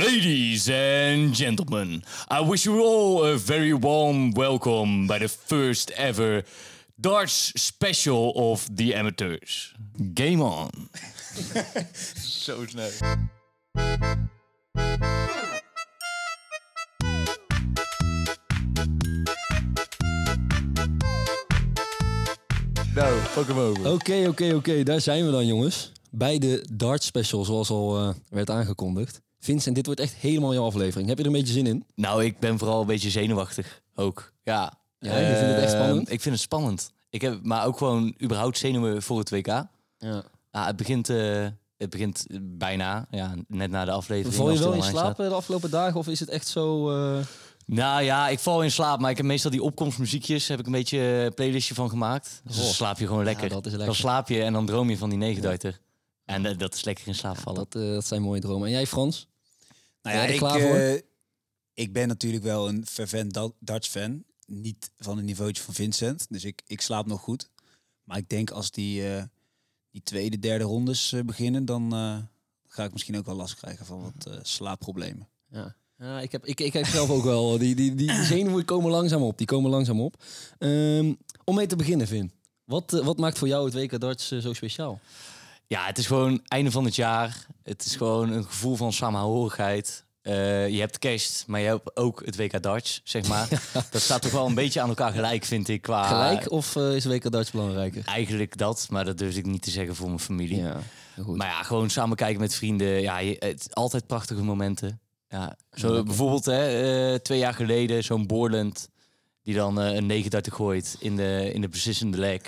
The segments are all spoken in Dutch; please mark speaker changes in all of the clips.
Speaker 1: Ladies and gentlemen, I wish you all a very warm welcome by the first ever darts special of the amateurs. Game on.
Speaker 2: Zo snel. Nou, fuck hem over.
Speaker 3: Oké, oké, oké. Daar zijn we dan, jongens. Bij de Dart Special, zoals al eh, werd aangekondigd. Vincent, dit wordt echt helemaal jouw aflevering. Heb je er een beetje zin in?
Speaker 1: Nou, ik ben vooral een beetje zenuwachtig. Ook. Ja.
Speaker 3: Ja, je vindt het echt
Speaker 1: Eh,
Speaker 3: spannend?
Speaker 1: Ik vind het spannend. Ik heb, maar ook gewoon überhaupt zenuwen voor het WK.
Speaker 3: Ja.
Speaker 1: Ah, het, begint, eh, het begint bijna, ja, net na de aflevering.
Speaker 3: Val
Speaker 1: als
Speaker 3: je
Speaker 1: het
Speaker 3: wel in
Speaker 1: online staat.
Speaker 3: slaap eh, de afgelopen dagen of is het echt zo... eh,
Speaker 1: Nou ja, ik val in slaap, maar ik heb meestal die opkomstmuziekjes, heb ik een beetje een playlistje van gemaakt. Dus dan
Speaker 3: Oh.
Speaker 1: slaap je gewoon lekker.
Speaker 3: dat is
Speaker 1: Dan
Speaker 3: lekker.
Speaker 1: slaap je en dan droom je van die negenduiter. En eh, dat is lekker in slaap vallen.
Speaker 3: dat, eh, dat zijn mooie dromen. En jij, Frans? Ben
Speaker 4: Nou ja,
Speaker 3: jij er
Speaker 4: ik,
Speaker 3: klaar voor?
Speaker 4: eh, ik ben natuurlijk wel een fervent Da- Darts-fan. Niet van het niveautje van Vincent. Dus ik, ik slaap nog goed. Maar ik denk als die, eh, die tweede, derde rondes eh, beginnen... dan eh, ga ik misschien ook wel last krijgen van wat eh, slaapproblemen.
Speaker 3: Ja. Ja, ik, heb, ik, ik heb zelf ook wel... Die, die, die zenuwen komen langzaam op. Die komen langzaam op. Ehm, om mee te beginnen, Vin. Wat, eh, wat maakt voor jou het WK Darts eh, zo speciaal?
Speaker 1: Ja, het is gewoon einde van het jaar. Het is gewoon een gevoel van samenhorigheid. Eh, je hebt kerst, maar je hebt ook het WK darts, zeg maar. Dat staat toch wel een beetje aan elkaar gelijk, vind ik. Qua
Speaker 3: Gelijk of eh, is WK Darts belangrijker?
Speaker 1: Eigenlijk dat, maar dat durf ik niet te zeggen voor mijn familie.
Speaker 3: goed.
Speaker 1: Maar ja, gewoon samen kijken met vrienden. Ja, je- het altijd prachtige momenten. Ja, zo bijvoorbeeld hè, eh, twee jaar geleden zo'n Borland die dan eh, een 39 gooit in de, in de beslissende leg.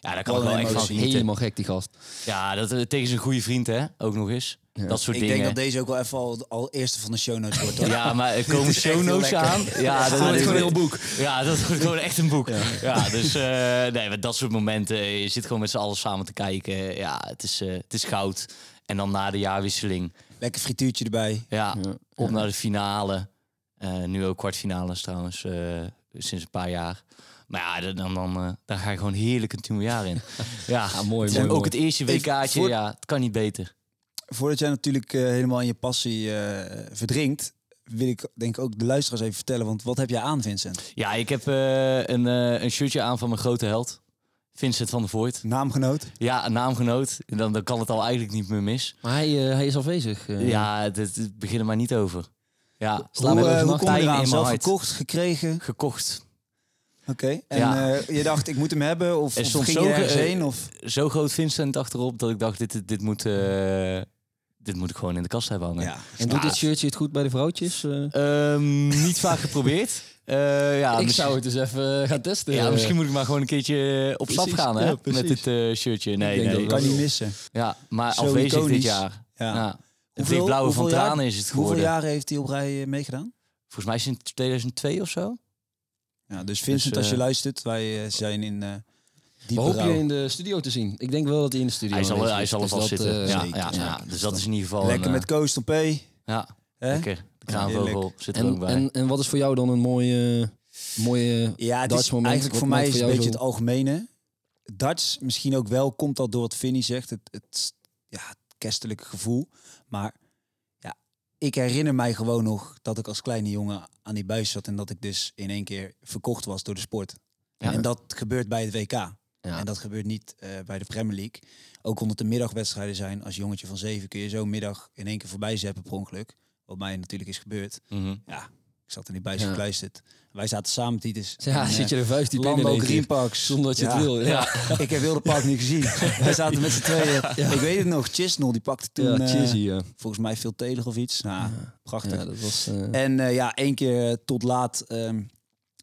Speaker 1: Ja, daar kan
Speaker 4: Wat
Speaker 1: ik wel
Speaker 4: een
Speaker 1: echt van
Speaker 4: emotie.
Speaker 1: genieten.
Speaker 3: Helemaal gek, die gast.
Speaker 1: Ja, dat, eh, tegen zijn goede vriend hè, ook nog eens. Dat soort
Speaker 4: ik
Speaker 1: dingen.
Speaker 4: denk dat deze ook wel even al, al eerste van de show notes wordt. hoor.
Speaker 1: ja, maar er komen
Speaker 4: is echt
Speaker 1: show notes
Speaker 4: heel
Speaker 1: aan.
Speaker 4: lekker.
Speaker 1: Ja, dat wordt
Speaker 3: gewoon een heel
Speaker 1: boek. Ja, dat wordt gewoon echt een boek. Ja, dus eh, nee, maar dat soort momenten. eh, Je zit gewoon met z'n allen samen te kijken. Ja, het is, eh, het is goud. En dan na de jaarwisseling.
Speaker 4: Lekker frituurtje erbij.
Speaker 1: Ja, op naar de finale. Eh, nu ook kwartfinales trouwens, eh, sinds een paar jaar. Maar ja, dan, dan, dan, eh, daar ga je gewoon heerlijk een nieuw jaar in. ja,
Speaker 3: Ja, Ah, mooi,
Speaker 1: En
Speaker 3: mooi,
Speaker 1: ook
Speaker 3: mooi.
Speaker 1: het eerste
Speaker 4: Ik-
Speaker 1: WK'tje,
Speaker 4: voor-
Speaker 1: ja, het kan niet beter.
Speaker 4: Voordat jij natuurlijk eh, helemaal in je passie eh, verdrinkt... wil ik denk ik ook de luisteraars even vertellen. Want wat heb jij aan, Vincent?
Speaker 1: Ja, ik heb eh, een, eh, een shirtje aan van mijn grote held. Vincent van der Voort.
Speaker 4: Naamgenoot?
Speaker 1: Ja, naamgenoot. Dan, dan kan het al eigenlijk niet meer mis.
Speaker 3: Maar hij, eh, hij is afwezig. eh.
Speaker 1: Ja, het, het begin er maar niet over. Ja,
Speaker 3: Laat
Speaker 4: Hoe,
Speaker 3: me
Speaker 4: eh,
Speaker 3: even
Speaker 4: hoe
Speaker 3: nog
Speaker 4: kom je
Speaker 1: pijn in
Speaker 4: eraan?
Speaker 1: mijn
Speaker 4: Zelf
Speaker 1: hart.
Speaker 4: gekocht, gekregen?
Speaker 1: gekocht.
Speaker 4: Oké. En
Speaker 1: Ja.
Speaker 4: eh, je dacht, ik moet hem hebben? Of,
Speaker 1: Er
Speaker 4: of
Speaker 1: stond
Speaker 4: ging
Speaker 1: zo
Speaker 4: je
Speaker 1: ge-
Speaker 4: ergens heen? Of...
Speaker 1: Zo groot Vincent achterop dat ik dacht, dit, dit, dit moet, eh, dit moet ik gewoon in de kast hebben hangen.
Speaker 3: En doet dit shirtje het goed bij de vrouwtjes? eh?
Speaker 1: Ehm, niet vaak geprobeerd. Eh, ja, misschien,
Speaker 3: het eens even eh, gaan testen.
Speaker 4: eh,
Speaker 1: ja, misschien moet ik maar gewoon een keertje op
Speaker 3: Precies,
Speaker 1: stap gaan hè?
Speaker 3: ja,
Speaker 1: met
Speaker 3: precies.
Speaker 1: dit eh, shirtje. Nee,
Speaker 3: denk
Speaker 1: nee.
Speaker 3: dat
Speaker 4: kan
Speaker 3: wel.
Speaker 4: niet missen.
Speaker 1: Ja, maar
Speaker 4: Zo
Speaker 1: afwezig dit
Speaker 4: iconisch.
Speaker 1: jaar.
Speaker 4: Ja.
Speaker 1: Ja. Het licht blauwe van
Speaker 4: hoeveel jaar-
Speaker 1: tranen is het
Speaker 4: Hoeveel
Speaker 1: geworden.
Speaker 4: jaren heeft hij op rij eh, meegedaan?
Speaker 1: Volgens mij sinds 2002 of zo.
Speaker 4: Ja, dus Vincent,
Speaker 1: Dus,
Speaker 4: als je
Speaker 1: eh,
Speaker 4: luistert, wij eh, zijn in eh
Speaker 3: We
Speaker 4: diepe
Speaker 3: hopen
Speaker 4: rouw.
Speaker 3: je in de studio te zien. Ik denk wel dat hij in de studio
Speaker 1: Hij zal,
Speaker 3: aanwezig
Speaker 1: hij
Speaker 3: is.
Speaker 1: zal er
Speaker 3: Dus
Speaker 1: vast
Speaker 3: dat,
Speaker 1: zitten.
Speaker 3: eh,
Speaker 1: ja,
Speaker 4: zeker,
Speaker 1: ja,
Speaker 4: zeker.
Speaker 1: ja. Dus dat is in ieder geval
Speaker 4: Lekker
Speaker 1: een,
Speaker 4: met
Speaker 1: eh,
Speaker 4: Koos Tom P.
Speaker 1: ja,
Speaker 4: Hè?
Speaker 1: lekker. De
Speaker 4: Ja,
Speaker 1: kraanvogel
Speaker 4: heerlijk.
Speaker 1: zit er ook
Speaker 3: En,
Speaker 1: bij.
Speaker 3: en, en wat is voor jou dan een mooie, mooie
Speaker 4: Ja, het
Speaker 3: darts
Speaker 4: is
Speaker 3: moment?
Speaker 4: eigenlijk
Speaker 3: Wat
Speaker 4: voor
Speaker 3: maakt
Speaker 4: mij is een
Speaker 3: jou
Speaker 4: beetje
Speaker 3: zo-
Speaker 4: het algemene. Darts, misschien ook wel, komt dat door wat Vinnie zegt. Het, het, ja, het kerstelijke gevoel. Maar ja, ik herinner mij gewoon nog dat ik als kleine jongen aan die buis zat. En dat ik dus in één keer verkocht was door de sport.
Speaker 3: Ja.
Speaker 4: En dat gebeurt bij het WK. En dat gebeurt niet eh, bij de Premier League. Ook omdat de middagwedstrijden zijn. Als jongetje van zeven kun je zo'n middag in één keer voorbij zeppen per ongeluk. Wat mij natuurlijk is gebeurd.
Speaker 1: Mhm.
Speaker 4: Ik zat in die buis
Speaker 3: Ja.
Speaker 4: gekluisterd. Wij zaten samen, Titus.
Speaker 3: Ja,
Speaker 4: En, eh,
Speaker 3: zit je er vuist diep in in
Speaker 4: Lambo
Speaker 3: één keer.
Speaker 4: Greenparks.
Speaker 3: Zonder dat je
Speaker 4: Ja.
Speaker 3: het wil. Ja.
Speaker 4: Ik heb heel de park niet gezien. Wij zaten met z'n tweeën. Ik weet het nog, Chisnell die pakte toen
Speaker 3: ja,
Speaker 4: eh,
Speaker 3: cheesy, ja.
Speaker 4: volgens mij veel telig of iets. Nou, prachtig.
Speaker 3: Ja, dat was... eh,
Speaker 4: En eh, ja, één keer eh, tot laat, ehm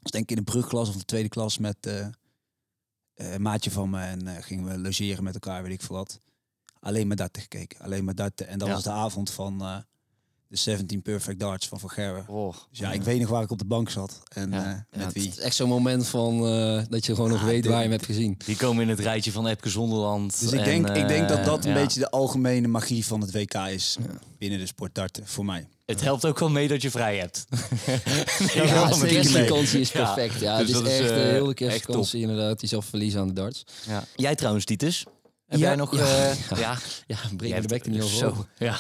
Speaker 4: was denk ik in de brugklas of de tweede klas met eh, eh, een maatje van me. En eh, gingen we logeren met elkaar, weet ik veel wat. Alleen maar darten gekeken, alleen maar darten. En dat
Speaker 1: Ja.
Speaker 4: was de avond van eh, de 17 Perfect Darts van Van Gerwen.
Speaker 1: Oh.
Speaker 4: Dus ja, ik weet nog waar ik op de bank zat en
Speaker 1: Ja.
Speaker 4: eh,
Speaker 3: ja,
Speaker 4: met
Speaker 3: het
Speaker 4: wie.
Speaker 3: is echt zo'n moment van eh, dat je gewoon nog
Speaker 4: Ah,
Speaker 3: weet
Speaker 4: dit-
Speaker 3: waar je hem hebt gezien.
Speaker 1: Die komen in het rijtje van Epke Zonderland.
Speaker 4: Dus ik
Speaker 1: en,
Speaker 4: denk, ik denk dat
Speaker 1: eh,
Speaker 4: dat een
Speaker 1: ja.
Speaker 4: beetje de algemene magie van het WK is binnen de sport darten, voor mij.
Speaker 1: Het helpt ook wel mee dat je vrij hebt.
Speaker 3: Ja,
Speaker 1: Ja,
Speaker 3: de
Speaker 1: zeker.
Speaker 3: kerstvakantie is
Speaker 1: Ja.
Speaker 3: perfect. Ja,
Speaker 1: Dus
Speaker 3: het
Speaker 1: dat
Speaker 3: is
Speaker 1: is,
Speaker 3: echt
Speaker 1: eh,
Speaker 3: de hele
Speaker 1: echt top.
Speaker 3: kerstvakantie inderdaad. Die zelf verliezen aan de darts.
Speaker 1: Ja. Jij trouwens, Titus. Heb
Speaker 3: Ja,
Speaker 1: jij nog...
Speaker 3: ja.
Speaker 1: eh, ja.
Speaker 3: Ja, breng
Speaker 1: Jij
Speaker 3: je de
Speaker 1: hebt-
Speaker 3: bek er niet over.
Speaker 1: Zo,
Speaker 3: op.
Speaker 1: ja.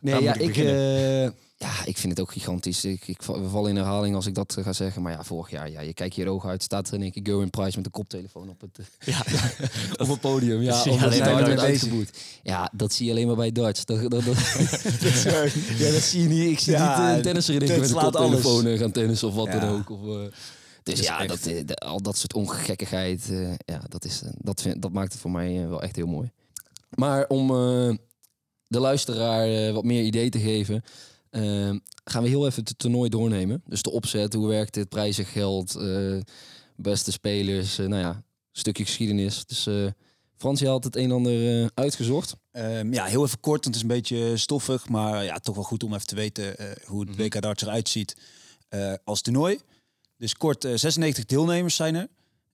Speaker 3: Nee,
Speaker 1: Waar
Speaker 3: ja,
Speaker 1: moet ik
Speaker 3: ik,
Speaker 1: beginnen?
Speaker 3: eh, ja, ik vind het ook gigantisch. Ik, ik, val- we vallen in herhaling als ik dat eh, ga zeggen. Maar ja, vorig jaar, ja, je kijkt hier oog uit. Staat er in één keer Gerwin Price met een koptelefoon op het, eh,
Speaker 1: Ja.
Speaker 3: op het podium. Ja,
Speaker 1: dat zie je
Speaker 3: omdat
Speaker 1: alleen
Speaker 3: hij
Speaker 1: bij
Speaker 3: daar wordt
Speaker 4: Dutch.
Speaker 3: uitgeboet. Ja, dat zie je alleen maar bij Dutch. Dat, dat, dat, ja, dat zie je niet. Ik zie
Speaker 4: Ja,
Speaker 3: niet eh, een tennisser in één keer
Speaker 4: dat
Speaker 3: met een
Speaker 4: slaat
Speaker 3: koptelefoon eh, gaan tennissen of wat
Speaker 4: Ja.
Speaker 3: dan ook. Of, eh, dus
Speaker 4: is
Speaker 3: ja,
Speaker 4: echt-
Speaker 3: dat, eh, de- al dat soort ongekkigheid, eh, ja, dat, is, eh, dat, vind, dat maakt het voor mij eh, wel echt heel mooi. Maar om eh, de luisteraar eh, wat meer idee te geven, eh, gaan we heel even het toernooi doornemen. Dus de opzet, hoe werkt dit, prijzen, geld, eh, beste spelers, eh, nou ja, een stukje geschiedenis. Dus eh Frans, je had het een en ander eh, uitgezocht.
Speaker 4: Ehm, ja, heel even kort, want het is een beetje stoffig. Maar ja, toch wel goed om even te weten eh, hoe het
Speaker 1: Mhm.
Speaker 4: WK darts eruit ziet eh, als toernooi. Dus kort, eh, 96 deelnemers zijn er.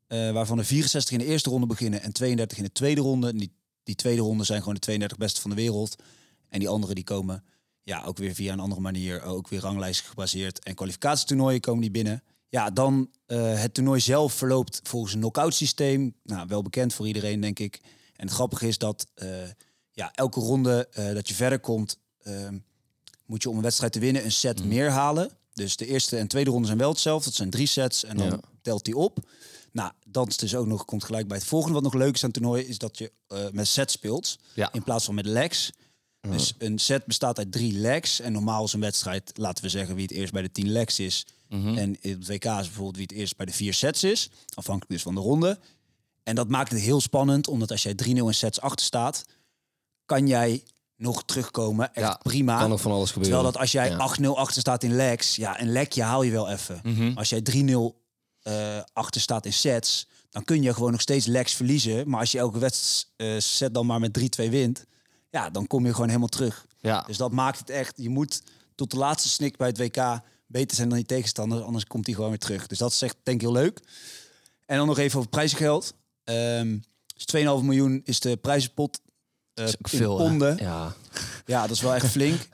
Speaker 4: eh, waarvan er 64 in de eerste ronde beginnen en 32 in de tweede ronde. En die, die tweede ronde zijn gewoon de 32 beste van de wereld. En die anderen die komen ja, ook weer via een andere manier, ook weer ranglijst gebaseerd. En kwalificatietoernooien komen die binnen. Ja, dan eh, het toernooi zelf verloopt volgens een knock-out systeem. Nou, wel bekend voor iedereen, denk ik. En het grappige is dat eh, ja, elke ronde eh, dat je verder komt, ehm, moet je om een wedstrijd te winnen een
Speaker 3: Mhm.
Speaker 4: set meer halen. Dus de eerste en tweede ronde zijn wel hetzelfde. Dat zijn drie sets en dan
Speaker 3: Ja.
Speaker 4: telt die op. Nou, dat is dus ook nog, komt gelijk bij het volgende. Wat nog leuk is aan het toernooi, is dat je eh, met sets speelt.
Speaker 1: Ja.
Speaker 4: In plaats van met legs. Dus een set bestaat uit drie legs. En normaal is een wedstrijd, laten we zeggen, wie het eerst bij de tien legs is.
Speaker 3: Mhm.
Speaker 4: En in het WK is bijvoorbeeld wie het eerst bij de vier sets is. Afhankelijk dus van de ronde. En dat maakt het heel spannend, omdat als jij 3-0 in sets achter staat, kan jij nog terugkomen. Echt
Speaker 3: Ja,
Speaker 4: prima.
Speaker 3: kan nog van alles gebeuren.
Speaker 4: Terwijl dat als jij
Speaker 3: Ja.
Speaker 4: 8-0 achter staat in legs, ja, een lekje haal je wel even.
Speaker 1: Mhm.
Speaker 4: Als jij 3-0 eh, achter staat in sets, dan kun je gewoon nog steeds legs verliezen. Maar als je elke wedst- eh, set dan maar met 3-2 wint, ja, dan kom je gewoon helemaal terug.
Speaker 1: Ja.
Speaker 4: Dus dat maakt het echt, je moet tot de laatste snik bij het WK beter zijn dan je tegenstander, anders komt hij gewoon weer terug. Dus dat is echt, denk ik, heel leuk. En dan nog even over prijzengeld. Ehm dus 2,5 miljoen is de prijzenpot. eh,
Speaker 1: is ook
Speaker 4: in
Speaker 1: veel, hè?
Speaker 4: ponden.
Speaker 3: Ja,
Speaker 4: Ja, dat is wel echt flink.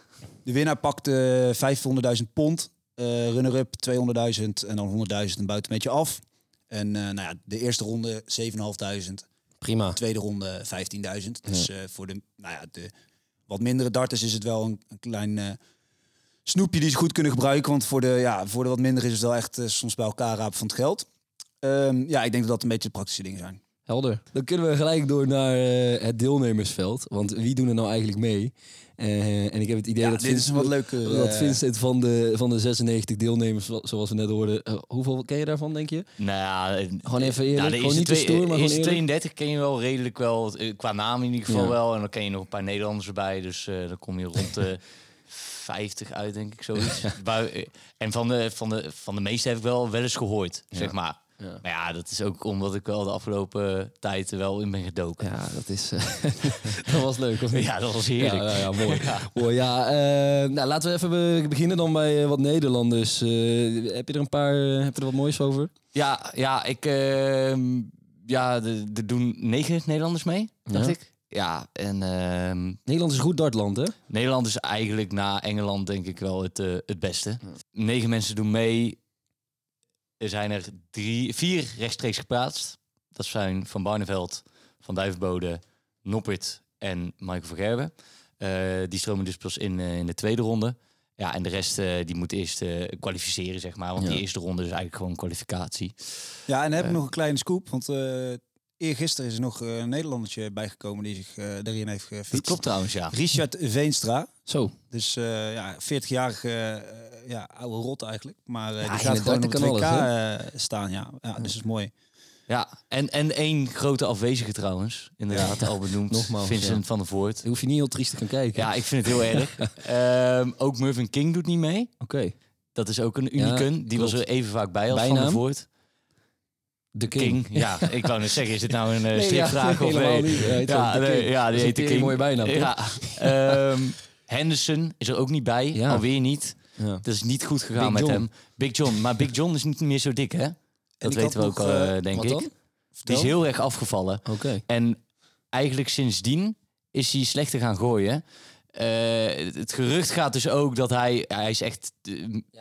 Speaker 4: De winnaar pakte 500.000 pond. eh, Runner-up 200.000 en dan 100.000 een buitenmeetje af. En eh, nou ja, de eerste ronde 7.500.
Speaker 3: prima.
Speaker 4: Tweede ronde 15.000. Dus eh, voor de, nou ja, de wat mindere darters is het wel een, een klein eh, snoepje die ze goed kunnen gebruiken. Want voor de, ja, voor de wat minder is het wel echt eh, soms bij elkaar rapen van het geld. Ehm, ja, ik denk dat dat een beetje de praktische dingen zijn.
Speaker 3: Helder. Dan kunnen we gelijk door naar eh, het deelnemersveld. Want wie doen er nou eigenlijk mee? Eh, en ik heb het idee
Speaker 4: Ja,
Speaker 3: dat
Speaker 4: dit is een wat leuker...
Speaker 3: dat
Speaker 4: eh,
Speaker 3: Vincent van de, van de 96 deelnemers, zo- zoals we net hoorden, eh, hoeveel ken je daarvan, denk je?
Speaker 1: Nou ja,
Speaker 3: Gewoon even eerlijk,
Speaker 1: Nou, de
Speaker 3: gewoon
Speaker 1: eerste
Speaker 3: niet te
Speaker 1: twee-
Speaker 3: stoer, maar
Speaker 1: eerste
Speaker 3: gewoon eerlijk.
Speaker 1: 32 ken je wel redelijk wel, eh, qua naam in ieder geval
Speaker 3: Ja.
Speaker 1: wel. En dan ken je nog een paar Nederlanders erbij, dus eh, dan kom je rond de 50 uit, denk ik, zoiets. Bui- eh, en van de, van, de, van de meeste heb ik wel wel eens gehoord, zeg maar.
Speaker 3: Ja.
Speaker 1: Maar ja, dat is ook omdat ik wel de afgelopen tijd er wel in ben gedoken. Ja,
Speaker 3: Ja, dat is... eh, dat was leuk, of niet?
Speaker 1: dat was heerlijk.
Speaker 3: Ja, ja, ja, mooi. Mooi, ja, eh, nou, laten we even be- beginnen dan bij eh, wat Nederlanders. Eh, heb je er een paar, eh, heb je er wat moois over?
Speaker 1: Ja, ja, ik, ehm, ja, er er doen negen Nederlanders mee, dacht
Speaker 3: Ja.
Speaker 1: ik. Ja, en ehm,
Speaker 3: Nederland is een goed dartland, hè?
Speaker 1: Nederland is eigenlijk na Engeland denk ik wel het, eh, het beste. Negen mensen doen mee. Er zijn er drie, vier rechtstreeks geplaatst. Dat zijn Van Barneveld, Van Duivenbode, Noppert en Michael van Gerwen. Eh, die stromen dus pas in, eh, in de tweede ronde. Ja, en de rest eh, die moet eerst eh, kwalificeren, zeg maar. Want
Speaker 3: Ja.
Speaker 1: die eerste ronde is eigenlijk gewoon kwalificatie.
Speaker 4: Ja, en dan heb
Speaker 1: Eh.
Speaker 4: ik nog een kleine scoop. Want eh eergisteren is er nog eh, een Nederlandertje bijgekomen die zich eh daarin heeft
Speaker 1: Dat
Speaker 4: gefietst.
Speaker 1: klopt trouwens, ja.
Speaker 4: Richard Veenstra.
Speaker 3: Zo,
Speaker 4: Dus eh, ja, 40-jarige eh, ja, oude rot eigenlijk. Maar eh,
Speaker 3: Ja,
Speaker 4: die
Speaker 3: in
Speaker 4: gaat
Speaker 3: het
Speaker 4: gewoon op het
Speaker 3: darten
Speaker 4: WK
Speaker 3: kan
Speaker 4: eh, staan. Ja. ja, dus dat is mooi.
Speaker 1: ja. En, en één grote afwezige trouwens. Inderdaad, al benoemd.
Speaker 3: Nogmaals,
Speaker 1: Vincent
Speaker 3: ja.
Speaker 1: van der Voort.
Speaker 3: daar hoef je niet heel triest te gaan kijken.
Speaker 1: Ja, ik vind het heel erg. Ehm, ook Mervyn King doet niet mee.
Speaker 3: Oké.
Speaker 1: Dat is ook een
Speaker 3: Ja,
Speaker 1: unicum. Die was
Speaker 3: klopt.
Speaker 1: er even vaak bij als Van
Speaker 3: Bijnaam?
Speaker 1: der Voort.
Speaker 3: De King.
Speaker 1: King. Ja, ik wou net zeggen, is dit nou een eh,
Speaker 3: Nee, ja,
Speaker 1: stripvraag of
Speaker 3: helemaal
Speaker 1: nee?
Speaker 3: niet. Hij heet
Speaker 1: Ja,
Speaker 3: gewoon de
Speaker 1: nee,
Speaker 3: King.
Speaker 1: ja,
Speaker 3: Dat
Speaker 1: die
Speaker 3: is
Speaker 1: heet de
Speaker 3: een
Speaker 1: King.
Speaker 3: mooie bijnaam, toch?
Speaker 1: Ja. Ehm, Henderson is er ook niet bij.
Speaker 3: Ja.
Speaker 1: Alweer niet.
Speaker 3: Ja.
Speaker 1: Dat is niet goed gegaan met
Speaker 3: Big John.
Speaker 1: hem. Big John. Maar Big John is niet meer zo dik, hè? Dat
Speaker 4: ik had
Speaker 1: weten we ook
Speaker 4: nog,
Speaker 1: al,
Speaker 4: eh,
Speaker 1: eh, denk
Speaker 3: wat
Speaker 1: ik.
Speaker 3: dan?
Speaker 1: Die is
Speaker 4: Vertel.
Speaker 1: heel erg afgevallen.
Speaker 3: Oké.
Speaker 1: En eigenlijk sindsdien is hij slechter gaan gooien. Eh, het- het gerucht gaat dus ook dat hij... ja, Hij is echt eh,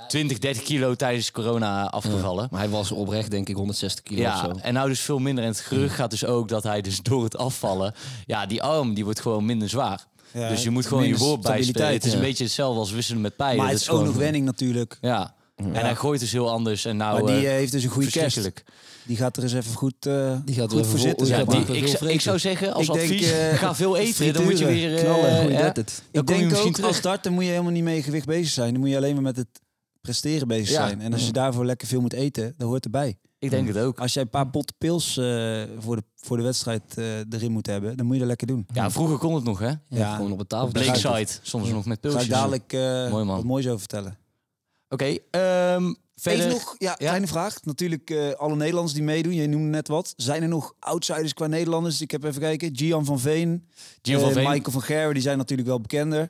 Speaker 1: 20, 30 kilo tijdens corona afgevallen.
Speaker 3: Maar hij was oprecht, denk ik, 160 kilo of
Speaker 1: Ja,
Speaker 3: zo.
Speaker 1: en nou dus veel minder. En het gerucht gaat dus ook dat hij dus door het afvallen... Ja, die arm die wordt gewoon minder zwaar.
Speaker 4: Ja,
Speaker 1: dus je moet gewoon je
Speaker 4: minder
Speaker 1: woord bijstellen.
Speaker 4: stabiliteit,
Speaker 1: Het is een
Speaker 4: ja.
Speaker 1: beetje hetzelfde als wisselen met pijlen.
Speaker 4: Maar
Speaker 1: Dat
Speaker 4: het is ook
Speaker 1: gewoon- eh,
Speaker 4: nog wenning natuurlijk.
Speaker 1: Ja. En hij gooit dus heel anders. En nou,
Speaker 4: Maar die
Speaker 1: eh,
Speaker 4: eh, heeft dus een goede kerst.
Speaker 1: verschrikkelijk.
Speaker 4: Die gaat er eens even goed, eh
Speaker 3: Die gaat er
Speaker 4: goed
Speaker 3: even
Speaker 4: voor
Speaker 3: vol-
Speaker 4: zitten.
Speaker 3: die
Speaker 1: Ja,
Speaker 4: zeg
Speaker 3: gaat
Speaker 4: maar.
Speaker 1: die,
Speaker 3: maar.
Speaker 1: ik,
Speaker 3: Veel
Speaker 1: zou- ik zou zeggen, als
Speaker 4: Ik denk,
Speaker 1: advies,
Speaker 4: eh,
Speaker 1: ga veel eten. Dan moet je weer...
Speaker 4: frituren,
Speaker 1: eh,
Speaker 4: knallen,
Speaker 1: hè?
Speaker 3: het.
Speaker 1: Dan
Speaker 4: Ik
Speaker 1: kom je
Speaker 4: denk
Speaker 1: misschien
Speaker 4: ook
Speaker 1: terug.
Speaker 4: als darter moet je helemaal niet mee gewicht bezig zijn. Dan moet je alleen maar met het presteren bezig
Speaker 1: Ja. Mm.
Speaker 4: zijn. En als je daarvoor lekker veel moet eten, dat hoort erbij.
Speaker 1: Ik denk het ook.
Speaker 4: Als jij een paar botte pils eh, voor, de, voor de wedstrijd eh, erin moet hebben, dan moet je dat lekker doen.
Speaker 1: Ja, vroeger kon het nog, hè?
Speaker 4: Ja.
Speaker 3: Gewoon op de tafel.
Speaker 1: Blake
Speaker 4: gaat het.
Speaker 1: side, soms nog met
Speaker 4: Ga
Speaker 1: pilsjes.
Speaker 4: ik dadelijk eh,
Speaker 1: Mooi, man.
Speaker 4: wat moois over vertellen.
Speaker 1: Oké, ehm, verder...
Speaker 4: Even nog, ja, kleine vraag. Natuurlijk eh, alle Nederlanders die meedoen, je noemde net wat. Zijn er nog outsiders qua Nederlanders? Ik heb even kijken. Gian van Veen,
Speaker 1: Gio van
Speaker 4: eh,
Speaker 1: Veen.
Speaker 4: Michael van Gerwen, die zijn natuurlijk wel bekender.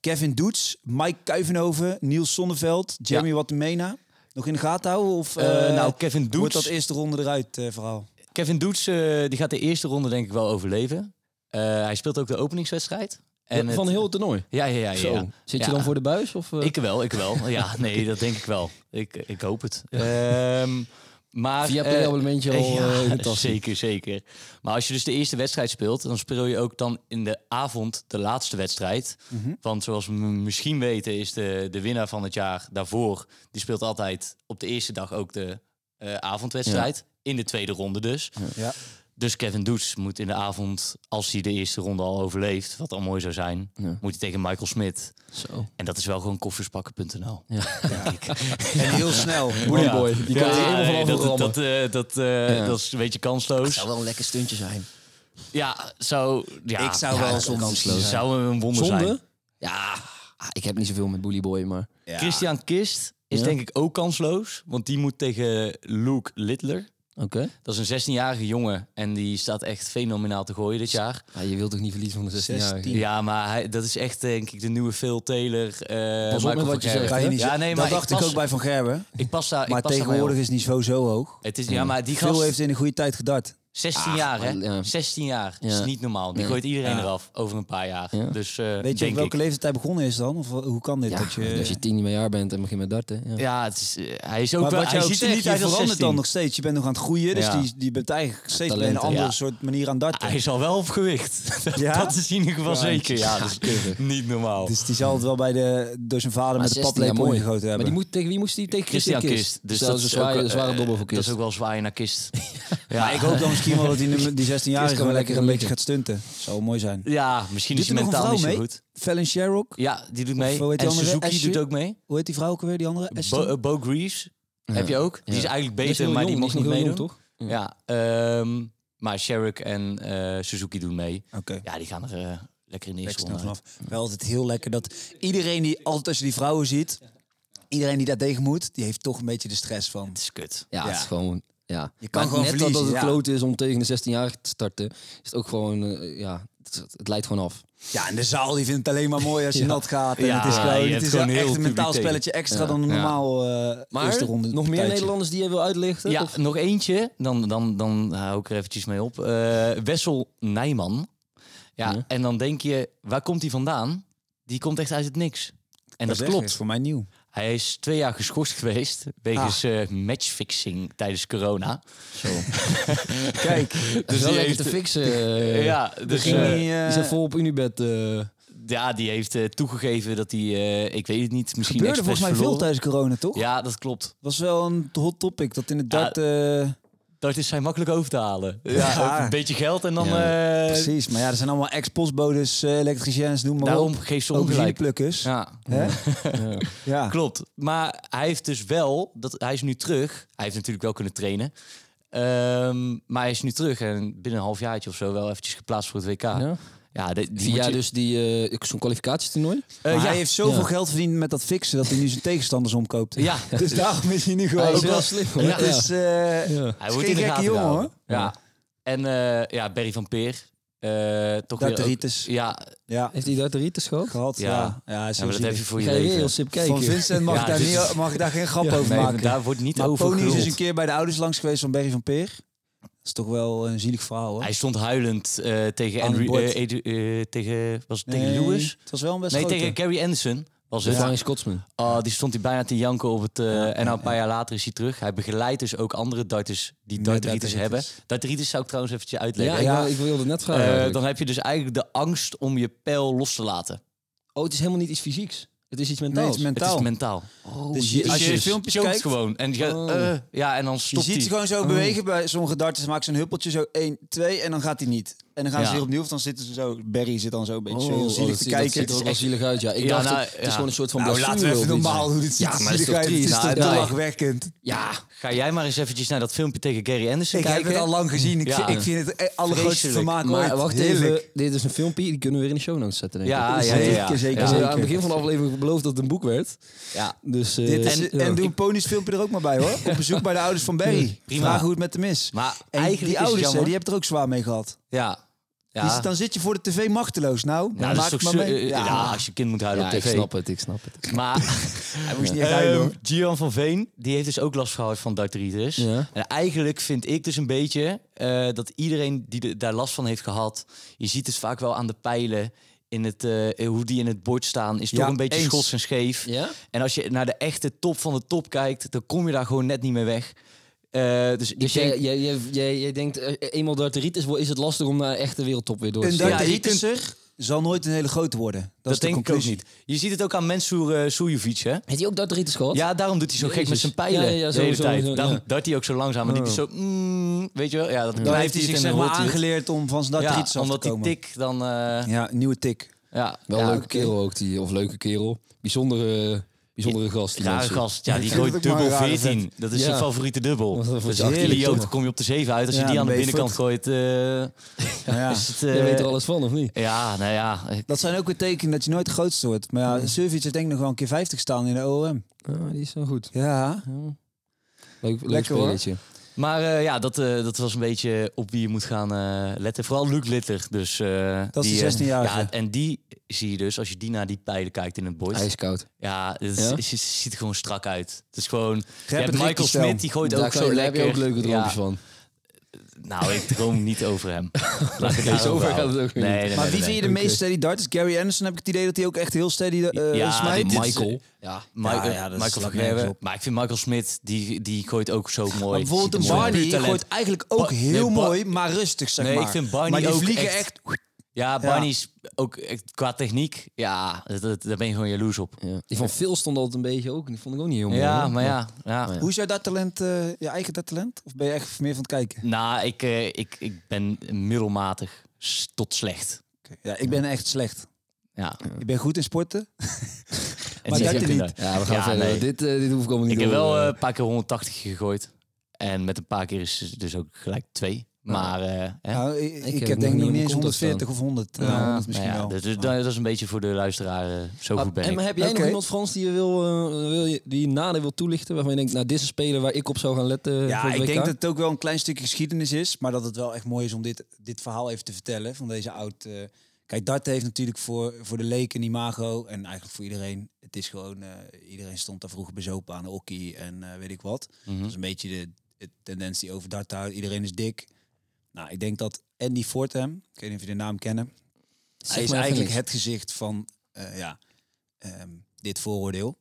Speaker 4: Kevin Doets, Mike Kuivenhoven, Niels Sonneveld, Jeremy Watemena. Nog in de gaten houden? Of
Speaker 1: Eh,
Speaker 4: eh,
Speaker 1: nou, Kevin
Speaker 4: wordt dat
Speaker 1: Doets.
Speaker 4: eerste ronde eruit eh, verhaal?
Speaker 1: Kevin Doets eh, die gaat de eerste ronde denk ik wel overleven. Eh, hij speelt ook de openingswedstrijd. En het-
Speaker 3: Van heel het toernooi.
Speaker 1: Ja, ja, ja. ja,
Speaker 3: Zo.
Speaker 1: ja.
Speaker 3: Zit je
Speaker 1: Ja.
Speaker 3: dan voor de buis? Of, eh,
Speaker 1: Ik wel, ik wel. Ja, nee, dat denk ik wel. Ik, ik hoop het. Ehm, maar,
Speaker 3: Via
Speaker 1: eh,
Speaker 3: play-abonnementje al eh, in de tas.
Speaker 1: zeker, zeker. Maar als je dus de eerste wedstrijd speelt, dan speel je ook dan in de avond de laatste wedstrijd. Want zoals we m- misschien weten is de, de winnaar van het jaar daarvoor, die speelt altijd op de eerste dag ook de eh, avondwedstrijd. In de tweede ronde dus.
Speaker 4: Ja.
Speaker 1: Dus Kevin Doets moet in de avond, als hij de eerste ronde al overleeft, wat al mooi zou zijn,
Speaker 3: Ja.
Speaker 1: moet hij tegen Michael Smit.
Speaker 3: Zo.
Speaker 1: En dat is wel gewoon kofferspakken.nl.
Speaker 4: En heel snel.
Speaker 3: Moody boy. Die kan er helemaal
Speaker 1: nee,
Speaker 3: vanaf
Speaker 1: dat,
Speaker 3: rammen.
Speaker 1: dat, eh, dat, eh,
Speaker 3: Ja.
Speaker 1: dat is een beetje
Speaker 3: Het
Speaker 1: kansloos.
Speaker 3: zou wel een lekker stuntje zijn.
Speaker 1: Ja, zou... Ja,
Speaker 4: Ik zou
Speaker 1: ja,
Speaker 4: wel
Speaker 1: dat
Speaker 4: zonde
Speaker 1: kansloos.
Speaker 4: zijn.
Speaker 1: Zou een wonder zijn.
Speaker 3: Ja, ah, ik heb niet zoveel met Bully Boy, maar...
Speaker 4: Ja.
Speaker 1: Christian Kist is
Speaker 3: Ja.
Speaker 1: denk ik ook kansloos. Want die moet tegen Luke Littler.
Speaker 3: Oké.
Speaker 1: Dat is een 16-jarige jongen. En die staat echt fenomenaal te gooien dit jaar.
Speaker 3: Ah, je wilt toch niet verliezen van de 16 jaar?
Speaker 4: 16.
Speaker 1: Ja, maar hij, dat is echt denk ik de nieuwe Phil Taylor. eh
Speaker 3: Pas op met
Speaker 1: Michael van
Speaker 3: wat je
Speaker 1: Gerwen.
Speaker 3: zegt,
Speaker 4: Kan je niet
Speaker 1: Ja,
Speaker 4: zeggen.
Speaker 1: nee, maar
Speaker 4: dat dacht ik
Speaker 1: pas-
Speaker 4: ook bij Van Gerwen.
Speaker 1: Ik pas daar,
Speaker 4: Maar
Speaker 1: ik pas daar
Speaker 4: tegenwoordig
Speaker 1: bij
Speaker 4: is het niveau zo hoog.
Speaker 1: op. Het is, ja, maar die
Speaker 4: Veel
Speaker 1: gast...
Speaker 4: heeft Ah, in een goede tijd gedart.
Speaker 1: 16 jaar, hè?
Speaker 3: ja.
Speaker 1: 16 jaar. Dat
Speaker 3: Ja.
Speaker 1: is niet normaal. Die
Speaker 3: Nee.
Speaker 1: gooit iedereen
Speaker 4: Ja.
Speaker 1: eraf over een paar jaar.
Speaker 3: Ja.
Speaker 1: Dus, eh,
Speaker 4: Weet je
Speaker 1: denk
Speaker 4: op welke
Speaker 1: ik.
Speaker 4: leeftijd hij begonnen is dan? Of hoe kan dit?
Speaker 3: Ja,
Speaker 4: dat je...
Speaker 3: als je 10 jaar bent en begint met darten. Ja.
Speaker 1: Ja, het is, eh, hij is ook
Speaker 4: maar
Speaker 1: wel...
Speaker 4: wat
Speaker 1: Hij
Speaker 4: jij ook
Speaker 1: ziet er
Speaker 4: ziet,
Speaker 1: niet
Speaker 4: je
Speaker 1: uit als
Speaker 4: verandert
Speaker 1: 16.
Speaker 4: dan nog steeds. Je bent nog aan het groeien, dus
Speaker 1: Ja.
Speaker 4: die, die bent eigenlijk steeds met een
Speaker 3: Talenten,
Speaker 4: andere
Speaker 1: ja.
Speaker 4: soort manier aan darten.
Speaker 1: Hij is al wel op gewicht. Dat-
Speaker 4: Ja?
Speaker 1: Dat is in ieder geval
Speaker 4: Ja.
Speaker 1: zeker. Ja,
Speaker 3: Ja,
Speaker 1: dat is
Speaker 3: keurig.
Speaker 1: niet normaal.
Speaker 4: Dus die zal het wel bij de, door zijn vader met de
Speaker 3: 16 jaar,
Speaker 4: paplepel ingegoten
Speaker 3: Maar
Speaker 4: hebben.
Speaker 3: die moet, tegen wie moest hij? Tegen
Speaker 1: Christian Kist.
Speaker 3: Dus
Speaker 1: Dus
Speaker 3: dat is een zware,
Speaker 1: ook, eh,
Speaker 3: zware dobbel voor Kist.
Speaker 1: Dat is ook wel zwaaier naar Kist.
Speaker 4: ja, ik hoop dan misschien wel dat die, nummer- die 16
Speaker 3: Eerst
Speaker 4: jarige
Speaker 3: kan
Speaker 4: gewoon
Speaker 3: wel
Speaker 4: lekker
Speaker 3: lekker
Speaker 4: een beetje
Speaker 3: een
Speaker 4: gaat stunten. Zou mooi zijn.
Speaker 1: Ja, misschien
Speaker 4: Doet
Speaker 1: is hij
Speaker 4: er nog een
Speaker 1: mentaal niet zo
Speaker 4: vrouw mee?
Speaker 1: goed.
Speaker 4: Fallon Sherrock,
Speaker 1: Ja, die doet
Speaker 4: Of eh,
Speaker 1: mee.
Speaker 4: hoe heet die
Speaker 1: en
Speaker 4: andere?
Speaker 1: Suzuki
Speaker 4: Ashley?
Speaker 1: doet ook mee.
Speaker 4: hoe heet die vrouw ook alweer, die andere?
Speaker 1: Bo,
Speaker 4: Ashton?
Speaker 1: eh, Bo Greaves heb je ook. Die
Speaker 3: Ja.
Speaker 1: is eigenlijk
Speaker 3: Dat is
Speaker 1: beter,
Speaker 3: Dus heel
Speaker 1: maar die
Speaker 3: jong,
Speaker 1: mag
Speaker 3: is
Speaker 1: niet
Speaker 3: nog heel
Speaker 1: meedoen.
Speaker 3: jong, toch?
Speaker 1: Ja, ehm, maar Sherrick en eh, Suzuki doen mee.
Speaker 4: Oké.
Speaker 1: Ja, die gaan er eh, lekker in de eerste
Speaker 4: Lekker snel
Speaker 1: ronde.
Speaker 4: vanaf. Wel altijd heel lekker dat iedereen die altijd als je die vrouwen ziet, iedereen die daar tegen moet, die heeft toch een beetje de stress van.
Speaker 1: Het is kut.
Speaker 3: Ja,
Speaker 4: Ja.
Speaker 3: het is gewoon... Ja.
Speaker 4: Je kan
Speaker 3: Maar
Speaker 4: gewoon
Speaker 3: net dat
Speaker 4: verliezen,
Speaker 3: het
Speaker 4: ja.
Speaker 3: kloot is om tegen de 16 jaar te starten, is het ook gewoon... eh, ja, het, het leidt gewoon af.
Speaker 4: Ja, en de zaal die vindt het alleen maar mooi als je nat gaat. En
Speaker 1: Ja,
Speaker 4: het is gewoon,
Speaker 1: je
Speaker 4: het
Speaker 1: hebt
Speaker 4: is
Speaker 1: gewoon
Speaker 4: wel
Speaker 1: heel
Speaker 4: echt een
Speaker 1: publiek
Speaker 4: mentaal
Speaker 1: tegen.
Speaker 4: spelletje extra
Speaker 3: Ja.
Speaker 4: dan een
Speaker 1: Ja.
Speaker 4: normaal eh
Speaker 3: Maar
Speaker 4: eerste ronde.
Speaker 3: nog meer
Speaker 4: partijtje.
Speaker 3: Nederlanders die je wil uitlichten?
Speaker 1: Ja,
Speaker 3: Of-
Speaker 1: nog eentje. Dan, dan, dan hou ik er eventjes mee op. Eh, Wessel Nijman. Ja,
Speaker 3: Ja.
Speaker 1: en dan denk je, waar komt hij vandaan? Die komt echt uit het niks. En dat,
Speaker 4: zeg je, is
Speaker 1: klopt.
Speaker 4: voor mij nieuw.
Speaker 1: Hij is twee jaar geschorst geweest wegens
Speaker 4: Ah.
Speaker 1: eh, matchfixing tijdens corona.
Speaker 4: Kijk,
Speaker 3: dat is dus wel
Speaker 1: die
Speaker 3: lekker te
Speaker 1: heeft-
Speaker 3: fixen. eh,
Speaker 1: ja, dus,
Speaker 3: ging
Speaker 1: eh,
Speaker 4: niet, eh,
Speaker 3: die zijn vol op Unibed. eh.
Speaker 1: ja, die heeft eh, toegegeven dat hij, eh, ik weet het niet, misschien
Speaker 4: gebeurde
Speaker 1: expres
Speaker 4: volgens mij veel
Speaker 1: verloren.
Speaker 4: tijdens corona, toch?
Speaker 1: Ja, dat klopt.
Speaker 4: was wel een hot topic dat in het dart... eh,
Speaker 1: Dat is zijn makkelijk over te halen. Ja,
Speaker 4: Ja.
Speaker 1: Een beetje geld en dan... eh,
Speaker 4: precies, maar ja, er zijn allemaal ex-postbodes, eh, elektriciens, noem maar
Speaker 1: daarom
Speaker 4: op.
Speaker 1: geeft ze ongelijk.
Speaker 4: Aubergineplukkers. Ja.
Speaker 1: Ja.
Speaker 4: ja.
Speaker 1: Klopt. Maar hij heeft dus wel, dat, hij is nu terug. Hij heeft natuurlijk wel kunnen trainen. Ehm, maar hij is nu terug en binnen een half jaartje of zo wel eventjes geplaatst voor het WK. Ja,
Speaker 3: ja.
Speaker 1: de- die moet
Speaker 3: Via
Speaker 1: je-
Speaker 3: dus die, eh zo'n kwalificatietoernooi.
Speaker 1: Eh,
Speaker 4: Maar
Speaker 1: ja,
Speaker 4: hij heeft zoveel
Speaker 3: Ja.
Speaker 4: geld verdiend met dat fixen dat hij nu zijn tegenstanders omkoopt.
Speaker 1: ja.
Speaker 4: Dus daarom is hij nu gewoon...
Speaker 3: Hij is
Speaker 4: Ook
Speaker 3: wel slim. hoor.
Speaker 1: Ja.
Speaker 4: Het is, eh,
Speaker 3: Ja.
Speaker 1: hij
Speaker 4: is
Speaker 1: wordt
Speaker 4: geen
Speaker 1: in de
Speaker 4: gekke
Speaker 1: gaten
Speaker 4: jongen,
Speaker 1: gehouden.
Speaker 4: hoor.
Speaker 1: Ja. En eh, ja, Berry van Peer. eh toch weer ook,
Speaker 4: Darteritis.
Speaker 1: ja,
Speaker 4: Ja,
Speaker 3: Heeft hij daar de rieten gehad?
Speaker 4: gehad.
Speaker 1: Ja.
Speaker 4: Ja, ja,
Speaker 1: ja,
Speaker 4: zo
Speaker 1: maar dat
Speaker 4: zie
Speaker 1: heb
Speaker 4: ik.
Speaker 1: je voor je
Speaker 3: Ga je
Speaker 1: leven.
Speaker 3: heel sip kijken.
Speaker 4: Van Vincent mag,
Speaker 1: Ja, dus-
Speaker 4: ik daar
Speaker 1: dit is-
Speaker 4: niet, mag ik daar geen grap over
Speaker 1: Nee,
Speaker 4: maken.
Speaker 1: daar wordt niet
Speaker 4: Maar
Speaker 1: over
Speaker 4: Pony is eens
Speaker 1: geluld.
Speaker 4: een keer bij de ouders langs geweest van Berry van Peer. Dat is toch wel een zielig verhaal, hoor.
Speaker 1: Hij stond huilend eh, tegen,
Speaker 4: Aan het
Speaker 1: Andrew,
Speaker 4: bord.
Speaker 1: eh, Edu- eh, tegen, was het tegen
Speaker 4: Nee,
Speaker 1: Lewis?
Speaker 4: Het was wel een best
Speaker 1: Nee,
Speaker 4: grote.
Speaker 1: tegen Gary Anderson. Was
Speaker 3: De
Speaker 1: het?
Speaker 3: Flying Scotsman.
Speaker 1: Ah, die stond hij bijna te janken op het... eh, en nou een paar jaar later is hij terug. Hij begeleidt dus ook andere darters die
Speaker 4: Met
Speaker 1: darteritis hebben.
Speaker 4: darteritis.
Speaker 1: Darteritis zou ik trouwens eventjes uitleggen.
Speaker 3: Ja, Ik, wil, ik wilde net
Speaker 1: Eh,
Speaker 3: vragen. eigenlijk.
Speaker 1: dan heb je dus eigenlijk de angst om je pijl los te laten.
Speaker 3: Oh, het is helemaal niet iets fysieks. Het is iets
Speaker 4: Nee,
Speaker 3: mentaals.
Speaker 4: het is mentaal.
Speaker 1: Het is mentaal.
Speaker 3: Oh,
Speaker 4: Dus je-
Speaker 1: Als
Speaker 4: als
Speaker 1: je,
Speaker 4: je filmpjes
Speaker 1: choked
Speaker 4: kijkt-
Speaker 1: gewoon. En, je,
Speaker 3: Oh.
Speaker 1: eh, ja, en dan
Speaker 4: je
Speaker 1: stopt
Speaker 4: ziet
Speaker 1: hij.
Speaker 4: ze gewoon zo bewegen. Bij sommige darters maken ze een huppeltje zo 1, 2 en dan gaat hij niet. En dan gaan
Speaker 1: Ja.
Speaker 4: ze weer opnieuw of dan zitten ze zo... Barry zit dan zo een beetje zo heel
Speaker 3: Oh, dat
Speaker 4: zielig
Speaker 3: ziet-
Speaker 4: te
Speaker 3: dat
Speaker 4: kijken.
Speaker 3: ziet er ook wel zielig uit, ja. Ik
Speaker 1: Ja,
Speaker 3: dacht,
Speaker 1: nou,
Speaker 3: het, het
Speaker 1: ja.
Speaker 3: is gewoon een soort van
Speaker 4: Nou, laten we
Speaker 3: blessure
Speaker 4: even
Speaker 3: of iets.
Speaker 4: normaal hoe dit ziet.
Speaker 3: Ja, maar dat is toch
Speaker 4: Het is
Speaker 3: triest?
Speaker 4: toch
Speaker 1: Nou,
Speaker 4: te
Speaker 1: nee.
Speaker 4: lachwekkend.
Speaker 3: Ja,
Speaker 1: Ga jij maar eens eventjes naar dat filmpje tegen Gary Anderson
Speaker 4: Ik heb
Speaker 1: kijken.
Speaker 4: het al lang gezien. Ik,
Speaker 1: Ja.
Speaker 4: ik vind het het allergrootste
Speaker 1: Vreselijk.
Speaker 4: vermaak
Speaker 3: maar
Speaker 4: ooit.
Speaker 3: wacht
Speaker 4: Heerlijk.
Speaker 3: even. Dit is een filmpje, die kunnen we weer in de show notes zetten, denk ik.
Speaker 1: Ja, ja, ja,
Speaker 4: Zeker,
Speaker 1: ja.
Speaker 4: zeker,
Speaker 3: Ja,
Speaker 1: Ja.
Speaker 4: zeker.
Speaker 3: aan het begin van de aflevering beloofd dat het een boek werd.
Speaker 1: Ja.
Speaker 3: Dus, eh,
Speaker 4: Dit is,
Speaker 3: ja.
Speaker 4: en, doe een ponies filmpje er ook maar bij hoor. Op bezoek bij de ouders van Barry.
Speaker 1: Prima.
Speaker 4: Vragen hoe het met hem is.
Speaker 1: Maar
Speaker 4: En
Speaker 1: eigenlijk
Speaker 4: die
Speaker 1: is het
Speaker 4: ouders, hè,
Speaker 1: jammer.
Speaker 4: die hebben er ook zwaar mee gehad.
Speaker 1: Ja. Ja.
Speaker 4: Die zit- dan zit je voor de tv machteloos. Nou,
Speaker 1: Ja,
Speaker 4: dan
Speaker 1: dat is
Speaker 4: maak
Speaker 1: toch
Speaker 4: maar
Speaker 1: zo-
Speaker 4: mee.
Speaker 1: eh, ja. als je kind moet huilen
Speaker 3: Ja,
Speaker 1: op
Speaker 3: ik
Speaker 1: tv.
Speaker 3: snap het, ik snap het.
Speaker 1: Maar
Speaker 4: hij moest niet echt huilen,
Speaker 1: Ehm
Speaker 4: hoor.
Speaker 1: Gian van Veen, die heeft dus ook last gehad van darteritis.
Speaker 3: Ja.
Speaker 1: En eigenlijk vind ik dus een beetje eh, dat iedereen die de- daar last van heeft gehad... je ziet het vaak wel aan de pijlen, in het, eh, hoe die in het bord staan... is
Speaker 4: Ja,
Speaker 1: toch een beetje
Speaker 4: eens.
Speaker 1: schots en scheef.
Speaker 3: Ja?
Speaker 1: En als je naar de echte top van de top kijkt... dan kom je daar gewoon net niet meer weg. Eh, dus ik
Speaker 3: Dus
Speaker 1: denk,
Speaker 3: jij, jij, jij, jij, jij denkt, eh, eenmaal darteritis wordt- is het lastig om naar de echte wereldtop weer door te
Speaker 4: Een
Speaker 3: stijgen.
Speaker 1: Ja, je kunt-
Speaker 4: darteritisser zal nooit een hele grote worden. Dat,
Speaker 1: dat
Speaker 4: is de
Speaker 1: denk ik ook
Speaker 4: conclusie.
Speaker 1: niet. Je ziet het ook aan Mensur eh, Sujovic, hè?
Speaker 3: Heeft hij ook darteritis gehad?
Speaker 1: Ja, daarom doet hij zo gek met
Speaker 3: Jezus.
Speaker 1: zijn pijlen
Speaker 3: Ja, ja, ja,
Speaker 1: de hele
Speaker 3: sowieso,
Speaker 1: tijd.
Speaker 3: sowieso,
Speaker 1: daarom
Speaker 3: ja.
Speaker 1: dart hij ook zo langzaam. En die is zo... mm, weet je wel? Oh. Ja, dat
Speaker 4: Dan
Speaker 1: blijft
Speaker 4: heeft hij zich
Speaker 1: het
Speaker 4: zeg
Speaker 1: en dan
Speaker 4: maar
Speaker 1: hoort hij het.
Speaker 4: aangeleerd om van zijn
Speaker 1: Ja,
Speaker 4: darteritis af te
Speaker 1: omdat die
Speaker 4: komen.
Speaker 1: tik dan... eh,
Speaker 4: Ja, nieuwe tik.
Speaker 1: ja,
Speaker 3: Wel
Speaker 1: ja,
Speaker 3: leuke
Speaker 1: oké.
Speaker 3: kerel ook, die, of leuke kerel. Bijzondere, bijzondere gast. die
Speaker 1: Rare
Speaker 3: mensen.
Speaker 1: gast. Ja, die
Speaker 4: vind
Speaker 1: gooit
Speaker 4: het ook maar
Speaker 1: dubbel
Speaker 4: een rare
Speaker 1: 14. Dat is
Speaker 3: Ja.
Speaker 1: zijn favoriete dubbel.
Speaker 3: Dat
Speaker 1: Dat
Speaker 3: vond
Speaker 1: is
Speaker 3: je
Speaker 1: echt
Speaker 4: heerlijk,
Speaker 1: idioot.
Speaker 4: toch?
Speaker 1: Dan kom je op de 7 uit. Als je
Speaker 4: Ja,
Speaker 1: die
Speaker 4: dan
Speaker 1: aan de
Speaker 4: ben je
Speaker 1: binnenkant gooit... eh,
Speaker 4: Ja.
Speaker 1: is het, eh,
Speaker 3: Jij weet er alles van, of niet?
Speaker 1: Ja, nou ja. ik-
Speaker 4: Dat zijn ook weer tekenen dat je nooit de grootste wordt. Maar ja, Surfiets heeft denk ik nog wel een keer 50 staan in de OM.
Speaker 3: Ah, die is wel goed.
Speaker 4: Ja.
Speaker 3: Leuk, leuk
Speaker 4: Lekker, hoor.
Speaker 3: spelletje.
Speaker 1: Maar eh, ja, dat, eh, dat was een beetje op wie je moet gaan eh, letten. Vooral Luc Litter. Dus, eh,
Speaker 4: Dat is
Speaker 1: die,
Speaker 4: de
Speaker 1: eh,
Speaker 4: 16-jarige.
Speaker 1: ja, en die zie je dus, als je die naar die pijlen kijkt in het bord.
Speaker 3: Ijskoud.
Speaker 1: Ja, het
Speaker 3: Ja?
Speaker 1: is- het ziet er gewoon strak uit. Het is gewoon... Je
Speaker 4: Rapid
Speaker 1: hebt Michael
Speaker 4: Ricky-stijl.
Speaker 1: Smit, die gooit
Speaker 3: Daar
Speaker 1: ook
Speaker 3: kan
Speaker 1: zo
Speaker 3: je- daar
Speaker 1: lekker.
Speaker 3: heb je ook leuke droompjes
Speaker 1: Ja,
Speaker 3: van.
Speaker 1: Nou, ik droom niet over hem. Laat ik
Speaker 3: Nee, zover
Speaker 1: daarover
Speaker 3: gaat het ook weer
Speaker 1: Nee,
Speaker 3: niet.
Speaker 1: nee,
Speaker 4: Maar
Speaker 1: nee,
Speaker 4: wie
Speaker 1: nee.
Speaker 4: vind je de meest steady darters? Gary Anderson heb ik het idee dat hij ook echt heel steady eh
Speaker 1: Ja,
Speaker 4: smijt.
Speaker 1: dit-
Speaker 3: Michael. Ja.
Speaker 1: Ma-
Speaker 4: Ja,
Speaker 1: eh,
Speaker 4: ja, dat
Speaker 1: Michael
Speaker 4: slaat
Speaker 1: van
Speaker 4: nergens
Speaker 1: Gerwen.
Speaker 4: op.
Speaker 1: Maar ik vind Michael Smit, die, die gooit ook zo mooi.
Speaker 4: Maar bijvoorbeeld
Speaker 1: Ziet
Speaker 4: een
Speaker 1: er mooi uit. Puur
Speaker 4: Barney
Speaker 1: talent.
Speaker 4: gooit eigenlijk ook
Speaker 1: Ba-
Speaker 4: heel
Speaker 1: nee, Ba-
Speaker 4: mooi, maar rustig zeg
Speaker 1: Nee,
Speaker 4: maar.
Speaker 1: ik vind Barney
Speaker 4: maar die
Speaker 1: ook
Speaker 4: vliegen
Speaker 1: echt-
Speaker 4: echt...
Speaker 1: Ja, Barney is ook echt qua techniek. Ja, dat, dat- daar ben je gewoon jaloers op.
Speaker 3: Ja. Die van Phil stond altijd een beetje ook. en Die vond ik ook niet heel mooi.
Speaker 1: Ja,
Speaker 3: hoor.
Speaker 1: maar ja. ja.
Speaker 3: Maar ja.
Speaker 4: Hoe is jouw darttalent, eh, je eigen darttalent? Of ben je echt meer van het kijken?
Speaker 1: Nou, ik, eh, ik, ik ben middelmatig s- tot slecht.
Speaker 4: Ja, ik ben echt slecht.
Speaker 1: Ja.
Speaker 4: Ik ben goed in sporten.
Speaker 1: En
Speaker 4: Maar
Speaker 1: zie
Speaker 4: dat
Speaker 1: je
Speaker 4: er
Speaker 1: kinderen.
Speaker 4: niet.
Speaker 3: Ja, we gaan
Speaker 1: Ja,
Speaker 3: verder.
Speaker 1: nee.
Speaker 3: Dit, eh, dit hoef ik allemaal niet
Speaker 1: Ik heb
Speaker 3: door,
Speaker 1: wel
Speaker 3: eh.
Speaker 1: eh, een paar keer 180 gegooid. En met een paar keer is het dus ook gelijk twee. Maar eh, hè?
Speaker 4: Nou, ik, ik
Speaker 3: heb nog
Speaker 4: heb denk
Speaker 3: niet
Speaker 4: ik nog
Speaker 3: in
Speaker 4: niet
Speaker 3: mijn
Speaker 4: eens
Speaker 3: context
Speaker 4: 140 of 100.
Speaker 1: Ja,
Speaker 4: nou, 100
Speaker 1: nou
Speaker 4: misschien
Speaker 1: ja,
Speaker 4: wel. Ah,
Speaker 1: Dat, is-
Speaker 4: Maar-
Speaker 1: dat is een beetje voor de luisteraar. eh, zo goed ben
Speaker 3: en,
Speaker 1: ik.
Speaker 3: maar heb jij nog
Speaker 4: Oké.
Speaker 3: iemand, Frans, die je wil, eh, wil je, die je nader wil toelichten? Waarvan je denkt, nou, dit is een speler waar ik op zou gaan letten
Speaker 4: Ja,
Speaker 3: voor
Speaker 4: ik
Speaker 3: het WK?
Speaker 4: denk dat het ook wel een klein stukje geschiedenis is. Maar dat het wel echt mooi is om dit, dit verhaal even te vertellen. Van deze oud... eh, kijk, dart heeft natuurlijk voor, voor de leek een imago. En eigenlijk voor iedereen. Het is gewoon... eh, iedereen stond daar vroeger bezopen aan de hockey en eh, weet ik wat.
Speaker 1: Mhm.
Speaker 4: Dat is een beetje de, de tendens die over dart houdt. Iedereen is dik. Nou, ik denk dat Andy Fortem... Ik weet niet of je de naam kennen.
Speaker 3: Zeg
Speaker 4: hij is
Speaker 3: maar even
Speaker 4: eigenlijk
Speaker 3: niks.
Speaker 4: het gezicht van... eh, ja, ehm, dit vooroordeel.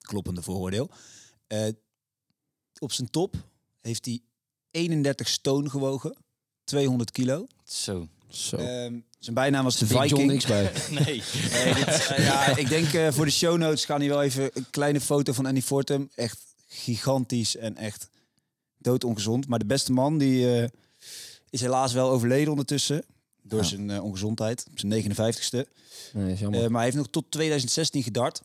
Speaker 4: Kloppende vooroordeel. Eh, op zijn top heeft hij 31 stoon gewogen. 200 kilo.
Speaker 1: Zo.
Speaker 3: Zo.
Speaker 4: Ehm, zijn bijnaam was de
Speaker 3: Vind Oh. John
Speaker 4: Viking.
Speaker 3: niks bij.
Speaker 1: Nee.
Speaker 4: Eh, dit, eh, ja, ik denk eh, voor de show notes gaan hier wel even een kleine foto van Andy Fortum. Echt gigantisch en echt doodongezond. Maar de beste man die eh, is helaas wel overleden ondertussen. Door
Speaker 3: Ja. Oh,
Speaker 4: zijn eh, ongezondheid. Op zijn 59ste.
Speaker 3: Nee, is jammer.
Speaker 4: Eh, maar hij heeft nog tot 2016 gedart.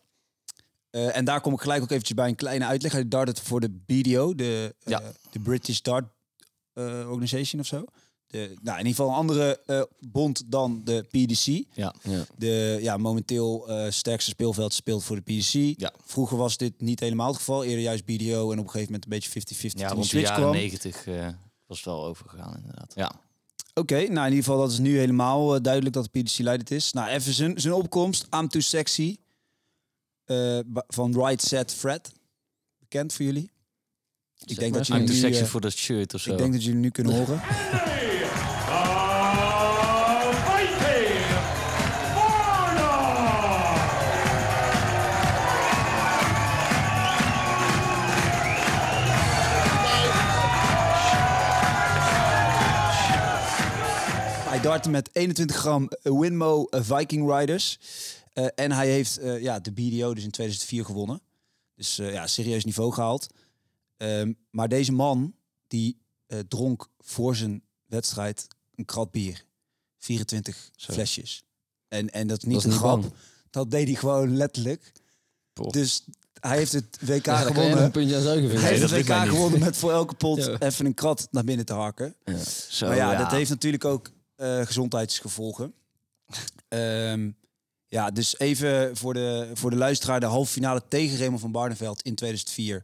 Speaker 4: Eh, en daar kom ik gelijk ook eventjes bij een kleine uitleg. Hij dartte voor de BDO, de, eh,
Speaker 1: Ja.
Speaker 4: de British Dart eh, Organization of zo. De, nou, in ieder geval een andere eh, bond dan de PDC.
Speaker 1: Ja.
Speaker 3: Ja.
Speaker 4: De ja, momenteel eh, sterkste speelveld speelt voor de PDC.
Speaker 1: Ja.
Speaker 4: Vroeger was dit niet helemaal het geval. Eerder juist BDO en op een gegeven moment een beetje 50-50
Speaker 1: Ja,
Speaker 4: toen de
Speaker 1: rond de
Speaker 4: switch
Speaker 1: jaren
Speaker 4: kwam.
Speaker 1: negentig eh, was het wel overgegaan inderdaad. Ja.
Speaker 4: Oké, nou in ieder geval dat is nu helemaal eh, duidelijk dat de PDC leidend is. Nou, even zijn, zijn opkomst. I'm Too Sexy. eh, ba- van Right Set Fred. Bekend voor jullie. Ik denk,
Speaker 3: maar
Speaker 4: dat
Speaker 3: eens.
Speaker 4: jullie
Speaker 1: I'm
Speaker 3: I'm
Speaker 1: too
Speaker 4: nu,
Speaker 1: sexy
Speaker 4: eh,
Speaker 1: voor dat shirt of zo.
Speaker 4: ik denk dat jullie nu kunnen horen.
Speaker 5: Viking Varna!
Speaker 4: darten met 21 gram Winmo eh, Viking Riders. Eh, en hij heeft eh, ja, de BDO dus in 2004 gewonnen. Dus eh, ja, serieus niveau gehaald. Ehm, maar deze man, die eh, dronk voor zijn wedstrijd een krat bier. 24 flesjes. En, en dat is niet
Speaker 3: Dat
Speaker 4: een
Speaker 3: is niet
Speaker 4: grap.
Speaker 3: bang.
Speaker 4: Dat deed hij gewoon letterlijk.
Speaker 1: Poh.
Speaker 4: Dus hij heeft het WK
Speaker 3: Ja, daar kan jij nog
Speaker 4: gewonnen.
Speaker 3: een puntje aan zuigen vinden.
Speaker 4: Hij heeft
Speaker 1: dat
Speaker 4: het
Speaker 1: lukt mij
Speaker 4: WK
Speaker 1: niet.
Speaker 4: gewonnen met voor elke pot
Speaker 3: Ja.
Speaker 4: even een krat naar binnen te hakken.
Speaker 1: Zo,
Speaker 4: maar ja, dat heeft natuurlijk ook eh, gezondheidsgevolgen. Ehm, ja, dus even voor de, voor de luisteraar. De halve finale tegen Raymond van Barneveld in 2004.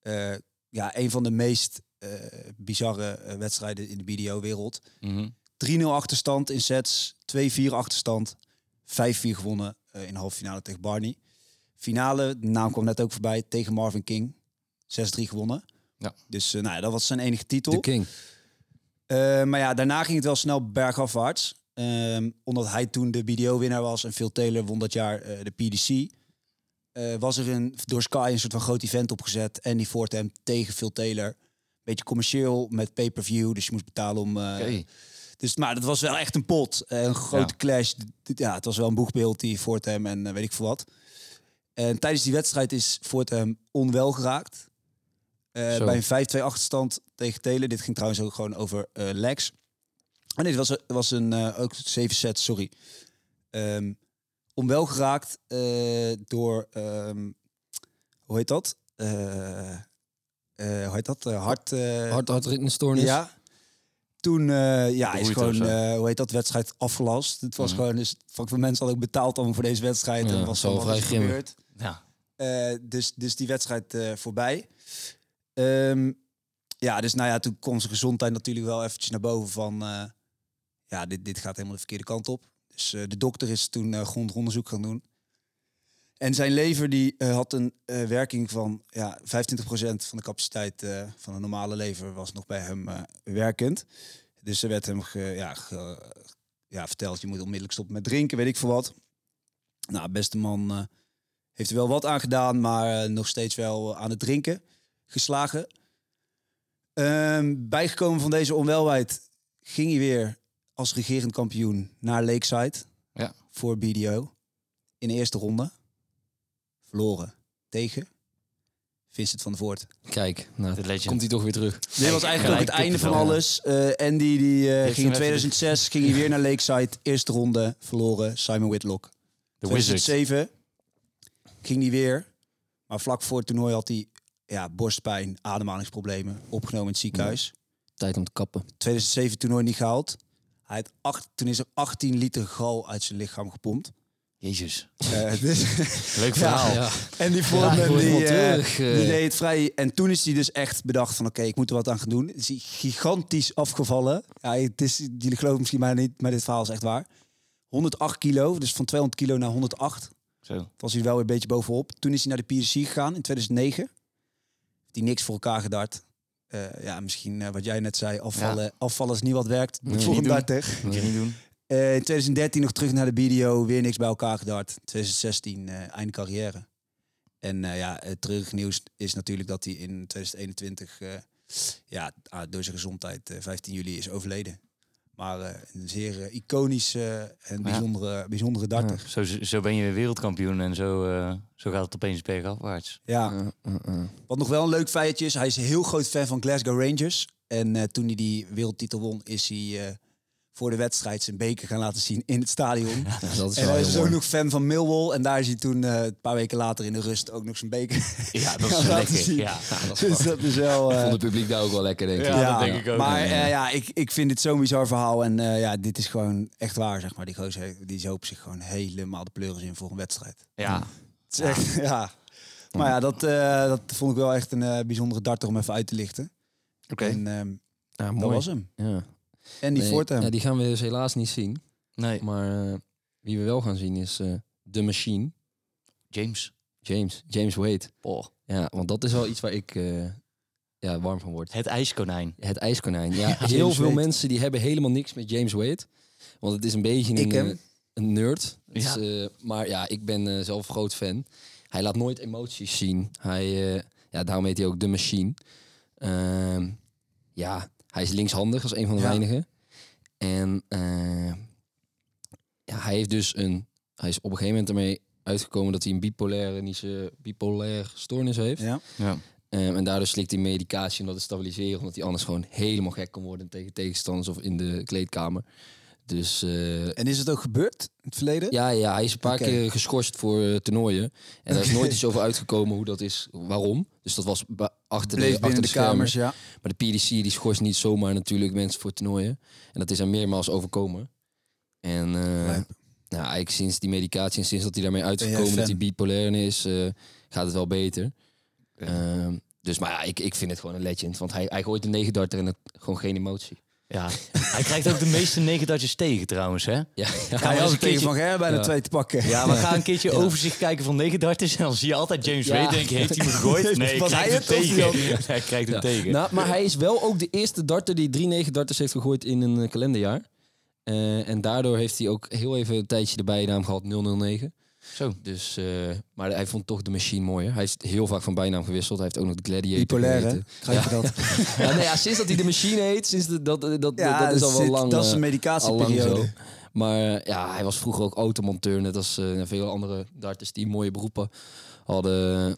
Speaker 4: Eh, ja, een van de meest eh, bizarre eh, wedstrijden in de BDO-wereld.
Speaker 1: Mhm.
Speaker 4: 3-0 achterstand in sets, 2-4 achterstand, 5-4 gewonnen eh, in de halve finale tegen Barney. Finale, de naam kwam net ook voorbij, tegen Marvin King, 6-3 gewonnen.
Speaker 1: Ja.
Speaker 4: Dus eh, nou ja, dat was zijn enige
Speaker 3: De
Speaker 4: titel.
Speaker 3: king.
Speaker 4: Eh, maar ja, daarna ging het wel snel bergafwaarts. Ehm, omdat hij toen de BDO-winnaar was en Phil Taylor won dat jaar eh, de PDC. Eh, was er een, door Sky een soort van groot event opgezet. En die hem tegen Phil Taylor. Beetje commercieel met pay-per-view. Dus je moest betalen om... eh,
Speaker 1: Oké.
Speaker 4: dus, maar dat was wel echt een pot. Eh, een grote
Speaker 1: Ja.
Speaker 4: clash. D- d- Ja, het was wel een boegbeeld die Fortem en eh, weet ik veel wat. En tijdens die wedstrijd is Fortem onwel geraakt. Eh,
Speaker 3: Zo.
Speaker 4: bij een 5-2 achterstand tegen Telen. Dit ging trouwens ook gewoon over eh legs. En dit was, was een, eh, ook 7 set, sorry. Ehm onwel geraakt eh, door, ehm, hoe heet dat? Eh, eh, hoe heet dat? Eh, hart, eh,
Speaker 3: Hard, hard ritmestoornis.
Speaker 4: ja. Toen eh, ja, is
Speaker 1: Beroerd
Speaker 4: gewoon,
Speaker 1: of zo.
Speaker 4: eh, hoe heet dat, wedstrijd afgelast. Het was
Speaker 1: Mhm.
Speaker 4: gewoon, dus Frank van Mensen had ook betaald allemaal voor deze wedstrijd.
Speaker 3: Ja,
Speaker 4: en was
Speaker 3: zal
Speaker 4: allemaal
Speaker 3: vrij
Speaker 4: wat
Speaker 3: grimmig.
Speaker 4: gebeurd.
Speaker 1: Ja.
Speaker 4: Eh, dus, dus die wedstrijd eh, voorbij. Ehm, ja, dus nou ja, toen kwam zijn gezondheid natuurlijk wel eventjes naar boven van... eh, ja, dit, dit gaat helemaal de verkeerde kant op. Dus eh, de dokter is toen eh, grondig onderzoek gaan doen. En zijn lever die, eh, had een eh, werking van ja, 25% van de capaciteit eh, van een normale lever was nog bij hem eh, werkend. Dus er werd hem ge- ja, ge- ja, verteld, je moet onmiddellijk stoppen met drinken, weet ik veel wat. Nou, beste man eh, heeft er wel wat aan gedaan, maar eh, nog steeds wel eh, aan het drinken geslagen. Ehm, bijgekomen van deze onwelheid ging hij weer als regerend kampioen naar Lakeside
Speaker 1: Ja.
Speaker 4: voor BDO. In de eerste ronde verloren tegen Vincent van der Voort.
Speaker 3: Kijk, nou,
Speaker 1: De legend.
Speaker 3: komt hij toch weer terug.
Speaker 4: Dit was eigenlijk ook het einde van alles. Eh Andy die, eh, ging
Speaker 1: toen
Speaker 4: in
Speaker 1: even
Speaker 4: 2006 ging hij weer naar Lakeside. Eerste ronde verloren, Simon Whitlock.
Speaker 1: De Wizard.
Speaker 4: 2007 ging hij weer. Maar vlak voor het toernooi had hij ja, borstpijn, ademhalingsproblemen. Opgenomen in het ziekenhuis.
Speaker 3: Tijd om te kappen.
Speaker 4: 2007 toernooi niet gehaald. Hij had acht, toen is er 18 liter gal uit zijn lichaam gepompt.
Speaker 1: Jezus.
Speaker 4: Eh, dus-
Speaker 1: Leuk verhaal.
Speaker 3: Ja.
Speaker 4: en die
Speaker 3: Ja, ik
Speaker 4: Voorman,
Speaker 3: word
Speaker 4: die,
Speaker 3: helemaal
Speaker 4: eh,
Speaker 3: terug, eh.
Speaker 4: die deed het vrij. En toen is hij dus echt bedacht van... oké, ik moet er wat aan gaan doen. Is hij gigantisch afgevallen. Ja, het is, jullie geloven misschien mij niet, maar dit verhaal is echt waar. 108 kilo, dus van 200 kilo naar 108.
Speaker 1: Zo.
Speaker 4: was hij er wel weer een beetje bovenop. Toen is hij naar de PSC gegaan in 2009. Heeft hij niks voor elkaar gedart. Eh, ja, misschien eh, wat jij net zei, afvallen, afvallen is niet wat werkt. Moet
Speaker 1: je niet
Speaker 4: voor hem
Speaker 1: doen.
Speaker 4: darten.
Speaker 1: Moet je niet doen.
Speaker 4: Eh, in 2013 nog terug naar de BDO, weer niks bij elkaar gedart. 2016, eh einde carrière. En eh, ja, het terug nieuws is natuurlijk dat hij in 2021, eh, ja, ah, door zijn gezondheid, eh, 15 juli is overleden. Maar eh, een zeer eh, iconische eh, en
Speaker 1: Ja.
Speaker 4: bijzondere, bijzondere darter.
Speaker 1: Zo, zo ben je weer wereldkampioen en zo, eh, zo gaat het opeens bergafwaarts.
Speaker 4: Ja.
Speaker 3: Eh, eh, eh.
Speaker 4: Wat nog wel een leuk feitje is, hij is een heel groot fan van Glasgow Rangers. En eh, toen hij die wereldtitel won, is hij eh, voor de wedstrijd zijn beker gaan laten zien in het stadion.
Speaker 3: Ja, dat is
Speaker 4: en
Speaker 3: wel
Speaker 4: hij
Speaker 3: heel
Speaker 4: is dus ook
Speaker 3: mooi.
Speaker 4: nog fan van Millwall. En daar is hij toen eh, een paar weken later in de rust ook nog zijn beker.
Speaker 1: Ja, dat
Speaker 4: Ja,
Speaker 1: is
Speaker 4: laten
Speaker 1: lekker.
Speaker 4: zien.
Speaker 1: Ja.
Speaker 3: Ja, dat is
Speaker 4: dus
Speaker 3: prachtig.
Speaker 4: dat is wel... eh,
Speaker 3: Vond het publiek daar ook wel lekker, denk ik.
Speaker 1: Ja. dat denk ik ook.
Speaker 4: Maar eh, ja, ik, ik vind dit zo'n bizar verhaal. En eh, ja, dit is gewoon echt waar, zeg maar. Die gozer heeft- die zoop zich gewoon helemaal de pleuris in voor een wedstrijd.
Speaker 1: Ja.
Speaker 4: Het is echt, ja. Maar ja, dat, eh, dat vond ik wel echt een eh, bijzondere darter om even uit te lichten.
Speaker 1: Oké.
Speaker 4: En ehm,
Speaker 3: Ja,
Speaker 4: dat was hem.
Speaker 3: Ja.
Speaker 4: En die
Speaker 3: Nee,
Speaker 4: Fortem.
Speaker 3: ja, die gaan we dus helaas niet zien.
Speaker 1: Nee,
Speaker 3: Maar eh, wie we wel gaan zien is eh The Machine.
Speaker 1: James.
Speaker 3: James. James Wade.
Speaker 1: Oh.
Speaker 3: Ja, want dat is wel iets waar ik eh, ja, warm van word.
Speaker 1: Het ijskonijn.
Speaker 3: Het ijskonijn. Ja,
Speaker 4: James
Speaker 3: heel veel
Speaker 4: Wade.
Speaker 3: mensen die hebben helemaal niks met James Wade. Want het is een beetje
Speaker 4: Ik
Speaker 3: een,
Speaker 4: hem.
Speaker 3: eh, een nerd. Het is,
Speaker 1: Ja.
Speaker 3: eh, maar ja, ik ben eh, zelf groot fan. Hij laat nooit emoties zien. Hij, eh, ja, daarom heet hij ook de machine. Ehm, ja, hij is linkshandig als een van de
Speaker 4: Ja.
Speaker 3: weinigen. En eh, ja, hij heeft dus een. Hij is op een gegeven moment ermee uitgekomen dat hij een bipolaire, niet zo- bipolaire stoornis heeft.
Speaker 4: Ja.
Speaker 1: Ja.
Speaker 3: Ehm, en daardoor slikt hij medicatie om dat te stabiliseren. Omdat hij anders gewoon helemaal gek kan worden tegen tegenstanders of in de kleedkamer. Dus eh,
Speaker 4: En is het ook gebeurd in het verleden?
Speaker 3: ja, ja, hij is een paar
Speaker 4: Oké.
Speaker 3: keer geschorst voor eh, toernooien. En daar is nooit iets over uitgekomen hoe dat is, waarom. Dus dat was ba- achter de,
Speaker 4: Bleef
Speaker 3: achter
Speaker 4: binnen
Speaker 3: de
Speaker 4: de
Speaker 3: kamers.
Speaker 4: kamers, ja.
Speaker 3: Maar de PDC die schorst niet zomaar natuurlijk mensen voor toernooien. En dat is hem meermaals overkomen. En eh,
Speaker 4: Lijp.
Speaker 3: nou, eigenlijk sinds die medicatie en sinds dat hij daarmee
Speaker 4: jij
Speaker 3: uitgekomen dat
Speaker 4: fan?
Speaker 3: hij bipolair is, eh, gaat het wel beter. Ehm, dus maar ja, ik, ik vind het gewoon een legend. Want hij, hij gooit de negen darter en het, gewoon geen emotie.
Speaker 1: Ja. Hij krijgt ook de meeste negen dartjes tegen trouwens, hè?
Speaker 3: Ja,
Speaker 1: Ga
Speaker 4: Hij
Speaker 1: je
Speaker 4: had
Speaker 1: als een
Speaker 4: het tegen
Speaker 1: keertje...
Speaker 4: Van Gerwen bijna
Speaker 3: Ja.
Speaker 4: twee te pakken.
Speaker 1: Ja, maar ga een keertje overzicht kijken van negen darters en dan zie je altijd James Wade. Denk je, heeft hij me gegooid? Nee,
Speaker 4: Was
Speaker 1: hij
Speaker 4: hij
Speaker 1: krijgt
Speaker 4: het
Speaker 1: hem
Speaker 4: of
Speaker 1: tegen. Hij krijgt hem tegen.
Speaker 3: Nou, maar hij is wel ook de eerste darter die drie negen darters heeft gegooid in een eh, kalenderjaar. Eh, en daardoor heeft hij ook heel even een tijdje de bijnaam gehad 009.
Speaker 1: Zo.
Speaker 3: Dus, eh, maar hij vond toch de machine mooier. Hij is heel vaak van bijnaam gewisseld. Hij heeft ook nog de Gladiator
Speaker 4: Bipolair, hè?
Speaker 3: geheten.
Speaker 4: Krijg je dat?
Speaker 3: Ja, nou ja, sinds dat hij de machine heet, sinds de- dat, eh, dat, dat,
Speaker 4: Ja,
Speaker 3: dat is al wel
Speaker 4: zit-
Speaker 3: lang.
Speaker 4: Dat is
Speaker 3: eh,
Speaker 4: een
Speaker 3: al lang zo.
Speaker 4: medicatieperiode.
Speaker 3: Maar eh, ja, hij was vroeger ook automonteur, net als eh, veel andere darters die mooie beroepen hadden eh,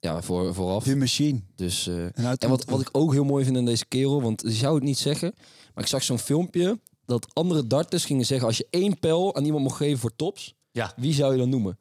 Speaker 3: ja, voor, vooraf.
Speaker 4: De machine.
Speaker 3: Dus, eh,
Speaker 4: Een auto-
Speaker 3: en wat, wat ik ook heel mooi vind aan deze kerel, want je zou het niet zeggen, maar ik zag zo'n filmpje dat andere darters gingen zeggen, als je één pijl aan iemand mocht geven voor tops,
Speaker 1: Ja.
Speaker 3: wie zou je dan noemen?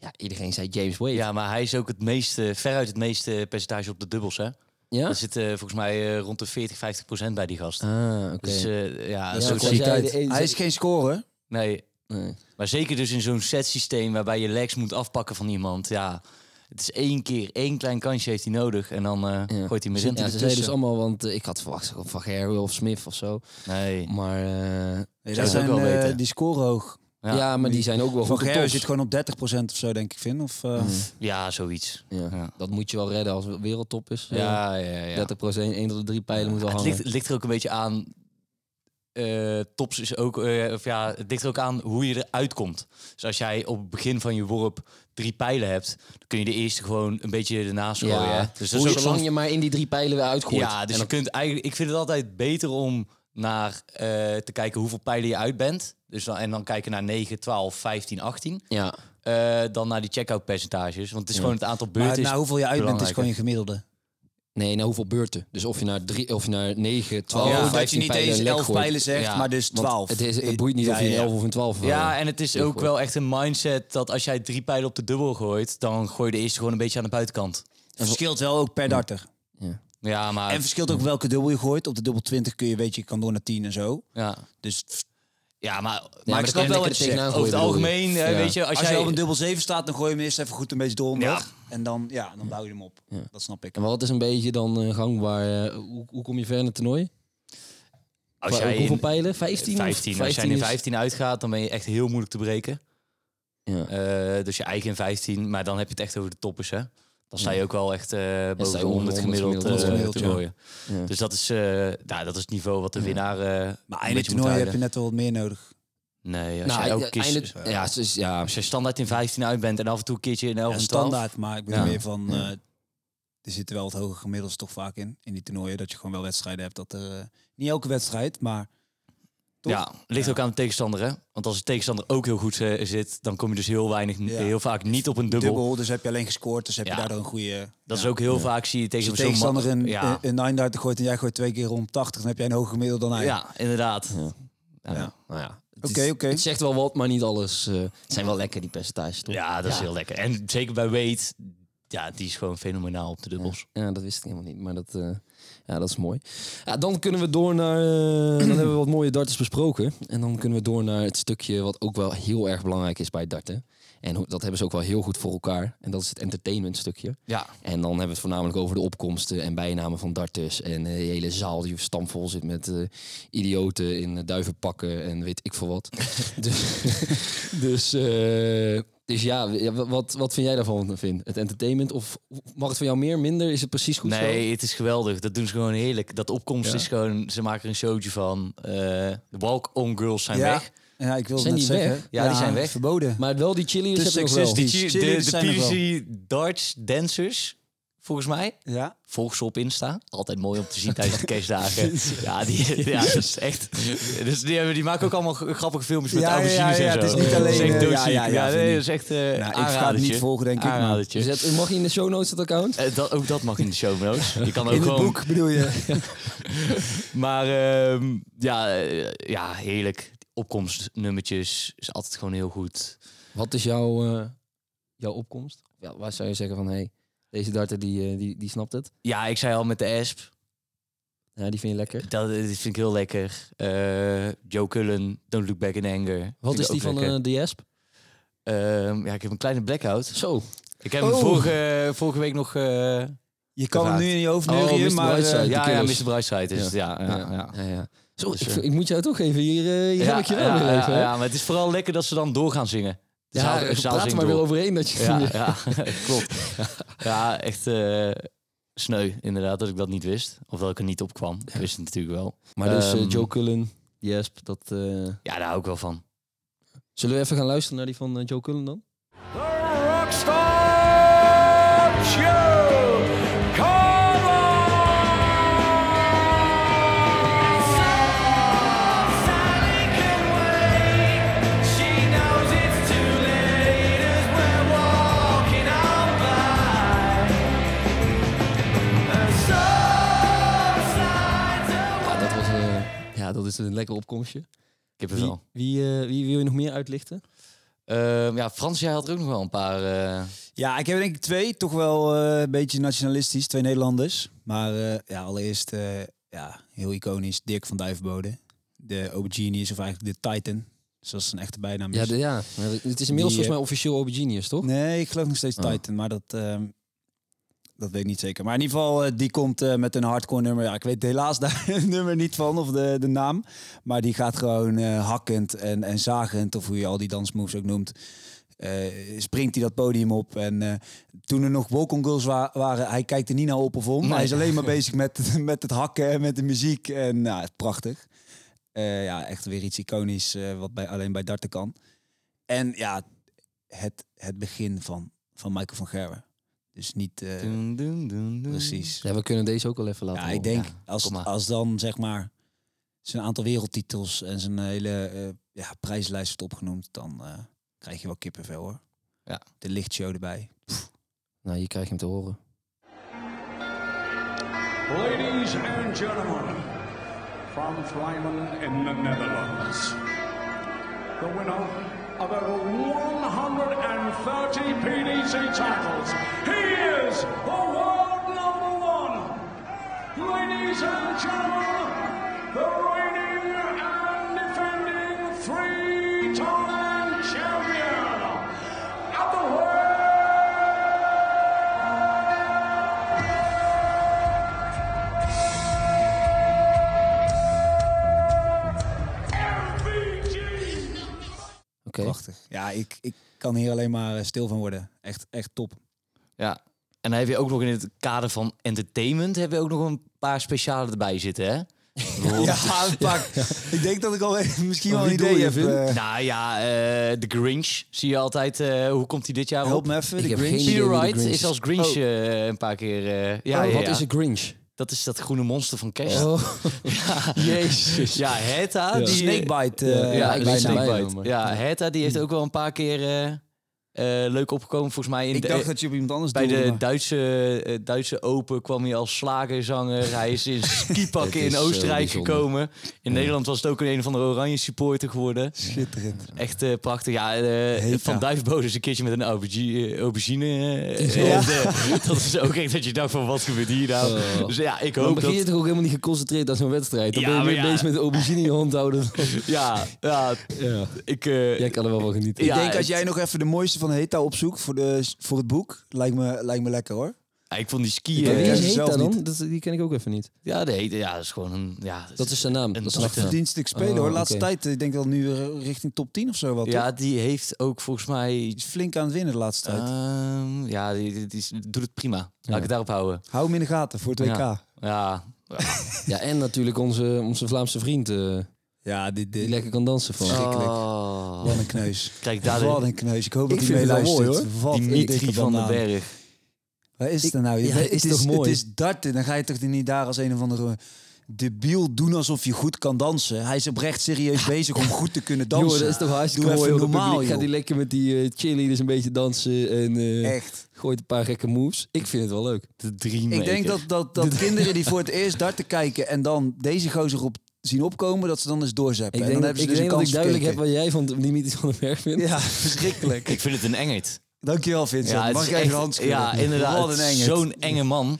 Speaker 3: Ja, iedereen zei James Wade.
Speaker 1: Ja, maar hij is ook het meeste, veruit het meeste percentage op de dubbels, hè?
Speaker 3: Ja?
Speaker 1: Dat zit eh, volgens mij eh, rond de 40, 50 procent bij die gast.
Speaker 3: Ah, oké.
Speaker 1: Dus eh, ja,
Speaker 3: Ja,
Speaker 1: zo'n
Speaker 3: want jij
Speaker 1: set-
Speaker 3: zei de ene-
Speaker 4: Hij is geen scorer.
Speaker 1: nee,
Speaker 3: Nee.
Speaker 1: maar zeker dus in zo'n setsysteem waarbij je legs moet afpakken van iemand. Ja, het is één keer, één klein kansje heeft hij nodig en dan eh,
Speaker 3: Ja.
Speaker 1: gooit hij hem
Speaker 3: Ja,
Speaker 1: erin.
Speaker 3: ze zeiden dus allemaal, want eh, ik had verwacht van Gerwe of Smith of zo.
Speaker 1: Nee,
Speaker 3: Maar eh,
Speaker 4: Nee,
Speaker 1: Zou
Speaker 4: dat
Speaker 1: het
Speaker 4: zijn,
Speaker 1: ook wel
Speaker 4: eh,
Speaker 1: weten.
Speaker 4: die scoren hoog.
Speaker 1: Ja.
Speaker 3: ja, maar die zijn ook wel
Speaker 4: Van
Speaker 3: goed op
Speaker 4: Gerwen
Speaker 3: tops.
Speaker 4: zit gewoon op 30% of zo, denk ik, Vin. Of,
Speaker 3: Mm.
Speaker 4: eh,
Speaker 1: ja, zoiets.
Speaker 3: Ja.
Speaker 1: Ja.
Speaker 3: Dat moet je wel redden als het wereldtop is. Eh,
Speaker 1: Ja, ja, ja.
Speaker 3: 30 procent, 1 tot de 3 pijlen moet wel
Speaker 1: Het
Speaker 3: hangen.
Speaker 1: ligt, het ligt er ook een beetje aan. eh, tops is ook, eh, of ja, het ligt er ook aan hoe je eruit komt. Dus als jij op het begin van je worp drie pijlen hebt, dan kun je de eerste gewoon een beetje ernaast gooien. hè. Dus dat
Speaker 3: Hoe-
Speaker 1: is ook
Speaker 3: zolang
Speaker 1: zo'n-
Speaker 3: je maar in die drie pijlen weer uitgooit.
Speaker 1: Ja, dus
Speaker 3: En
Speaker 1: je
Speaker 3: dan-
Speaker 1: kunt eigenlijk, ik vind het altijd beter om naar eh, te kijken hoeveel pijlen je uit bent. Dus dan, en dan kijken naar 9, 12, 15, 18.
Speaker 3: ja.
Speaker 1: eh, dan naar die checkout percentages. Want het is gewoon het aantal
Speaker 4: maar
Speaker 1: beurten. is-
Speaker 4: nou, hoeveel je uit bent, is
Speaker 1: belangrijker.
Speaker 4: gewoon je gemiddelde.
Speaker 3: Nee, nou hoeveel beurten. Dus of je naar, drie, of je naar 9, 12,
Speaker 4: Oh,
Speaker 1: Ja.
Speaker 4: dat je
Speaker 3: 15
Speaker 4: niet
Speaker 3: pijlen
Speaker 4: eens
Speaker 3: een lek
Speaker 4: 11
Speaker 3: gooit.
Speaker 4: pijlen zegt,
Speaker 1: Ja,
Speaker 4: maar dus
Speaker 3: Want
Speaker 4: 12.
Speaker 3: Het, is, het boeit niet of je
Speaker 4: Ja,
Speaker 3: een
Speaker 4: ja.
Speaker 3: 11 of een 12
Speaker 1: Ja,
Speaker 3: eh,
Speaker 1: en het is
Speaker 3: dicht
Speaker 1: ook
Speaker 3: gooit.
Speaker 1: wel echt een mindset dat als jij drie pijlen op de dubbel gooit, dan gooi je de eerste gewoon een beetje aan de buitenkant.
Speaker 4: Het verschilt wel ook per darter.
Speaker 1: Mm. Ja, maar.
Speaker 4: En verschilt ook welke dubbel je gooit. Op de dubbel 20 kun je, weet je, je kan door naar 10 en zo.
Speaker 1: ja.
Speaker 4: Dus f-
Speaker 1: ja, maar.
Speaker 3: maar
Speaker 1: maar ik
Speaker 3: dat
Speaker 1: snap
Speaker 3: kan
Speaker 1: wel
Speaker 3: je
Speaker 1: wat je
Speaker 3: tegenaan
Speaker 1: zegt. Over
Speaker 3: gooien,
Speaker 1: het
Speaker 3: bedoel je.
Speaker 1: algemeen, eh,
Speaker 3: Ja.
Speaker 1: weet je, als,
Speaker 4: als,
Speaker 1: jij.
Speaker 4: je op een dubbel 7 staat, dan gooi je hem eerst even goed een beetje door.
Speaker 1: Ja.
Speaker 4: omhoog. En dan, ja, dan bouw je hem op. Dat snap ik.
Speaker 3: En wat is een beetje dan eh, gangbaar? eh, hoe, hoe kom je ver in het toernooi?
Speaker 1: als
Speaker 3: Qua-
Speaker 1: jij
Speaker 3: hoeveel
Speaker 1: in
Speaker 3: pijlen? 15?
Speaker 1: 15,
Speaker 3: of
Speaker 1: als jij in
Speaker 3: 15 is-
Speaker 1: 15 uitgaat, dan ben je echt heel moeilijk te breken.
Speaker 3: Ja.
Speaker 1: Eh, dus je eigen in 15, maar dan heb je het echt over de toppers, hè? Dan sta je ook wel echt eh, boven
Speaker 3: onder
Speaker 1: de 100
Speaker 3: 100
Speaker 1: gemiddeld eh,
Speaker 3: gemiddeld,
Speaker 1: te
Speaker 4: ja.
Speaker 1: gooien.
Speaker 3: Ja.
Speaker 1: Dus dat is, eh, nou, dat is het niveau wat de winnaar. eh,
Speaker 4: Maar
Speaker 1: een beetje
Speaker 4: einde
Speaker 1: moet
Speaker 4: toernooi heb je
Speaker 1: houden.
Speaker 4: net wel wat meer nodig.
Speaker 1: Nee, als
Speaker 3: Nou,
Speaker 1: jij ook
Speaker 3: einde-
Speaker 1: kiest.
Speaker 3: einde- ja, dus, ja,
Speaker 1: Als je standaard in 15 uit bent en af en toe een keertje in 11
Speaker 4: Ja,
Speaker 1: en 12.
Speaker 4: standaard, maar ik ben
Speaker 1: Ja.
Speaker 4: meer van...
Speaker 3: Ja.
Speaker 4: eh, er zitten wel wat hoge gemiddels toch vaak in, in die toernooien. Dat je gewoon wel wedstrijden hebt. Dat er, eh, niet elke wedstrijd, maar... Toch?
Speaker 1: Ja, ligt ook aan de tegenstander, hè? Want als de tegenstander ook heel goed eh, zit, dan kom je dus heel weinig,
Speaker 4: Ja.
Speaker 1: heel vaak niet op een dubbel.
Speaker 4: Dubbel. dus heb je alleen gescoord, dus heb
Speaker 1: Ja.
Speaker 4: je daardoor een goede...
Speaker 1: Dat
Speaker 4: ja.
Speaker 1: is ook heel vaak zie je
Speaker 4: Als je
Speaker 1: tegen zo'n
Speaker 4: tegenstander
Speaker 1: man-
Speaker 4: een,
Speaker 1: ja,
Speaker 4: een, een 9 gooit en jij gooit twee keer rond 80, dan heb jij een hoger gemiddelde dan hij.
Speaker 1: ja, inderdaad.
Speaker 3: Ja.
Speaker 1: Ja, ja.
Speaker 3: nou ja. het
Speaker 4: Oké,
Speaker 3: is-
Speaker 4: oké.
Speaker 3: Het zegt wel wat, maar niet alles. eh, het zijn wel lekker, die percentages, toch?
Speaker 1: dat is
Speaker 3: Ja.
Speaker 1: heel lekker. En zeker bij Wade, ja, die is gewoon fenomenaal op de dubbels.
Speaker 3: Ja, dat wist ik helemaal niet, maar dat, eh, ja, dat is mooi. Ja, dan kunnen we door naar... eh, dan hebben we wat mooie darters besproken. En dan kunnen we door naar het stukje wat ook wel heel erg belangrijk is bij darten. En hoe- dat hebben ze ook wel heel goed voor elkaar. En dat is het entertainment stukje.
Speaker 1: Ja,
Speaker 3: En dan hebben we het voornamelijk over de opkomsten en bijnamen van darters. En eh, die hele zaal die stampvol zit met eh, idioten in eh, duivenpakken en weet ik veel wat. dus, dus, eh, dus ja, w- ja, w- wat, wat vind jij daarvan, Vin? Het entertainment? Of mag het van jou meer, minder? Is het precies goed zo?
Speaker 1: nee, het is geweldig. Dat doen ze gewoon heerlijk. Dat opkomst
Speaker 3: Ja.
Speaker 1: is gewoon, ze maken er een showtje van. Eh, de walk-on girls zijn
Speaker 4: Ja.
Speaker 1: weg.
Speaker 4: Ja, ik wilde
Speaker 3: Zijn
Speaker 4: net
Speaker 3: die
Speaker 4: zeggen.
Speaker 3: weg?
Speaker 1: Ja, die zijn weg.
Speaker 4: Verboden.
Speaker 3: Maar wel die chili
Speaker 4: Dus
Speaker 3: heb je nog
Speaker 4: succes
Speaker 3: wel.
Speaker 4: die-
Speaker 1: De,
Speaker 4: cheerleaders
Speaker 1: de, de
Speaker 4: zijn er wel.
Speaker 1: PVC darts dancers volgens mij.
Speaker 4: Ja.
Speaker 1: Volg ze op Insta. Altijd mooi om te zien tijdens de kerstdagen. Ja, die, ja, dat is echt... Dus die, hebben- die maken ook allemaal g- grappige filmpjes met
Speaker 4: Ja, ja,
Speaker 1: aubergines
Speaker 4: ja,
Speaker 1: en
Speaker 4: het
Speaker 1: zo.
Speaker 4: is niet alleen,
Speaker 1: Dat is echt
Speaker 4: eh, ja,
Speaker 1: doodziek. Ja,
Speaker 4: ja, ja,
Speaker 1: nee,
Speaker 4: vind
Speaker 1: dat is echt eh
Speaker 4: ik ga het niet volgen, denk ik. maar- Dus
Speaker 1: Aanradertje.
Speaker 3: Zet, Dus mag je in de show notes dat account?
Speaker 1: Eh, dat, ook dat mag in de show notes. Je kan ook
Speaker 4: In het
Speaker 1: gewoon...
Speaker 4: boek bedoel je?
Speaker 1: Maar ehm, ja, eh, ja, heerlijk. Opkomstnummertjes is altijd gewoon heel goed.
Speaker 3: Wat is jouw, eh, jouw opkomst? Ja, waar zou je zeggen van, hé, hey, deze darter die, eh, die, die snapt het.
Speaker 1: Ja, ik zei al met de Esp.
Speaker 3: Ja, die vind je lekker.
Speaker 1: Dat, eh, die vind ik heel lekker. Eh, Joe Cullen, Don't Look Back in Anger.
Speaker 3: Wat
Speaker 1: Vind ik
Speaker 3: is die
Speaker 1: ook
Speaker 3: van
Speaker 1: lekker.
Speaker 3: eh de Jasp?
Speaker 4: eh,
Speaker 1: Ehm, ja, ik heb een kleine blackout.
Speaker 3: Zo.
Speaker 1: Ik heb hem
Speaker 4: Oh.
Speaker 1: vorige, vorige week nog... eh,
Speaker 4: Je kan hem nu in je hoofd
Speaker 3: Oh,
Speaker 4: neuren,
Speaker 3: Mr.
Speaker 4: maar...
Speaker 3: Brightside.
Speaker 4: eh,
Speaker 3: de
Speaker 1: ja, ja,
Speaker 3: Killers.
Speaker 1: Mr. Brightside is het. Ja, ja, ja.
Speaker 3: ja, ja. Zo,
Speaker 1: Dus,
Speaker 3: ik,
Speaker 1: eh,
Speaker 3: ik moet jou toch even hier, eh, hier heb ik je wel
Speaker 1: ja,
Speaker 3: weer
Speaker 1: ja,
Speaker 3: even. hè?
Speaker 1: ja, maar het is vooral lekker dat ze dan door gaan zingen. De zaal-
Speaker 3: Ja,
Speaker 1: de
Speaker 3: eh,
Speaker 1: zaal
Speaker 3: praat er
Speaker 1: zingt
Speaker 3: maar weer
Speaker 1: door.
Speaker 3: overheen dat je...
Speaker 1: Ja, ja klopt. Ja, echt eh, sneu inderdaad dat ik dat niet wist. Of dat ik er niet op kwam. Ik wist het natuurlijk wel.
Speaker 3: Maar dus eh,
Speaker 1: Ehm,
Speaker 3: Joe Cullen, Jasp, dat... eh,
Speaker 1: Ja, daar hou ik wel van.
Speaker 3: Zullen we even gaan luisteren naar die van eh, Joe Cullen dan? Ja, dat was... eh, ja, dat is een lekker opkomstje.
Speaker 1: Ik heb er
Speaker 3: Wie,
Speaker 1: wel.
Speaker 3: wie, eh, wie wil je nog meer uitlichten?
Speaker 1: Ehm, ja, Frans, jij had er ook nog wel een paar. eh,
Speaker 4: Ja, ik heb er denk ik twee, toch wel eh, een beetje nationalistisch, twee Nederlanders. Maar eh, ja, allereerst, eh, ja, heel iconisch, Dirk van Duivenbode. De Auberginius, of eigenlijk de Titan, zoals zijn echte bijnaam is.
Speaker 3: Ja, de- ja. Maar het is inmiddels
Speaker 4: Die,
Speaker 3: volgens
Speaker 4: eh,
Speaker 3: mij officieel Auberginius, toch?
Speaker 4: Nee, ik geloof nog steeds
Speaker 3: Oh.
Speaker 4: Titan, maar dat, ehm, dat weet ik niet zeker. Maar in ieder geval, eh, die komt eh, met een hardcore nummer. Ja, ik weet helaas daar het nummer niet van, of de, de naam. Maar die gaat gewoon eh, hakkend en, en zagend, of hoe je al die dansmoves ook noemt. eh, springt hij dat podium op. En eh, toen er nog Walk-on Girls wa- waren, hij kijkt er niet naar op of om. Hij is alleen maar bezig met, met het hakken en met de muziek. En nou, het is prachtig. Eh, ja, echt weer iets iconisch eh, wat bij, alleen bij darten kan. En ja, het, het begin van, van Michael van Gerwen. Dus niet eh,
Speaker 1: doen, doen, doen, doen.
Speaker 4: precies.
Speaker 3: Ja, we kunnen deze ook wel even laten
Speaker 4: Ja, ik
Speaker 3: horen.
Speaker 4: denk
Speaker 1: ja,
Speaker 4: als,
Speaker 1: kom maar.
Speaker 4: als dan zeg maar zijn aantal wereldtitels en zijn hele eh ja, prijslijst wordt opgenoemd, dan eh, krijg je wel kippenvel hoor.
Speaker 1: Ja.
Speaker 4: De lichtshow erbij.
Speaker 3: Nou, hier krijg je hem te horen.
Speaker 5: Ladies and gentlemen, from Vlijmen in the Netherlands, the winner of over 130 PDC titles, he is the world number one. Ladies and gentlemen, the reigning and defending three-time champion at the world.
Speaker 3: Oké.
Speaker 4: Prachtig. Ja, ik, ik kan hier alleen maar eh, stil van worden. Echt, echt top.
Speaker 1: Ja. En dan heb je ook nog in het kader van entertainment heb je ook nog een paar speciale erbij zitten, hè? Bijvoorbeeld-
Speaker 4: Ja, pak. Ik denk dat ik al misschien wel een
Speaker 3: Wie doe
Speaker 4: idee
Speaker 3: je,
Speaker 4: heb.
Speaker 3: Vin?
Speaker 4: eh.
Speaker 1: Nou ja, eh, de Grinch zie je altijd. eh, hoe komt hij dit jaar
Speaker 4: help
Speaker 1: op?
Speaker 4: me even.
Speaker 3: Ik
Speaker 4: De
Speaker 3: heb
Speaker 4: Grinch.
Speaker 3: geen idee.
Speaker 1: Peter
Speaker 3: wie de
Speaker 1: Wright
Speaker 3: Grinch
Speaker 1: is als Grinch eh, een paar keer. eh, ja, ja,
Speaker 3: Oh, Wat
Speaker 1: ja.
Speaker 3: is een Grinch?
Speaker 1: Dat is dat groene monster van Kerst.
Speaker 3: Oh. Jezus.
Speaker 1: Ja, Heta. Die,
Speaker 4: Snakebite. eh,
Speaker 1: ja,
Speaker 3: ik
Speaker 1: ik
Speaker 3: weet
Speaker 4: bijnaam.
Speaker 3: zijn
Speaker 1: Snakebite.
Speaker 3: bijnaam, maar-
Speaker 1: Ja, Heta die heeft ook wel een paar keer eh, eh, leuk opgekomen volgens mij in
Speaker 4: Ik
Speaker 1: de, e-
Speaker 4: dacht dat je op iemand anders
Speaker 1: Bij
Speaker 4: doelde,
Speaker 1: de
Speaker 4: maar-
Speaker 1: Duitse, eh, Duitse Open kwam hij als slagerzanger. Hij is in skipakken
Speaker 3: Het
Speaker 1: in
Speaker 3: is, eh,
Speaker 1: Oostenrijk
Speaker 3: bijzonder.
Speaker 1: gekomen. In Nederland was het ook een van de oranje supporter geworden.
Speaker 4: Schitterend.
Speaker 1: Echt eh, prachtig. Ja, eh,
Speaker 4: Heta.
Speaker 1: Van Duifbode is een keertje met een aubergine. eh, aubergine eh,
Speaker 3: Ja.
Speaker 1: en, eh, dat is ook echt dat je dacht van wat gebeurt hier nou?
Speaker 3: Oh.
Speaker 1: Dus ja, ik
Speaker 3: Dan
Speaker 1: hoop
Speaker 3: begin
Speaker 1: dat...
Speaker 3: je toch ook helemaal niet geconcentreerd aan zo'n wedstrijd. Dan
Speaker 1: Ja,
Speaker 3: ben je
Speaker 1: maar
Speaker 3: weer
Speaker 1: ja.
Speaker 3: bezig met de aubergine in je hand houden.
Speaker 1: Ja, ja,
Speaker 3: ja.
Speaker 1: ik... eh,
Speaker 3: Jij kan er wel van genieten.
Speaker 1: Ja,
Speaker 4: ik denk als
Speaker 1: het-
Speaker 4: jij nog even de mooiste van Heta opzoekt voor, de, voor het boek, lijkt me, lijkt me lekker hoor.
Speaker 1: ik vond die ski...
Speaker 4: Ik
Speaker 3: Maar
Speaker 1: eh,
Speaker 4: ken
Speaker 3: wie
Speaker 4: Ja,
Speaker 3: is
Speaker 4: ze
Speaker 3: Heta
Speaker 4: zelf
Speaker 3: dan?
Speaker 4: niet.
Speaker 3: Dat, die ken ik ook even niet.
Speaker 1: ja, de hete, ja, dat is gewoon een... Ja,
Speaker 3: Dat is zijn naam. Dat is
Speaker 1: een
Speaker 3: zijn achternaam.
Speaker 4: Verdienstelijk speler hoor.
Speaker 3: Oh,
Speaker 4: Laatste
Speaker 3: oké.
Speaker 4: tijd, eh, ik denk wel nu eh, richting top 10 of zo wat. Ja.
Speaker 1: Ja, die heeft ook volgens mij...
Speaker 4: Is flink aan het winnen de laatste tijd.
Speaker 1: Ehm, ja, die, die- die is- doet het prima. Laat ik het daarop houden.
Speaker 4: Hou hem in de gaten voor het WK.
Speaker 1: Ja.
Speaker 4: Ja,
Speaker 1: Ja,
Speaker 3: Ja, en natuurlijk onze, onze Vlaamse vriend eh,
Speaker 4: dit,
Speaker 3: die
Speaker 4: dit
Speaker 3: lekker kan dansen van.
Speaker 4: Oh,
Speaker 1: Oh.
Speaker 4: wat een kneus.
Speaker 1: Kijk, daar
Speaker 4: Wat
Speaker 1: de,
Speaker 4: een kneus. Ik hoop
Speaker 3: Ik
Speaker 4: dat hij
Speaker 3: vind het wel
Speaker 4: meeluistert.
Speaker 3: mooi,
Speaker 4: Wat
Speaker 1: die
Speaker 4: een dikke
Speaker 1: Mitri van den
Speaker 4: banaan.
Speaker 1: Berg.
Speaker 4: Waar is het dan nou?
Speaker 3: Ja,
Speaker 4: het
Speaker 3: is toch mooi?
Speaker 4: Het is darten. Dan ga je toch niet daar als een of andere debiel doen alsof je goed kan dansen. Hij is oprecht serieus bezig om goed te kunnen dansen.
Speaker 3: Jongen, dat is toch hartstikke
Speaker 4: Doe
Speaker 3: mooi.
Speaker 4: even
Speaker 3: joh, dat
Speaker 4: normaal,
Speaker 3: publiek gaat
Speaker 4: joh.
Speaker 3: die lekker met die eh cheerleaders een beetje dansen en eh,
Speaker 4: Echt.
Speaker 3: gooit een paar gekke moves. Ik vind het wel leuk.
Speaker 1: De dream
Speaker 4: Ik denk dat, dat, dat kinderen die voor het eerst darten kijken en dan deze gozer op zien opkomen, dat ze dan eens doorzetten.
Speaker 3: Ik
Speaker 4: en
Speaker 3: denk
Speaker 4: dan
Speaker 3: dat
Speaker 4: hebben
Speaker 3: ik,
Speaker 4: ze dus
Speaker 3: denk dat
Speaker 4: een kans
Speaker 3: ik duidelijk heb
Speaker 4: gekeken.
Speaker 3: wat jij van de Dimitri van den Berg vindt.
Speaker 4: Ja, verschrikkelijk.
Speaker 1: Ik vind het een engert.
Speaker 4: Dankjewel Vincent.
Speaker 1: het
Speaker 4: Mag
Speaker 1: is
Speaker 4: ik even
Speaker 1: echt-
Speaker 4: de hand schudden?
Speaker 1: Ja, inderdaad.
Speaker 4: Wat een engert.
Speaker 1: Zo'n enge man.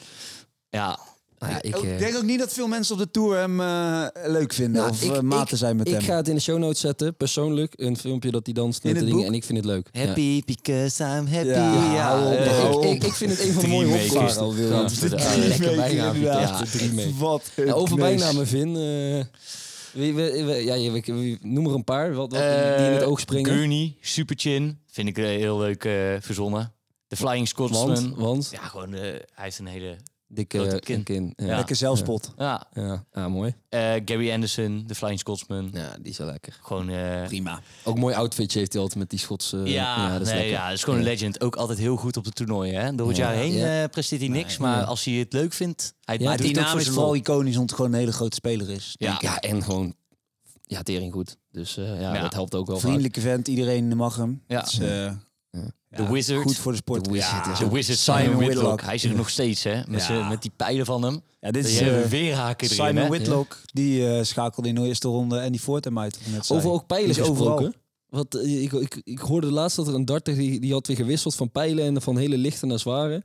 Speaker 1: Ja,
Speaker 3: Nou ja, ik,
Speaker 4: Oh, Ik
Speaker 3: eh,
Speaker 4: denk ook niet dat veel mensen op de tour hem eh, leuk vinden
Speaker 3: nou,
Speaker 4: of
Speaker 3: ik-
Speaker 4: eh,
Speaker 3: ik-
Speaker 4: maten zijn met
Speaker 3: ik
Speaker 4: hem.
Speaker 3: ga het in de show notes zetten, persoonlijk. Een filmpje dat hij danst
Speaker 4: In
Speaker 3: met de
Speaker 4: het
Speaker 3: dingen.
Speaker 4: boek?
Speaker 3: En ik vind het leuk. Ja.
Speaker 1: Happy because I'm happy.
Speaker 4: Ja,
Speaker 1: Ja,
Speaker 4: hou op,
Speaker 1: eh,
Speaker 4: hou op.
Speaker 3: Ik, ik, ik vind het een van de mooie
Speaker 1: Dreammakers.
Speaker 3: opgaven. al wil je.
Speaker 1: Ja, voor de
Speaker 3: Ja,
Speaker 1: oude.
Speaker 3: Lekker bijnaam.
Speaker 4: inderdaad.
Speaker 3: Ja, Dreammaker.
Speaker 4: Wat een
Speaker 3: Ja, over
Speaker 4: kneus.
Speaker 3: bijnamen, Vin. eh, wie, wie- wie- ja, je- wie- wie- noem er een paar wat, wat die- die in het
Speaker 1: Eh,
Speaker 3: oog springen.
Speaker 1: Gurney, Superchin. Vind ik eh, heel leuk eh, verzonnen. De Flying
Speaker 3: want,
Speaker 1: Scotsman.
Speaker 3: want
Speaker 1: Ja, gewoon, eh, hij heeft een hele...
Speaker 3: dikke
Speaker 1: Grote
Speaker 3: kin.
Speaker 1: kin.
Speaker 3: kin. Ja.
Speaker 1: Ja.
Speaker 4: Lekker zelfspot.
Speaker 1: Ja,
Speaker 3: Ja. Ah, mooi.
Speaker 1: eh, Gary Anderson, de Flying Scotsman.
Speaker 3: Ja, die is wel lekker.
Speaker 1: Gewoon... eh,
Speaker 4: Prima.
Speaker 3: Ook een mooi outfitje heeft hij altijd met die Schotse...
Speaker 4: Eh,
Speaker 1: ja,
Speaker 3: dat is
Speaker 1: nee,
Speaker 3: lekker.
Speaker 1: ja, dat is gewoon een legend. Ook altijd heel goed op de toernooien. Hè? Door het
Speaker 3: Ja.
Speaker 1: jaar heen
Speaker 3: Ja.
Speaker 1: eh, presteert hij niks. Maar als hij het leuk vindt... Hij
Speaker 3: Ja,
Speaker 1: doet
Speaker 4: Maar die
Speaker 1: het ook
Speaker 4: naam
Speaker 1: voor
Speaker 4: is
Speaker 1: zijn
Speaker 4: vooral
Speaker 1: lol.
Speaker 4: iconisch omdat het gewoon een hele grote speler is.
Speaker 1: Ja.
Speaker 3: Ja, en gewoon... Ja, tering goed. Dus eh, ja,
Speaker 1: Ja.
Speaker 3: dat helpt ook wel vaak.
Speaker 4: Vriendelijke vent, iedereen mag hem.
Speaker 1: Ja.
Speaker 4: Het is, eh,
Speaker 1: The
Speaker 4: ja,
Speaker 1: Wizard.
Speaker 4: Goed voor de sport.
Speaker 3: The Wizard
Speaker 4: Ja.
Speaker 3: is
Speaker 1: De Wizard Simon,
Speaker 4: Simon
Speaker 1: Whitlock.
Speaker 4: Whitlock.
Speaker 1: Hij zit er nog steeds, hè? Met,
Speaker 4: Ja.
Speaker 1: zijn- met die pijlen van hem.
Speaker 4: Ja, dit
Speaker 1: Die
Speaker 4: is
Speaker 1: hebben
Speaker 4: eh,
Speaker 1: weer haken erin,
Speaker 4: Simon
Speaker 1: hè?
Speaker 4: Whitlock. Die eh, schakelde in de eerste ronde en die voort hem uit. wat ik net zei.
Speaker 3: Over ook pijlen
Speaker 4: Die is overal.
Speaker 3: gesproken. Want eh, ik, ik, ik hoorde laatst dat er een darter die, die had weer gewisseld van pijlen en van hele lichte naar zware.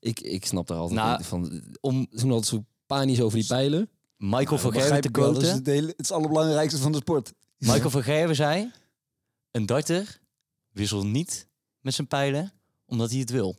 Speaker 3: Ik, ik snap daar altijd
Speaker 1: Nou,
Speaker 3: niet van.
Speaker 1: Om
Speaker 3: Toen hadden ze panisch over die pijlen.
Speaker 1: Michael van Gerwen
Speaker 4: Begrijp
Speaker 1: te
Speaker 4: ik wel, dat is
Speaker 1: quoten.
Speaker 4: het, hele, het is het allerbelangrijkste van de sport.
Speaker 1: Michael van Gerwen zei... Een darter wisselt niet met zijn pijlen omdat hij het wil.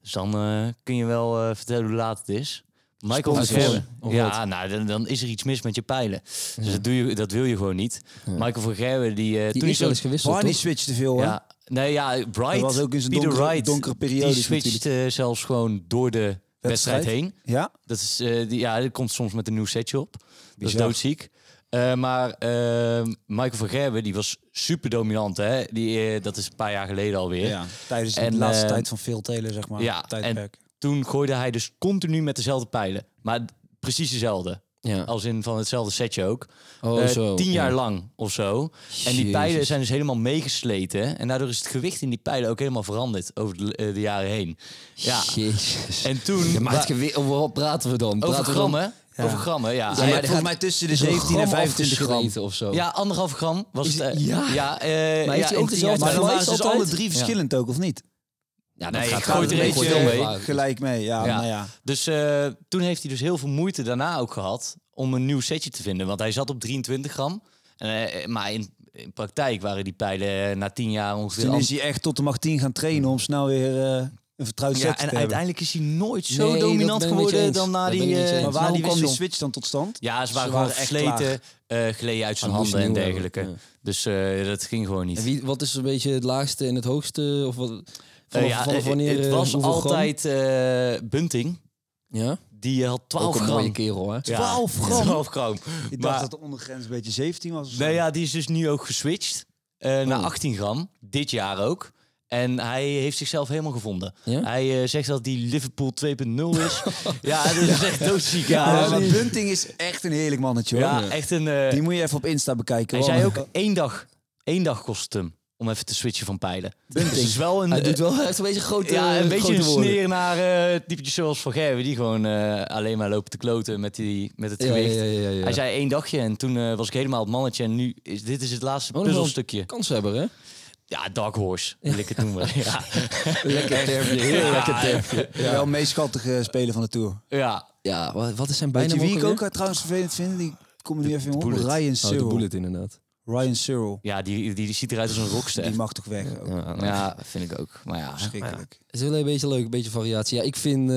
Speaker 1: Dus dan eh, kun je wel eh, vertellen hoe laat het is. Michael van
Speaker 3: Sponsors.
Speaker 1: Gerwen.
Speaker 3: Of
Speaker 1: Ja, nou, dan, dan is er iets mis met je pijlen. Dus
Speaker 3: Ja.
Speaker 1: dat, doe je, dat wil je gewoon niet.
Speaker 3: Ja.
Speaker 1: Michael van Gerwen, die... eh, toen
Speaker 3: Die is
Speaker 1: hij
Speaker 3: wel
Speaker 1: zo-
Speaker 3: eens gewisseld,
Speaker 4: Barney
Speaker 3: toch?
Speaker 4: switcht te veel, hè?
Speaker 1: Ja, nee, ja, Bright.
Speaker 4: Dat was ook in zijn
Speaker 1: Peter
Speaker 4: donkere,
Speaker 1: Wright,
Speaker 4: donkere
Speaker 1: Die
Speaker 4: periode.
Speaker 1: switcht eh, zelfs gewoon door de wedstrijd heen.
Speaker 4: Ja,
Speaker 1: Dat is, eh, die, ja, die komt soms met een nieuw setje op. Dat is
Speaker 4: Bizar.
Speaker 1: doodziek. Eh, maar eh, Michael van Gerwen, die was super dominant. Hè? Die, eh, dat is een paar jaar geleden alweer.
Speaker 4: ja. tijdens de
Speaker 1: En,
Speaker 4: laatste
Speaker 1: eh,
Speaker 4: tijd van Phil Taylor, zeg maar.
Speaker 1: ja,
Speaker 4: tijdperk.
Speaker 1: Toen gooide hij dus continu met dezelfde pijlen. Maar precies dezelfde.
Speaker 3: Ja.
Speaker 1: Als in van hetzelfde setje ook.
Speaker 3: Oh,
Speaker 1: Eh,
Speaker 3: zo.
Speaker 1: tien jaar
Speaker 3: Ja.
Speaker 1: lang of zo. En die
Speaker 3: Jezus.
Speaker 1: pijlen zijn dus helemaal meegesleten. hè. En daardoor is het gewicht in die pijlen ook helemaal veranderd over de, eh, de jaren heen. Ja.
Speaker 3: Jezus.
Speaker 1: En toen...
Speaker 3: Ja, maar het
Speaker 1: wa-
Speaker 3: gewi- over wat praten we dan?
Speaker 1: over
Speaker 3: praten we
Speaker 1: grammen. Over grammen, ja. Hij-
Speaker 4: maar volgens mij tussen de
Speaker 3: dan
Speaker 4: 17 en 25 gram.
Speaker 3: afgeschreven of zo?
Speaker 1: Ja, anderhalf gram was
Speaker 3: Oh. Is
Speaker 1: het.
Speaker 3: het-
Speaker 1: eh,
Speaker 3: ja?
Speaker 1: ja, eh,
Speaker 3: hij
Speaker 1: ja, in tien
Speaker 3: ook dezelfde
Speaker 1: jaar
Speaker 4: Maar
Speaker 1: tijd.
Speaker 4: dan
Speaker 3: Vlees
Speaker 4: waren ze dus
Speaker 3: altijd?
Speaker 4: alle drie verschillend ook, of niet?
Speaker 3: Ja,
Speaker 1: Nee, ik
Speaker 3: gaat
Speaker 1: gooi er
Speaker 3: wel
Speaker 1: eentje
Speaker 3: gewoon
Speaker 1: mee.
Speaker 3: vragen.
Speaker 4: Gelijk mee, ja.
Speaker 1: Ja.
Speaker 4: Nou ja.
Speaker 1: Dus eh, toen heeft hij dus heel veel moeite daarna ook gehad om een nieuw setje te vinden. Want hij zat op 23 gram. En, eh, maar in, in praktijk waren die pijlen eh, na 10 jaar ongeveer.
Speaker 4: Toen
Speaker 1: al-
Speaker 4: is hij echt tot de macht 10 gaan trainen om snel weer eh, een vertrouwd
Speaker 1: ja,
Speaker 4: set
Speaker 1: en
Speaker 4: te hebben.
Speaker 1: uiteindelijk is hij nooit
Speaker 3: Nee,
Speaker 1: zo
Speaker 3: dat ben ik
Speaker 1: dominant
Speaker 3: met je
Speaker 1: geworden
Speaker 3: eens.
Speaker 1: dan na
Speaker 3: Dat ben
Speaker 1: die.
Speaker 3: ik met
Speaker 1: eh,
Speaker 3: je eens.
Speaker 4: Maar
Speaker 1: na
Speaker 4: waarom
Speaker 1: die
Speaker 4: kwam die
Speaker 1: wissel.
Speaker 4: switch dan tot stand?
Speaker 1: Ja, ze
Speaker 4: Ze
Speaker 1: waren
Speaker 4: waren
Speaker 1: gewoon
Speaker 4: echt
Speaker 1: gesleten, eh geleden uit zijn
Speaker 3: Ah, moest
Speaker 1: handen en
Speaker 3: nieuw hebben,
Speaker 1: dergelijke.
Speaker 3: ja.
Speaker 1: Dus eh, dat ging gewoon niet.
Speaker 3: En wie, wat is een beetje het laagste en het hoogste? Of wat, vanaf,
Speaker 1: Eh, ja,
Speaker 3: vanaf
Speaker 1: eh,
Speaker 3: wanneer,
Speaker 1: het
Speaker 3: eh,
Speaker 1: was
Speaker 3: hoeveel gram?
Speaker 1: altijd eh, Bunting.
Speaker 3: Ja?
Speaker 1: Die had 12
Speaker 3: Ook een mooie
Speaker 1: gram.
Speaker 3: kerel, hè?
Speaker 1: Ja,
Speaker 4: 12 gram?
Speaker 1: 12 gram.
Speaker 4: Ik
Speaker 1: Maar-
Speaker 4: dacht dat de ondergrens een beetje 17 was. of zo.
Speaker 1: Nee, ja, die is dus nu ook geswitcht eh, naar
Speaker 3: Oh.
Speaker 1: 18 gram. Dit jaar ook. En hij heeft zichzelf helemaal gevonden.
Speaker 3: Ja?
Speaker 1: Hij eh, zegt dat die Liverpool 2.0 is. ja, dat is echt doodziek. Ja,
Speaker 4: Ja, maar Bunting is echt een heerlijk mannetje, hoor.
Speaker 1: Ja, echt een... eh,
Speaker 4: Die moet je even op Insta bekijken.
Speaker 1: hij
Speaker 4: hoor.
Speaker 1: zei ook één dag. Één dag kost het hem om even te switchen van pijlen. Dus het is wel een...
Speaker 3: Hij
Speaker 1: eh,
Speaker 3: doet wel echt een beetje eh, grote
Speaker 1: ja, een beetje
Speaker 3: grote
Speaker 1: een
Speaker 3: woorden.
Speaker 1: sneer naar eh typetjes zoals Van Gerwen... die gewoon eh, alleen maar lopen te kloten met, die, met het
Speaker 3: Ja,
Speaker 1: gewicht.
Speaker 3: ja, ja, ja, ja.
Speaker 1: Hij zei één dagje en toen eh, was ik helemaal het mannetje... en nu is dit is het laatste
Speaker 3: Oh, nog wel een
Speaker 1: puzzelstukje.
Speaker 3: Kans hebben, hè?
Speaker 1: Ja, Dark Horse wil ik het noemen. ja.
Speaker 3: Lekker terpje, heel lekker terpje.
Speaker 4: Wel een meest schattige speler van de Tour.
Speaker 1: ja.
Speaker 3: Ja, wat, wat is zijn bijna
Speaker 4: Weet je wie ik ook eh, trouwens vervelend vind? Die komt er nu even in op.
Speaker 1: Bullet.
Speaker 4: Ryan
Speaker 3: Oh, de
Speaker 4: Searle.
Speaker 3: bullet inderdaad.
Speaker 4: Ryan Searle.
Speaker 1: Ja, die, die, die ziet eruit als een rockster.
Speaker 4: Die mag toch weg. Ook.
Speaker 3: Ja,
Speaker 1: Ja, vind ik ook. Maar ja,
Speaker 4: Schrikkelijk.
Speaker 3: Het is wel een beetje leuk, een beetje variatie. Ja, ik vind eh,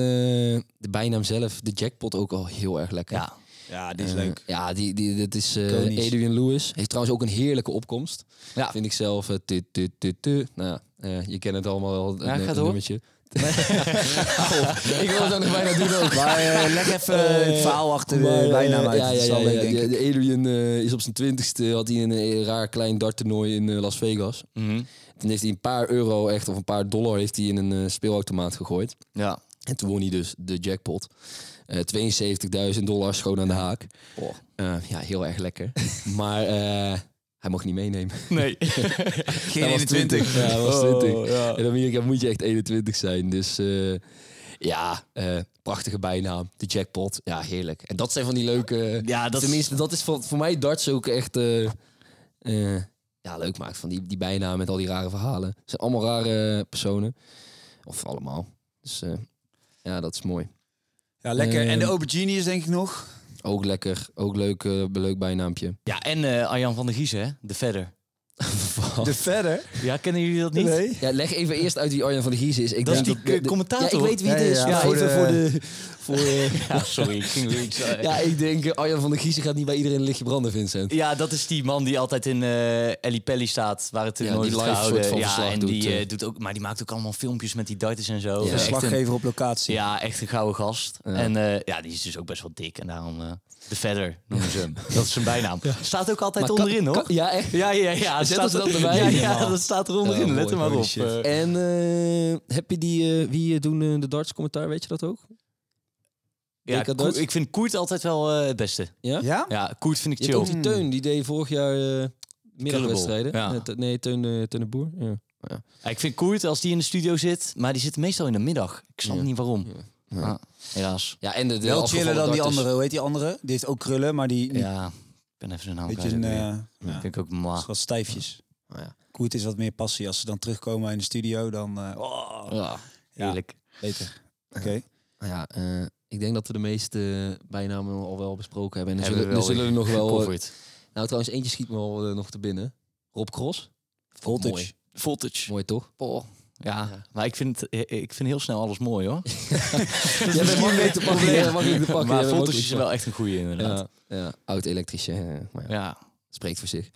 Speaker 3: de bijnaam zelf, de jackpot, ook al heel erg lekker.
Speaker 1: ja.
Speaker 4: Ja, die is
Speaker 3: Eh,
Speaker 4: leuk.
Speaker 3: ja, die, die, dit is eh,
Speaker 4: Iconisch.
Speaker 3: Adrian Lewis. Heeft trouwens ook een heerlijke opkomst.
Speaker 1: Ja.
Speaker 3: Vind ik zelf. eh, tu, tu, tu, tu. Nou, ja, eh, je kent het allemaal wel.
Speaker 1: Ja,
Speaker 3: een,
Speaker 1: ga
Speaker 3: een
Speaker 1: door.
Speaker 3: nummertje. Hou op. ik wil het ook nog bijna doen ook.
Speaker 4: Maar eh, leg even
Speaker 1: Oh.
Speaker 4: eh, het verhaal achter
Speaker 3: Maar,
Speaker 4: de
Speaker 3: eh,
Speaker 4: bijnaam uit.
Speaker 3: Ja,
Speaker 4: Dat
Speaker 3: ja,
Speaker 4: is
Speaker 3: ja,
Speaker 4: wel
Speaker 3: ja,
Speaker 4: leuk, denk
Speaker 3: de,
Speaker 4: ik.
Speaker 3: de Adrian eh, is op zijn twintigste, had hij een eh, raar klein darttoernooi in eh, Las Vegas.
Speaker 1: Mhm.
Speaker 3: Toen heeft hij een paar euro echt, of een paar dollar, heeft hij in een eh, speelautomaat gegooid.
Speaker 1: Ja.
Speaker 3: En toen won hij dus de jackpot. Eh 72.000 dollar schoon aan de haak. Eh, ja, heel erg lekker. maar eh, hij mocht niet meenemen.
Speaker 1: Nee.
Speaker 4: Geen
Speaker 3: Hij was
Speaker 4: 21.
Speaker 3: Ja, hij was 20.
Speaker 1: Oh, ja.
Speaker 3: In Amerika moet je echt 21 zijn. Dus eh, ja, eh, prachtige bijnaam. De jackpot. Ja, heerlijk. En dat zijn van die leuke...
Speaker 1: Ja, dat is-
Speaker 3: Tenminste, dat is voor, voor mij darts ook echt... eh, eh, ja, leuk maakt van die, die bijnaam met al die rare verhalen. Het zijn allemaal rare personen. Of allemaal. Dus eh, ja, dat is mooi.
Speaker 4: Ja, lekker. en de
Speaker 3: Ehm.
Speaker 4: aubergine is denk ik nog.
Speaker 3: Ook lekker. Ook leuk, eh, leuk bijnaampje.
Speaker 1: Ja, en eh, Arjan van der Giezen, hè? De verder.
Speaker 4: De verder.
Speaker 1: Ja, kennen jullie dat niet?
Speaker 3: Oh. Ja, leg even eerst uit wie Arjan van der Giezen is. Ik
Speaker 1: Dat is
Speaker 3: denk
Speaker 1: die eh,
Speaker 3: Ja, ik
Speaker 1: commentator.
Speaker 3: weet wie het
Speaker 4: Ja,
Speaker 3: is.
Speaker 4: ja,
Speaker 3: maar
Speaker 4: voor
Speaker 3: even
Speaker 4: de-
Speaker 3: voor de... Voor, eh,
Speaker 1: Ja, sorry, ik ging weer iets... eh,
Speaker 3: ja, ik denk eh, Arjan van der Giezen gaat niet bij iedereen een lichtje branden, Vincent.
Speaker 1: Ja, dat is die man die altijd in eh Ellie Pelly staat, waar het
Speaker 3: Ja,
Speaker 1: nooit
Speaker 3: die
Speaker 1: wordt
Speaker 3: live
Speaker 1: gehouden.
Speaker 3: soort van
Speaker 1: ja,
Speaker 3: verslag
Speaker 1: en
Speaker 3: doet,
Speaker 1: die
Speaker 3: eh.
Speaker 1: eh, doet ook, maar die maakt ook allemaal filmpjes met die darters en zo.
Speaker 3: Ja.
Speaker 1: Echt een-
Speaker 4: Verslaggever op locatie.
Speaker 1: ja, echt een gouden gast. En eh, ja, die is dus ook best wel dik en daarom eh, de verder noemen ze hem. Dat is zijn bijnaam. Staat ook altijd
Speaker 3: Maar kan-
Speaker 1: onderin, hoor.
Speaker 3: kan- ja, echt.
Speaker 1: ja, ja, ja. staat
Speaker 3: Zetten ze
Speaker 1: er-
Speaker 3: dat erbij?
Speaker 1: Ja, ja,
Speaker 3: Helemaal.
Speaker 1: dat staat er onderin.
Speaker 3: Ja,
Speaker 1: Let
Speaker 3: mooi,
Speaker 1: er maar
Speaker 3: holy
Speaker 1: op.
Speaker 3: shit.
Speaker 1: eh.
Speaker 3: En eh, heb je die... eh, wie eh, doen eh, de darts commentaar, weet je dat ook?
Speaker 1: ja,
Speaker 3: Denk aan
Speaker 1: Ko-
Speaker 3: Duits?
Speaker 1: ik vind Koert altijd wel eh, het beste.
Speaker 3: Ja?
Speaker 4: Ja?
Speaker 1: Ja, Koert vind ik
Speaker 3: Je hebt ook
Speaker 1: chill.
Speaker 3: die Teun, die deed vorig jaar eh, middagwedstrijden.
Speaker 1: Krullebol, ja.
Speaker 3: Eh, te- nee, Teun, eh, Teun de Boer. Ja.
Speaker 1: Ja, ik vind Koert als die in de studio zit, maar die zit meestal in de middag. Ik snap
Speaker 3: Ja.
Speaker 1: niet waarom.
Speaker 3: Ja.
Speaker 1: Ah, helaas.
Speaker 3: Ja, en de, de
Speaker 4: Wel
Speaker 3: afgevallen
Speaker 4: chiller dan die
Speaker 3: darters.
Speaker 4: andere. Hoe heet die andere? Die heeft ook krullen, maar die... die
Speaker 1: Ja, ik ben even zijn naam
Speaker 4: beetje
Speaker 1: kwijt.
Speaker 4: een,
Speaker 1: ook weer.
Speaker 4: eh, ja,
Speaker 1: Vind ik ook
Speaker 4: is
Speaker 1: maar.
Speaker 4: wat stijfjes.
Speaker 3: Oh, ja.
Speaker 4: Koert is wat meer passie. Als ze dan terugkomen in de studio, dan... eh, oh,
Speaker 3: Ja.
Speaker 4: Ja.
Speaker 1: Heerlijk.
Speaker 4: beter. Oké.
Speaker 3: Ja, eh, ik denk dat we de meeste eh, bijnamen al wel besproken hebben. En er
Speaker 1: Hebben we
Speaker 3: zullen, er
Speaker 1: wel
Speaker 3: zullen er nog wel...
Speaker 1: Covered.
Speaker 3: Nou, trouwens, eentje schiet me al eh, nog te binnen. Rob Cross.
Speaker 4: Voltage.
Speaker 3: Mooi,
Speaker 1: Voltage.
Speaker 3: mooi toch?
Speaker 1: Ja, maar ik vind, het- eh, ik vind heel snel alles mooi hoor.
Speaker 3: Jij bent makkelijk te pakken. Jij bent makkelijk te pakken. eh,
Speaker 1: maar
Speaker 3: jij bent
Speaker 1: Voltage
Speaker 3: makkelijk
Speaker 1: is
Speaker 3: te
Speaker 1: wel echt een goede
Speaker 3: pakken.
Speaker 1: inderdaad.
Speaker 3: Ja, ja, oud elektricien. Maar ja,
Speaker 1: Ja,
Speaker 3: spreekt voor zich.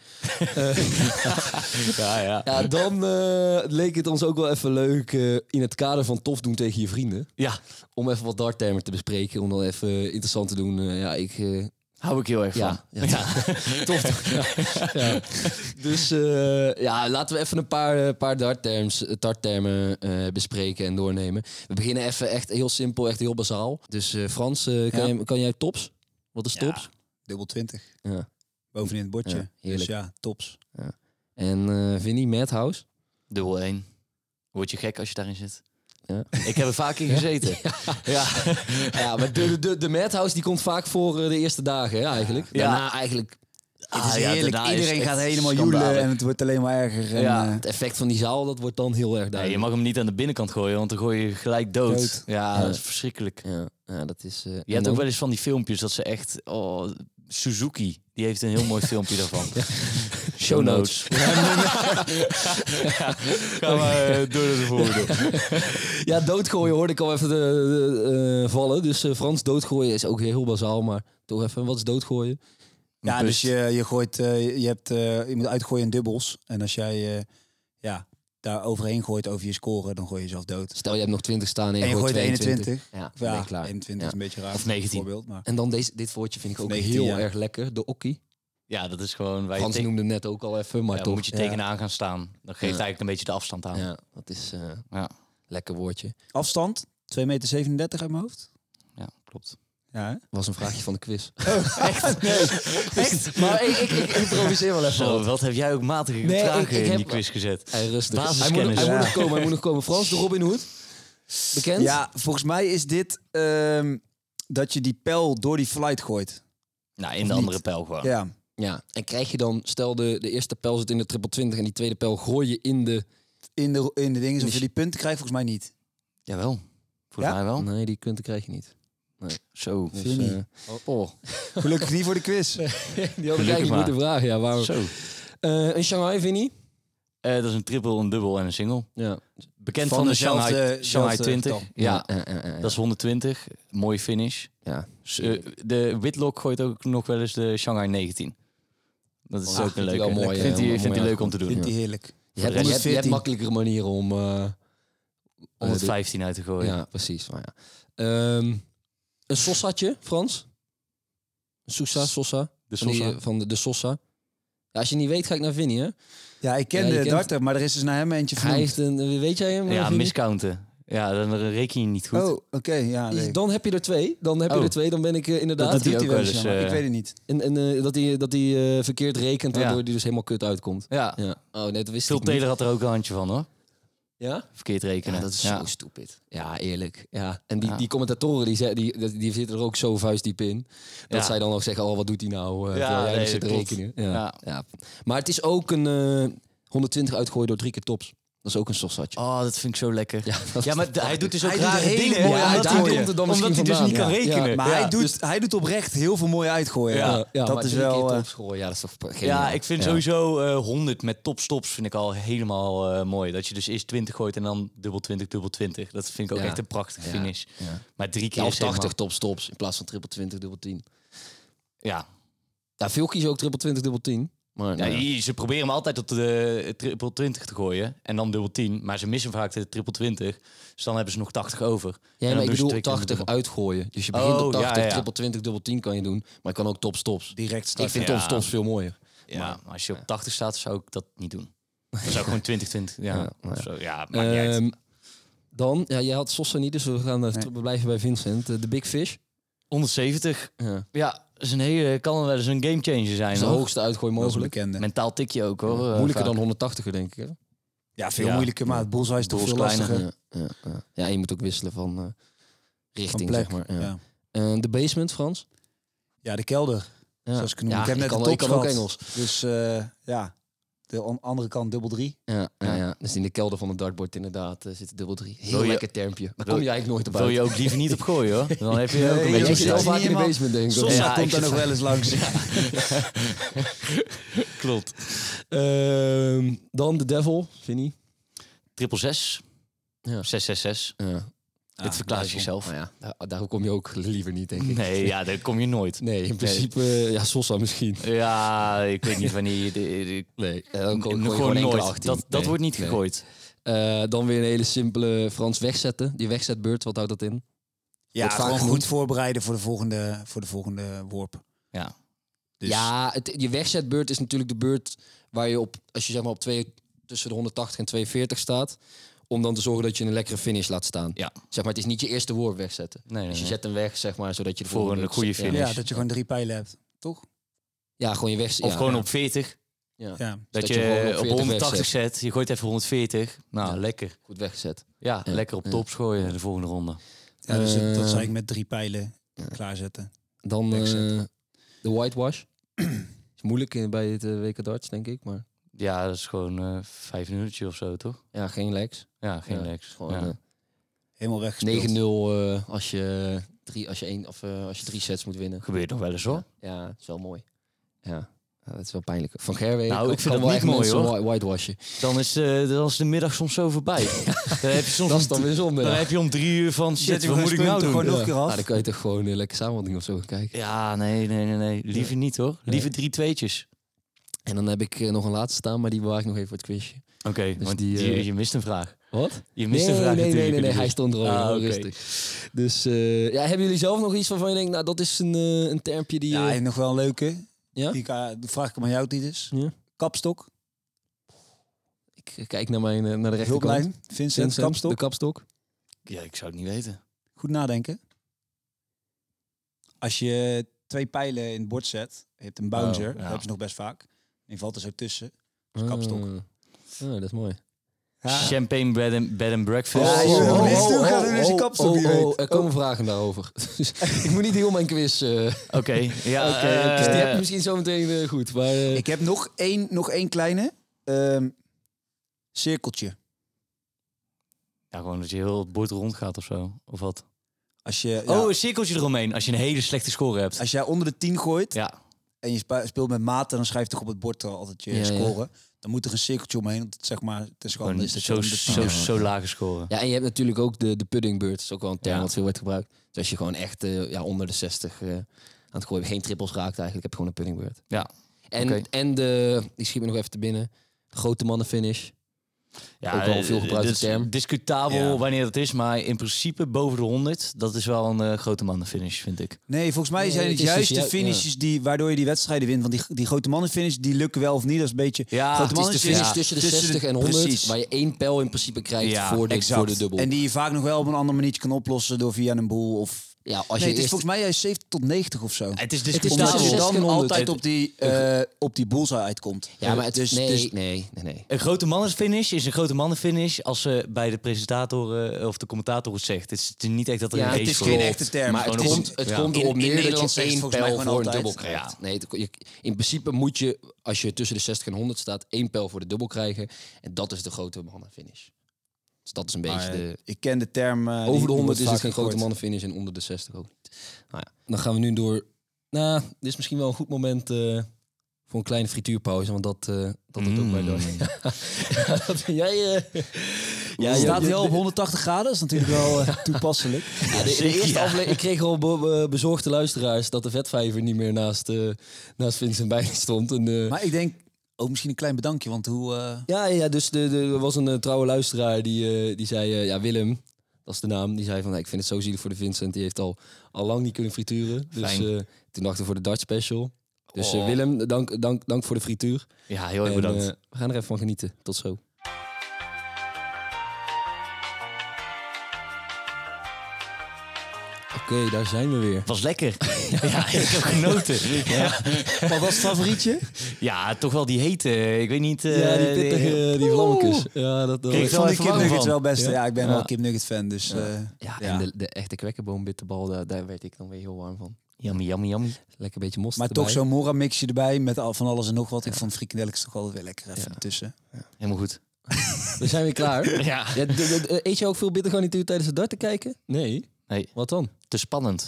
Speaker 1: ja, ja.
Speaker 3: Ja, dan eh, leek het ons ook wel even leuk eh, in het kader van tof doen tegen je vrienden.
Speaker 1: Ja,
Speaker 3: Om even wat darttermen te bespreken. Om dan even interessant te doen. Eh, ja, ik... eh,
Speaker 1: hou ik heel erg
Speaker 3: ja,
Speaker 1: van.
Speaker 3: ja, tof doen. Ja, ja. Dus eh, ja, laten we even een paar, eh, paar dartterms, eh, darttermen eh, bespreken en doornemen. We beginnen even echt heel simpel, echt heel bazaal. Dus eh, Frans, eh, kan,
Speaker 4: Ja.
Speaker 3: jij, kan jij tops? Wat is
Speaker 4: Ja.
Speaker 3: tops?
Speaker 4: Dubbel 20.
Speaker 3: Ja.
Speaker 4: Bovenin het bordje.
Speaker 3: Ja,
Speaker 4: dus
Speaker 3: heerlijk.
Speaker 4: ja, tops.
Speaker 3: En eh Vinnie, Madhouse?
Speaker 1: Dubbel 1. Word je gek als je daarin zit?
Speaker 3: Ja.
Speaker 1: Ik heb er vaak in gezeten. Ja.
Speaker 3: Ja, maar de, de, de Madhouse die komt vaak voor eh, de eerste dagen hè, eigenlijk.
Speaker 1: Ja.
Speaker 3: Daarna eigenlijk
Speaker 1: Ah,
Speaker 4: het is
Speaker 1: ja,
Speaker 4: heerlijk.
Speaker 1: daarna is
Speaker 4: Iedereen
Speaker 1: echt
Speaker 4: gaat helemaal
Speaker 1: schandalig.
Speaker 4: joelen en het wordt alleen maar erger. En,
Speaker 1: Ja.
Speaker 4: eh,
Speaker 3: het effect van die zaal, dat wordt dan heel erg
Speaker 1: Nee, je
Speaker 3: duidelijk.
Speaker 1: mag hem niet aan de binnenkant gooien, want dan gooi je gelijk dood.
Speaker 4: Dood.
Speaker 1: Ja,
Speaker 3: Ja.
Speaker 1: dat is verschrikkelijk.
Speaker 3: Ja, ja, dat is... eh,
Speaker 1: Je
Speaker 3: en
Speaker 1: hebt ook
Speaker 3: dan-
Speaker 1: wel eens van die filmpjes dat ze echt... Oh, Suzuki, die heeft een heel mooi filmpje daarvan.
Speaker 3: Show notes.
Speaker 1: Ga maar eh, door naar de volgende.
Speaker 3: Ja, doodgooien hoorde ik al even de, de, eh, vallen. Dus eh, Frans doodgooien is ook heel bazaal, maar toch even, wat is doodgooien?
Speaker 4: ja,
Speaker 1: Een
Speaker 4: dus je, je gooit, eh, je, hebt, eh, je moet uitgooien in dubbels. En als jij eh, ja, daar overheen gooit over je score, dan gooi je jezelf dood.
Speaker 3: Stel, je hebt nog 20 staan en je,
Speaker 4: En je
Speaker 3: gooit
Speaker 4: gooit
Speaker 3: 22. Ja,
Speaker 4: 21. Ja,
Speaker 3: ben je klaar.
Speaker 4: 21 is
Speaker 3: Ja.
Speaker 4: een beetje raar.
Speaker 1: Of 19.
Speaker 4: Voorbeeld, maar.
Speaker 3: En dan deze, dit woordje vind ik ook
Speaker 4: 19,
Speaker 3: heel
Speaker 4: ja.
Speaker 3: erg lekker, de okkie.
Speaker 1: Ja, dat is gewoon... Waar je
Speaker 3: Frans
Speaker 1: tegen-
Speaker 3: noemde net ook al even, maar
Speaker 1: ja,
Speaker 3: toch.
Speaker 1: moet je
Speaker 4: Ja.
Speaker 1: tegenaan gaan staan. Dat geeft eigenlijk een beetje de afstand aan. Ja.
Speaker 3: Ja, dat is eh
Speaker 1: Ja.
Speaker 3: lekker woordje.
Speaker 4: Afstand, 2,37 meter 37 uit mijn hoofd.
Speaker 1: klopt.
Speaker 4: Ja, hè?
Speaker 3: Was een vraagje van de quiz. Oh, echt? echt? Maar ik, ik, ik improviseer wel even.
Speaker 1: Zo,
Speaker 3: wat.
Speaker 1: wat heb jij ook matige
Speaker 3: Nee,
Speaker 1: vragen
Speaker 3: ik- ik
Speaker 1: in
Speaker 3: heb-
Speaker 1: die quiz gezet?
Speaker 3: Hey, rustig. Hij moet,
Speaker 1: Basiskennis.
Speaker 3: hij moet
Speaker 4: Ja.
Speaker 3: nog komen, hij moet nog komen. Frans, de Robin Hood. Bekend?
Speaker 4: ja, volgens mij is dit ehm, dat je die pijl door die flight gooit.
Speaker 1: Nou, in de andere pijl gewoon.
Speaker 4: Ja.
Speaker 3: Ja. En krijg je dan, stel de, de eerste pijl zit in de triple 20 en die tweede pijl gooi je in de
Speaker 4: In de, in de dingen, of je die punten krijgt, volgens mij niet.
Speaker 1: Jawel. Volgens
Speaker 4: Ja?
Speaker 1: mij wel.
Speaker 3: Nee, die punten krijg je niet.
Speaker 1: Zo.
Speaker 3: Dus,
Speaker 4: niet?
Speaker 3: eh,
Speaker 1: Oh,
Speaker 4: Gelukkig niet voor de quiz.
Speaker 3: die had ik eigenlijk
Speaker 1: maar.
Speaker 3: moeten vragen. Ja, waarom?
Speaker 1: zo.
Speaker 3: Eh, een Shanghai, Vinnie?
Speaker 1: Eh, dat is een triple, een dubbel en een single.
Speaker 3: Ja.
Speaker 1: Bekend
Speaker 4: Van
Speaker 1: van, de
Speaker 4: dezelfde-
Speaker 1: Shanghai, Shanghai
Speaker 4: dezelfde
Speaker 1: 20.
Speaker 4: getal.
Speaker 1: Ja,
Speaker 3: ja, ja, ja, ja.
Speaker 1: dat is 120. Mooie finish.
Speaker 3: Ja.
Speaker 1: S- eh, De Whitlock gooit ook nog wel eens de Shanghai 19. Dat is
Speaker 3: Ah,
Speaker 1: ook een
Speaker 3: vindt hij
Speaker 1: leuke.
Speaker 3: wel mooi,
Speaker 1: vindt
Speaker 3: eh,
Speaker 1: hij vindt
Speaker 3: wel
Speaker 1: hij
Speaker 3: mooi
Speaker 1: leuk om te doen.
Speaker 4: Vindt die heerlijk.
Speaker 3: Je hebt, je, hebt, je
Speaker 4: 114.
Speaker 3: hebt makkelijkere manieren om... eh,
Speaker 1: Om
Speaker 3: eh,
Speaker 1: het
Speaker 3: de-
Speaker 1: 15 uit te gooien.
Speaker 3: Ja, precies. Maar ja. Ehm, een sossatje, Frans? Een Sousa, Sosa?
Speaker 1: De
Speaker 3: Van, die,
Speaker 1: Sosa.
Speaker 3: eh, van de, de Sosa. Ja, als je niet weet, ga ik naar Vinnie, hè?
Speaker 4: Ja, ik ken
Speaker 3: Ja, je
Speaker 4: de
Speaker 3: kent-
Speaker 4: darter, maar er is dus naar hem eentje
Speaker 3: Hij
Speaker 4: vernoemd.
Speaker 3: heeft een... eh, Weet jij hem?
Speaker 1: Ja,
Speaker 3: Vinnie?
Speaker 1: miscounten. Ja, dan reken je niet goed.
Speaker 4: Oh, oké. ja, nee.
Speaker 3: Dan heb je er twee. Dan heb je
Speaker 1: Oh.
Speaker 3: er twee. Dan ben ik eh, inderdaad...
Speaker 1: Dat doet hij ook
Speaker 4: wel eens,
Speaker 1: wel
Speaker 4: ja, maar
Speaker 1: eens,
Speaker 4: ik
Speaker 1: eh,
Speaker 4: weet het niet.
Speaker 3: En, en eh, dat hij dat hij eh, verkeerd rekent,
Speaker 1: Ja. Ah.
Speaker 3: waardoor hij dus helemaal kut uitkomt.
Speaker 1: Ja,
Speaker 3: Ja. Oh, nee, dat wist
Speaker 1: Phil
Speaker 3: ik niet.
Speaker 1: Taylor had er ook een handje van hoor.
Speaker 3: Ja?
Speaker 1: Verkeerd rekenen.
Speaker 3: ja, dat is
Speaker 1: Ja.
Speaker 3: zo stupid. Ja, eerlijk. Ja. En die,
Speaker 1: Ja.
Speaker 3: die commentatoren, die, ze- die, die, die zitten er ook zo vuistdiep in. Dat
Speaker 1: Ja.
Speaker 3: zij dan ook zeggen, oh, wat doet hij nou? eh
Speaker 1: Ja,
Speaker 3: terwijl jij
Speaker 1: nee,
Speaker 3: hem zit te
Speaker 1: dat klopt.
Speaker 3: rekenen. Ja. Ja.
Speaker 1: Ja.
Speaker 3: Maar het is ook een eh, 120 uitgooien door drie keer tops. Dat is ook een sossatje.
Speaker 1: Oh, dat vind ik zo lekker. Ja,
Speaker 3: dat-
Speaker 1: maar d- hij doet dus ook
Speaker 4: Hij doet
Speaker 1: rare
Speaker 4: hele
Speaker 1: dingen.
Speaker 4: mooie
Speaker 1: omdat hij-
Speaker 4: uitgooien.
Speaker 1: omdat hij
Speaker 3: Omdat hij
Speaker 1: dus
Speaker 3: vandaan.
Speaker 1: niet kan
Speaker 3: Ja.
Speaker 1: rekenen.
Speaker 3: Ja,
Speaker 1: Ja,
Speaker 4: Maar
Speaker 1: ja.
Speaker 4: hij, doet, hij doet oprecht heel veel mooi uitgooien.
Speaker 1: Ja,
Speaker 4: dus- Ja, dat
Speaker 3: maar
Speaker 4: is
Speaker 3: drie keer
Speaker 4: wel... eh,
Speaker 3: tops gooien, ja, dat is toch geniaal.
Speaker 1: ik vind
Speaker 3: Ja.
Speaker 1: sowieso eh 100 met topstops vind ik al helemaal eh, mooi. Dat je dus eerst 20 gooit en dan dubbel 20, dubbel 20. Dat vind ik ook
Speaker 3: Ja.
Speaker 1: echt een prachtige
Speaker 3: Ja.
Speaker 1: finish.
Speaker 3: Ja.
Speaker 1: Maar drie keer
Speaker 3: Ja, of
Speaker 1: is helemaal-
Speaker 3: 80 topstops in plaats van triple 20, dubbel 10.
Speaker 1: Ja.
Speaker 3: Ja, veel kiezen ook triple 20, dubbel 10. Maar
Speaker 1: Ja,
Speaker 3: nou ja.
Speaker 1: je- Ze proberen hem altijd op de eh, triple 20 te gooien en dan dubbel 10. Maar ze missen vaak de triple 20. Dus dan hebben ze nog 80 over.
Speaker 3: Ja,
Speaker 1: En dan
Speaker 3: maar
Speaker 1: doen
Speaker 3: ik
Speaker 1: ze
Speaker 3: bedoel
Speaker 1: twee keer
Speaker 3: 80
Speaker 1: dubbel.
Speaker 3: uitgooien. Dus je begint
Speaker 1: Oh,
Speaker 3: op 80,
Speaker 1: ja, ja.
Speaker 3: triple 20, dubbel 10 kan je doen. Maar je kan ook top stops.
Speaker 4: Direct
Speaker 3: Ik
Speaker 4: starten.
Speaker 3: vind
Speaker 1: Ja.
Speaker 3: top stops veel mooier.
Speaker 1: Ja, maar als je op 80 staat, zou ik dat niet doen. Dan zou ik gewoon 20, 20. Ja,
Speaker 3: Ja, maar
Speaker 1: of
Speaker 3: ja.
Speaker 1: zo. ja maakt niet uit.
Speaker 3: Ehm, dan, ja, jij had Sosa niet, dus we gaan eh, we blijven bij Vincent. Eh, De Big Fish.
Speaker 1: 170.
Speaker 3: Ja.
Speaker 1: Ja, dat is een hele, kan wel eens een gamechanger zijn.
Speaker 3: is de
Speaker 1: hoor.
Speaker 3: hoogste uitgooi
Speaker 4: Dat is een
Speaker 3: mogelijk.
Speaker 4: bekende.
Speaker 1: Mentaal tikje ook hoor. eh,
Speaker 3: Moeilijker dan
Speaker 1: vaak.
Speaker 3: 180 er, denk ik. Hè?
Speaker 4: Ja, veel
Speaker 1: Ja.
Speaker 4: moeilijker, maar het bullseye is toch veel
Speaker 1: Bullseye
Speaker 4: lastiger.
Speaker 3: Ja, ja, ja. ja, en je moet ook wisselen van eh, richting,
Speaker 4: plek,
Speaker 3: zeg maar. Ja.
Speaker 4: ja.
Speaker 3: Eh, de basement, Frans.
Speaker 4: Ja, de kelder,
Speaker 3: Ja.
Speaker 4: zoals ik het noem.
Speaker 3: Ja,
Speaker 4: ik heb net
Speaker 3: kan,
Speaker 4: de
Speaker 3: ik
Speaker 4: tops
Speaker 3: kan ook
Speaker 4: gehad.
Speaker 3: Engels.
Speaker 4: Dus eh, ja, de an- andere kant dubbel drie.
Speaker 3: Ja, ja. ja. Dus in de kelder van het dartboard inderdaad eh, zit dubbel 3. Heel
Speaker 1: Wil je-
Speaker 3: lekker termpje. Daar
Speaker 1: wil-
Speaker 3: kom je eigenlijk nooit op
Speaker 1: Wil
Speaker 3: uit.
Speaker 1: je ook liever niet op gooien hoor. Dan heb je ook een
Speaker 3: Jij
Speaker 4: Nee,
Speaker 1: beetje...
Speaker 4: joh,
Speaker 3: zit wel
Speaker 4: is
Speaker 1: gezien.
Speaker 3: vaak in de
Speaker 4: helemaal-
Speaker 3: basement, denk ik.
Speaker 4: Sosa
Speaker 1: Ja, ik
Speaker 4: komt daar
Speaker 1: zit-
Speaker 4: nog wel eens langs.
Speaker 1: Klopt.
Speaker 3: Ehm, dan de Devil, Vinnie.
Speaker 1: Triple 6.
Speaker 3: Ja.
Speaker 1: 666.
Speaker 3: Ja.
Speaker 1: Dit verklaart zichzelf.
Speaker 3: Maar ja, daar, daarom kom je ook liever niet, denk ik.
Speaker 1: Nee, ja, daar kom je nooit.
Speaker 3: Nee, in principe, eh, ja, Sosa misschien.
Speaker 1: Ja, ik weet niet wanneer... je de- de- Mm,
Speaker 3: Nee, eh, dan gooi- gooi je
Speaker 1: gewoon
Speaker 3: gewoon één keer
Speaker 1: nooit.
Speaker 3: 18.
Speaker 1: Dat, dat
Speaker 3: Nee,
Speaker 1: wordt niet
Speaker 3: nee.
Speaker 1: gegooid.
Speaker 3: Eh, dan weer een hele simpele Frans wegzetten. Die wegzetbeurt, wat houdt dat in?
Speaker 4: Ja,
Speaker 3: Wordt vaak
Speaker 4: gewoon
Speaker 3: genoemd.
Speaker 4: goed voorbereiden voor de volgende, voor de volgende worp.
Speaker 1: Ja.
Speaker 4: Dus,
Speaker 3: Ja, het, je wegzetbeurt is natuurlijk de beurt waar je op, als je zeg maar op twee, tussen de 180 en 240 staat, om dan te zorgen dat je een lekkere finish laat staan.
Speaker 1: Ja.
Speaker 3: Zeg maar, het is niet je eerste worp wegzetten.
Speaker 1: Nee, nee,
Speaker 3: dus je
Speaker 1: nee.
Speaker 3: zet hem weg, zeg maar, zodat je de
Speaker 1: Voor een
Speaker 3: volgende
Speaker 1: goede
Speaker 3: ja.
Speaker 1: finish.
Speaker 4: ja, dat je gewoon drie pijlen hebt, toch?
Speaker 3: Ja, gewoon je weg.
Speaker 1: Of
Speaker 3: ja,
Speaker 1: gewoon
Speaker 3: ja.
Speaker 1: op 40.
Speaker 4: Ja.
Speaker 1: Dat,
Speaker 3: Dat je gewoon
Speaker 1: je
Speaker 3: op
Speaker 1: op
Speaker 3: 40
Speaker 1: 180
Speaker 3: wegzet.
Speaker 1: zet. Je gooit even 140. Nou, lekker.
Speaker 3: goed weggezet.
Speaker 1: Ja,
Speaker 3: Ja.
Speaker 1: lekker op tops gooien de volgende ronde.
Speaker 4: ja dus dat-
Speaker 3: Eh,
Speaker 4: dat zou ik met drie pijlen klaarzetten.
Speaker 3: Dan
Speaker 4: Wegzetten.
Speaker 3: eh, de whitewash. is moeilijk eh, bij het eh, WK darts, denk ik. Maar
Speaker 1: Ja, dat is gewoon eh vijf minuutjes of zo, toch?
Speaker 3: ja, geen legs.
Speaker 1: Ja, geen
Speaker 3: Ja,
Speaker 1: legs.
Speaker 3: Gewoon
Speaker 1: Ja.
Speaker 3: eh,
Speaker 4: Helemaal
Speaker 3: 9-0
Speaker 4: weggespeeld.
Speaker 3: eh, als, je drie, als, je één, of, eh, als je drie sets moet winnen.
Speaker 1: Gebeurt nog wel eens hoor.
Speaker 3: Ja, dat is wel mooi. Ja, ja, dat is wel pijnlijk. Van Gerwe
Speaker 1: Nou,
Speaker 3: kan-
Speaker 1: ik vind
Speaker 3: kan
Speaker 1: dat
Speaker 3: wel
Speaker 1: niet
Speaker 3: echt
Speaker 1: mooi,
Speaker 3: mensen
Speaker 1: hoor.
Speaker 3: whi- whitewashen.
Speaker 1: Dan is, eh, dan is de middag soms zo voorbij. dan heb je soms
Speaker 3: Dat is dan weer zonde.
Speaker 1: dan
Speaker 3: Ja.
Speaker 1: heb je om drie uur van shit,
Speaker 4: je
Speaker 1: wat
Speaker 4: gewoon
Speaker 1: moet ik nou
Speaker 4: punten,
Speaker 1: doen?
Speaker 4: gewoon nog een keer
Speaker 3: Ah,
Speaker 4: af.
Speaker 3: dan kan je toch gewoon een lekker samenvatting of zo gaan kijken.
Speaker 1: Ja, nee, nee, nee, nee. Liever niet hoor. Liever drie tweetjes.
Speaker 3: En dan heb ik eh, nog een laatste staan, maar die bewaar ik nog even voor het quizje.
Speaker 1: Oké, want
Speaker 3: die,
Speaker 1: Dus je-
Speaker 3: eh,
Speaker 1: je mist een vraag.
Speaker 3: Wat?
Speaker 1: Je mist
Speaker 3: Nee,
Speaker 1: een
Speaker 3: nee,
Speaker 1: vraag
Speaker 3: nee,
Speaker 1: natuurlijk.
Speaker 3: nee, nee,
Speaker 1: in de
Speaker 3: hij
Speaker 1: bus.
Speaker 3: stond er al
Speaker 1: Ah,
Speaker 3: heel
Speaker 1: oké.
Speaker 3: rustig. Dus eh, ja, hebben jullie zelf nog iets waarvan je denkt, nou dat is een, eh, een termpje die...
Speaker 4: Ja,
Speaker 3: eh,
Speaker 4: en nog wel een leuke.
Speaker 3: Ja?
Speaker 4: Die, ka- die vraag ik hem aan jou, Titus.
Speaker 3: Ja.
Speaker 4: Kapstok.
Speaker 3: ik eh, kijk naar, mijn, eh, naar de
Speaker 4: Heel
Speaker 3: rechterkant.
Speaker 4: klein. Vincent,
Speaker 3: Vincent,
Speaker 4: kapstok.
Speaker 3: De kapstok.
Speaker 1: Ja, ik zou het niet weten.
Speaker 4: Goed nadenken. Als je twee pijlen in het bord zet, je hebt een bouncer,
Speaker 1: Oh, ja.
Speaker 4: dat hebben ze nog best vaak. Die valt er zo tussen. Dus kapstok.
Speaker 3: Ah, ah, dat is mooi.
Speaker 4: Ah.
Speaker 1: Champagne bed and, bed and breakfast.
Speaker 4: Ja, joh,
Speaker 1: Oh,
Speaker 4: dat is
Speaker 1: oh,
Speaker 4: toch-
Speaker 1: oh.
Speaker 4: gaat er dus die kapstok, wie weet.
Speaker 3: er komen vragen daarover. Dus ik moet niet heel mijn quiz... eh,
Speaker 1: Oké, ja.
Speaker 3: Oké, oké. Dus die heb je
Speaker 1: eh,
Speaker 3: misschien zo meteen eh, goed. Maar eh,
Speaker 4: Ik heb nog één, nog één kleine. ehm, cirkeltje.
Speaker 1: ja, gewoon dat je heel het bord rond gaat of zo. Of wat?
Speaker 4: Als, je, ja,
Speaker 1: Oh, een cirkeltje eromheen als je een hele slechte score hebt.
Speaker 4: als jij onder de 10 gooit
Speaker 1: Ja,
Speaker 4: en je spa- speelt met maten, dan schrijft toch op het bord al altijd je
Speaker 3: Ja, ja.
Speaker 4: scoren. Dan moet er een cirkeltje omheen, want het, zeg maar, het is gewoon
Speaker 1: gewoon
Speaker 4: is dat je
Speaker 1: zo,
Speaker 4: onder de 10
Speaker 1: zo, zo lage scoren.
Speaker 3: ja, en je hebt natuurlijk ook de, de puddingbeurt. Dat is ook wel een term
Speaker 1: Ja.
Speaker 3: wat veel wordt gebruikt. Dus als je gewoon echt eh, ja, onder de 60 eh, aan het gooien, geen trippels raakt eigenlijk, heb je gewoon een puddingbeurt.
Speaker 1: Ja.
Speaker 3: En,
Speaker 1: Oké.
Speaker 3: en de, die schiet me nog even te binnen, de grote mannen finish.
Speaker 1: Ja,
Speaker 3: Ook wel een
Speaker 1: eh,
Speaker 3: veelgebruikte
Speaker 1: dat is
Speaker 3: term.
Speaker 1: Discutabel
Speaker 4: Ja.
Speaker 1: wanneer dat is, maar in principe boven de 100, dat is wel een eh, grote mannenfinish, vind ik.
Speaker 4: Nee, volgens mij
Speaker 3: Nee,
Speaker 4: zijn
Speaker 3: het
Speaker 4: het
Speaker 3: is dus
Speaker 4: juist de
Speaker 3: ju-
Speaker 4: finishes die, waardoor je die wedstrijden wint. Want die, die grote mannenfinish, die lukken wel of niet. Dat is een beetje...
Speaker 1: Ja,
Speaker 4: grote
Speaker 1: het
Speaker 3: Het is de finish
Speaker 1: Ja,
Speaker 3: tussen de 60 en 100,
Speaker 4: precies.
Speaker 3: waar je één pijl in principe krijgt
Speaker 1: Ja,
Speaker 3: voor, de,
Speaker 4: Exact.
Speaker 3: voor de dubbel.
Speaker 4: En die je vaak nog wel op een ander manier kan oplossen door via een boel of...
Speaker 3: ja, als
Speaker 4: nee,
Speaker 3: je
Speaker 4: het is
Speaker 3: eerst,
Speaker 4: volgens mij juist 70 tot 90 of zo.
Speaker 1: Het is
Speaker 3: omdat
Speaker 1: discutabel.
Speaker 4: Omdat je
Speaker 3: zes keer
Speaker 4: dan
Speaker 3: honderd.
Speaker 4: altijd op die, eh op die bullseye uitkomt.
Speaker 3: ja, maar het,
Speaker 4: dus,
Speaker 3: nee,
Speaker 4: dus-
Speaker 3: nee, nee, nee.
Speaker 1: Een grote mannenfinish is een grote mannenfinish als ze bij de presentator eh, of de commentator het zegt. Het is niet echt dat er
Speaker 3: Ja,
Speaker 1: een
Speaker 3: het
Speaker 1: race
Speaker 4: is geen
Speaker 1: verloopt.
Speaker 4: echte term.
Speaker 3: Maar het
Speaker 1: Gewoon
Speaker 3: komt,
Speaker 1: een-
Speaker 3: het
Speaker 1: ja.
Speaker 3: komt
Speaker 4: In-
Speaker 3: erop
Speaker 4: in
Speaker 3: neer dat
Speaker 4: Nederland
Speaker 3: je
Speaker 4: zegt
Speaker 3: één
Speaker 4: volgens mij
Speaker 3: pijl
Speaker 4: gewoon
Speaker 3: voor een
Speaker 4: altijd.
Speaker 3: dubbel krijgt. Nee, het- je- in principe moet je, als je tussen de 60 en 100 staat, één pijl voor de dubbel krijgen. En dat is de grote mannenfinish. Dus dat is een beetje
Speaker 4: maar,
Speaker 3: de...
Speaker 4: Ik ken de term... eh, die-
Speaker 3: Over de
Speaker 4: die
Speaker 3: 100
Speaker 4: wordt
Speaker 3: is het
Speaker 4: vaak
Speaker 3: geen grote
Speaker 4: gegooid.
Speaker 3: mannenfinish en onder de 60 ook niet. Nou ja, dan gaan we nu door... Nou, dit is misschien wel een goed moment eh, voor een kleine frituurpauze, want dat, eh dat doet ook bij door. Jij... eh,
Speaker 4: Ja,
Speaker 3: je-
Speaker 4: staat
Speaker 3: je-
Speaker 4: wel op 180 graden, dat is natuurlijk wel eh, toepasselijk.
Speaker 3: Ja, de, de eerste aflevering, ik kreeg al be- be- bezorgde luisteraars dat de vetvijver niet meer naast, eh, naast Vincent bij stond. En, eh,
Speaker 4: Maar ik denk ook misschien een klein bedankje, want hoe... eh,
Speaker 3: ja, ja, dus de, de, er was een eh, trouwe luisteraar die, eh, die zei, eh, ja Willem, dat is de naam, die zei van, "Hey, ik vind het zo zielig voor de Vincent, die heeft al, al lang niet kunnen frituren. Dus
Speaker 1: Fijn.
Speaker 3: eh, toen dachten we voor de Dutch Special. Dus eh, Willem, dank, dank, dank voor de frituur.
Speaker 1: Ja, heel erg
Speaker 3: En,
Speaker 1: bedankt.
Speaker 3: eh, we gaan er even van genieten. Tot zo. Oké, daar zijn we weer.
Speaker 1: Het was lekker. ja, ik heb genoten. Ja.
Speaker 3: Wat was favorietje?
Speaker 1: Ja, toch wel die hete. Ik weet niet. eh,
Speaker 3: ja, die
Speaker 1: de-
Speaker 3: pittige, die vlammetjes. Ja, dat, dat
Speaker 1: Kreeg
Speaker 4: ik
Speaker 1: wel
Speaker 4: vond die
Speaker 1: even
Speaker 4: Kip
Speaker 1: warm
Speaker 4: Nuggets
Speaker 1: van.
Speaker 4: wel best.
Speaker 3: Ja?
Speaker 4: Ja, ik ben
Speaker 3: Ja.
Speaker 4: wel een Kip Nugget fan, dus... eh,
Speaker 3: Ja,
Speaker 4: Ja.
Speaker 3: en de, de echte kwekkenboombitterbal, daar, daar werd ik dan weer heel warm van.
Speaker 1: Yummy, yummy, yummy.
Speaker 3: Lekker beetje mosterd
Speaker 4: Maar toch
Speaker 3: erbij.
Speaker 4: zo'n Mora-mixje erbij met al van alles en nog wat. Ik vond frikandelletjes toch altijd wel lekker even
Speaker 3: Ja.
Speaker 4: tussen.
Speaker 1: Helemaal goed.
Speaker 3: We zijn weer klaar.
Speaker 1: Ja.
Speaker 3: Ja, de- de- de- eet je ook veel bittergarnituur tijdens het darten kijken? Nee.
Speaker 1: Nee.
Speaker 3: Wat dan?
Speaker 1: Te spannend.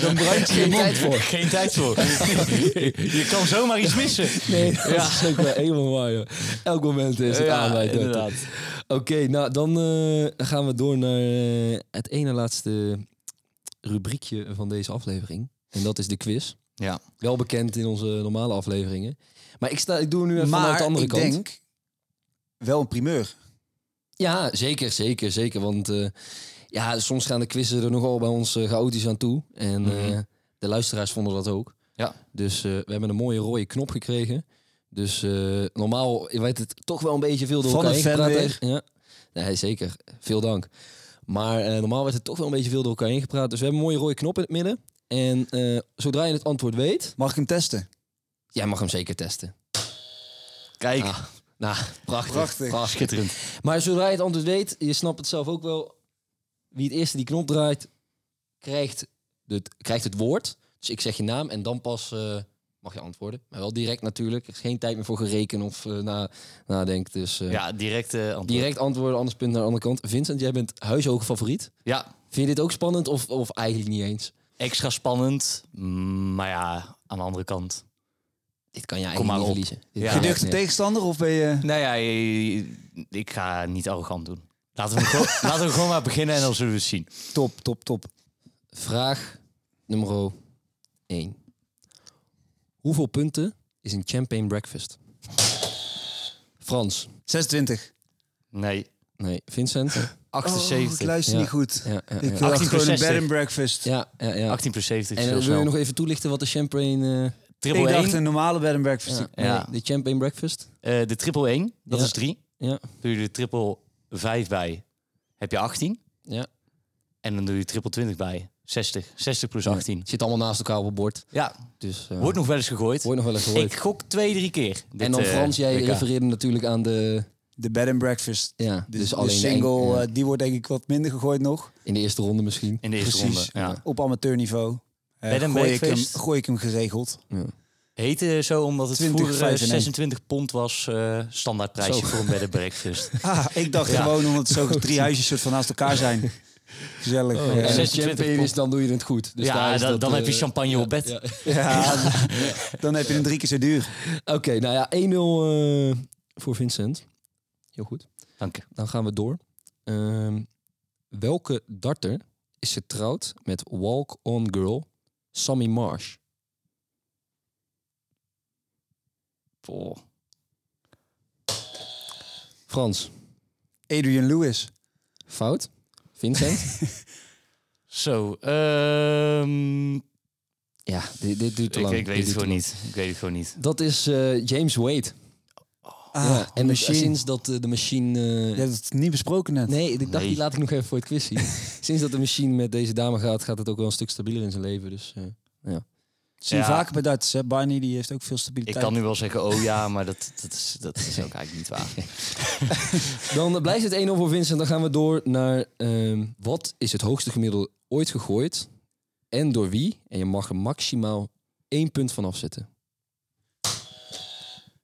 Speaker 3: Dan brand je geen tijd voor.
Speaker 1: Geen tijd voor. je kan zomaar iets missen.
Speaker 3: Nee, dat is ook wel helemaal waar, joh. Elk moment is het aan bij het darten. Oké, nou dan eh, gaan we door naar eh, het ene laatste rubriekje van deze aflevering. En dat is de quiz.
Speaker 1: Ja.
Speaker 3: Wel bekend in onze normale afleveringen. Maar ik, sta, ik doe nu even vanuit
Speaker 4: maar
Speaker 3: de andere
Speaker 4: ik
Speaker 3: kant.
Speaker 4: denk wel een primeur.
Speaker 3: Ja, zeker, zeker, zeker. Want eh, ja, soms gaan de quizzen er nogal bij ons eh, chaotisch aan toe. En
Speaker 4: Mhm.
Speaker 3: eh, de luisteraars vonden dat ook.
Speaker 1: Ja.
Speaker 3: Dus eh, we hebben een mooie rode knop gekregen. Dus eh, normaal weet het toch wel een beetje veel door
Speaker 4: Van
Speaker 3: elkaar
Speaker 4: een
Speaker 3: heen
Speaker 4: fan
Speaker 3: gepraat.
Speaker 4: weer.
Speaker 3: hè? Ja. Nee, zeker. Veel dank. Maar eh, normaal werd het toch wel een beetje veel door elkaar heen gepraat. Dus we hebben een mooie rode knop in het midden. En eh, zodra je het antwoord weet,
Speaker 4: Mag ik hem testen?
Speaker 3: jij mag hem zeker testen.
Speaker 1: Kijk.
Speaker 3: Ah, nou, prachtig.
Speaker 4: Prachtig.
Speaker 1: Schitterend.
Speaker 3: Maar zodra je het antwoord weet, je snapt het zelf ook wel. Wie het eerste die knop draait, krijgt, de, krijgt het woord. Dus ik zeg je naam en dan pas eh, mag je antwoorden. Maar wel direct natuurlijk. Er is geen tijd meer voor gerekenen of eh, na, nadenken. Dus eh,
Speaker 1: Ja, direct eh, antwoord.
Speaker 3: direct antwoorden, anders punt naar de andere kant. Vincent, jij bent huishoge favoriet.
Speaker 1: Ja,
Speaker 3: Vind je dit ook spannend of, of eigenlijk niet eens?
Speaker 1: extra spannend. Mm, Maar ja, aan de andere kant.
Speaker 3: Dit kan je
Speaker 1: Kom
Speaker 3: eigenlijk
Speaker 1: maar
Speaker 3: niet
Speaker 1: op.
Speaker 3: verliezen. Dit
Speaker 1: Ja.
Speaker 3: kan je
Speaker 4: Geduchte
Speaker 3: echt niet.
Speaker 4: tegenstander of ben je...
Speaker 1: Nou ja, eh, ik ga niet arrogant doen. Laten we, hem gewoon, laten we gewoon maar beginnen en dan zullen we het zien.
Speaker 4: Top, top, top.
Speaker 3: Vraag nummer 1. Hoeveel punten is een champagne breakfast? Frans.
Speaker 4: 26.
Speaker 1: Nee,
Speaker 3: Nee, Vincent.
Speaker 1: 78.
Speaker 4: Oh, ik luister
Speaker 3: Ja.
Speaker 4: niet goed.
Speaker 3: Ja, ja,
Speaker 4: Ik
Speaker 3: ja.
Speaker 4: dacht
Speaker 1: 18
Speaker 4: gewoon een
Speaker 1: 60.
Speaker 4: bed and breakfast.
Speaker 3: ja, ja, ja.
Speaker 1: 18 plus 70 is
Speaker 3: En
Speaker 1: heel
Speaker 3: eh, wil je
Speaker 1: snel.
Speaker 3: nog even toelichten wat de champagne... eh,
Speaker 1: Triple
Speaker 4: Ik dacht
Speaker 1: 1.
Speaker 4: een normale bed and breakfast.
Speaker 3: ja,
Speaker 1: Ja.
Speaker 3: nee, de champagne breakfast?
Speaker 1: eh, de triple 1, dat
Speaker 3: Ja.
Speaker 1: is 3.
Speaker 3: Ja,
Speaker 1: Doe je de triple 5 bij, heb je 18.
Speaker 3: ja.
Speaker 1: En dan doe je triple 20 bij, 60. 60 plus 18.
Speaker 3: Het zit allemaal naast elkaar op het bord.
Speaker 1: Ja,
Speaker 3: Dus eh,
Speaker 1: wordt nog wel eens gegooid.
Speaker 3: wordt nog wel eens gehoord.
Speaker 1: Ik gok twee, drie keer. dit,
Speaker 3: En dan
Speaker 1: eh,
Speaker 3: Frans, jij
Speaker 1: WK.
Speaker 3: refereerde natuurlijk aan de...
Speaker 4: De bed and breakfast.
Speaker 3: Ja,
Speaker 4: Dus,
Speaker 3: dus, alleen de
Speaker 4: de
Speaker 3: eng-
Speaker 4: single,
Speaker 3: ja,
Speaker 4: eh, die wordt denk ik wat minder gegooid nog.
Speaker 3: in de eerste ronde misschien.
Speaker 1: eh, In de eerste
Speaker 4: Precies.
Speaker 1: ronde. Ja.
Speaker 4: Op amateurniveau. Eh,
Speaker 1: Bed and
Speaker 4: gooi, ik hem,
Speaker 1: breakfast.
Speaker 4: gooi ik hem geregeld.
Speaker 1: Heette zo omdat het
Speaker 4: 20,
Speaker 1: vroeger eh,
Speaker 4: 5 en 1.
Speaker 1: 26 pond was eh standaardprijsje
Speaker 3: Zo.
Speaker 1: voor een bed and breakfast.
Speaker 4: Ah, ik dacht
Speaker 1: Ja.
Speaker 4: gewoon omdat het zo drie huisjes soort van naast elkaar zijn. Gezellig.
Speaker 3: Oh, En
Speaker 4: Ja.
Speaker 3: als het
Speaker 1: 26
Speaker 3: champagne is, dan doe je het goed. Dus daar
Speaker 1: ja,
Speaker 3: is
Speaker 1: dan,
Speaker 3: dat,
Speaker 1: dan heb je
Speaker 3: eh,
Speaker 1: champagne op bed.
Speaker 3: ja.
Speaker 4: Ja, dan heb je hem drie keer zo duur.
Speaker 3: Oké, nou ja, 1-0 eh, voor Vincent. Heel goed.
Speaker 1: Dank je.
Speaker 3: Dan gaan we door. Ehm, welke darter is getrouwd met walk-on girl Sammy Marsh?
Speaker 1: Boah.
Speaker 3: Frans,
Speaker 4: Adrian Lewis.
Speaker 3: fout. Vincent?
Speaker 1: Zo, ehm,
Speaker 3: ja, dit, dit duurt te
Speaker 1: ik,
Speaker 3: lang.
Speaker 1: ik weet het
Speaker 3: Dit duurt te
Speaker 1: gewoon
Speaker 3: lang.
Speaker 1: niet. Ik weet het gewoon niet.
Speaker 3: Dat is eh, James Wade.
Speaker 4: Ah,
Speaker 3: ja, en het-
Speaker 4: machine.
Speaker 3: sinds dat eh, de machine... eh,
Speaker 4: Je hebt het niet besproken net.
Speaker 3: Nee, ik dacht,
Speaker 1: Nee.
Speaker 3: die laat ik nog even voor het quiz zien. Sinds dat de machine met deze dame gaat, gaat het ook wel een stuk stabieler in zijn leven. Dus, eh,
Speaker 4: Dat zie je
Speaker 1: Ja.
Speaker 4: vaker bij darts. Hè? Barney die heeft ook veel
Speaker 1: Ik
Speaker 4: stabiliteit.
Speaker 1: kan nu wel zeggen, oh ja, maar dat, dat, is, dat is ook eigenlijk niet waar.
Speaker 3: Dan blijft het 1-0 voor Vincent. Dan gaan we door naar ehm, wat is het hoogste gemiddelde ooit gegooid en door wie? En je mag er maximaal één punt van afzetten.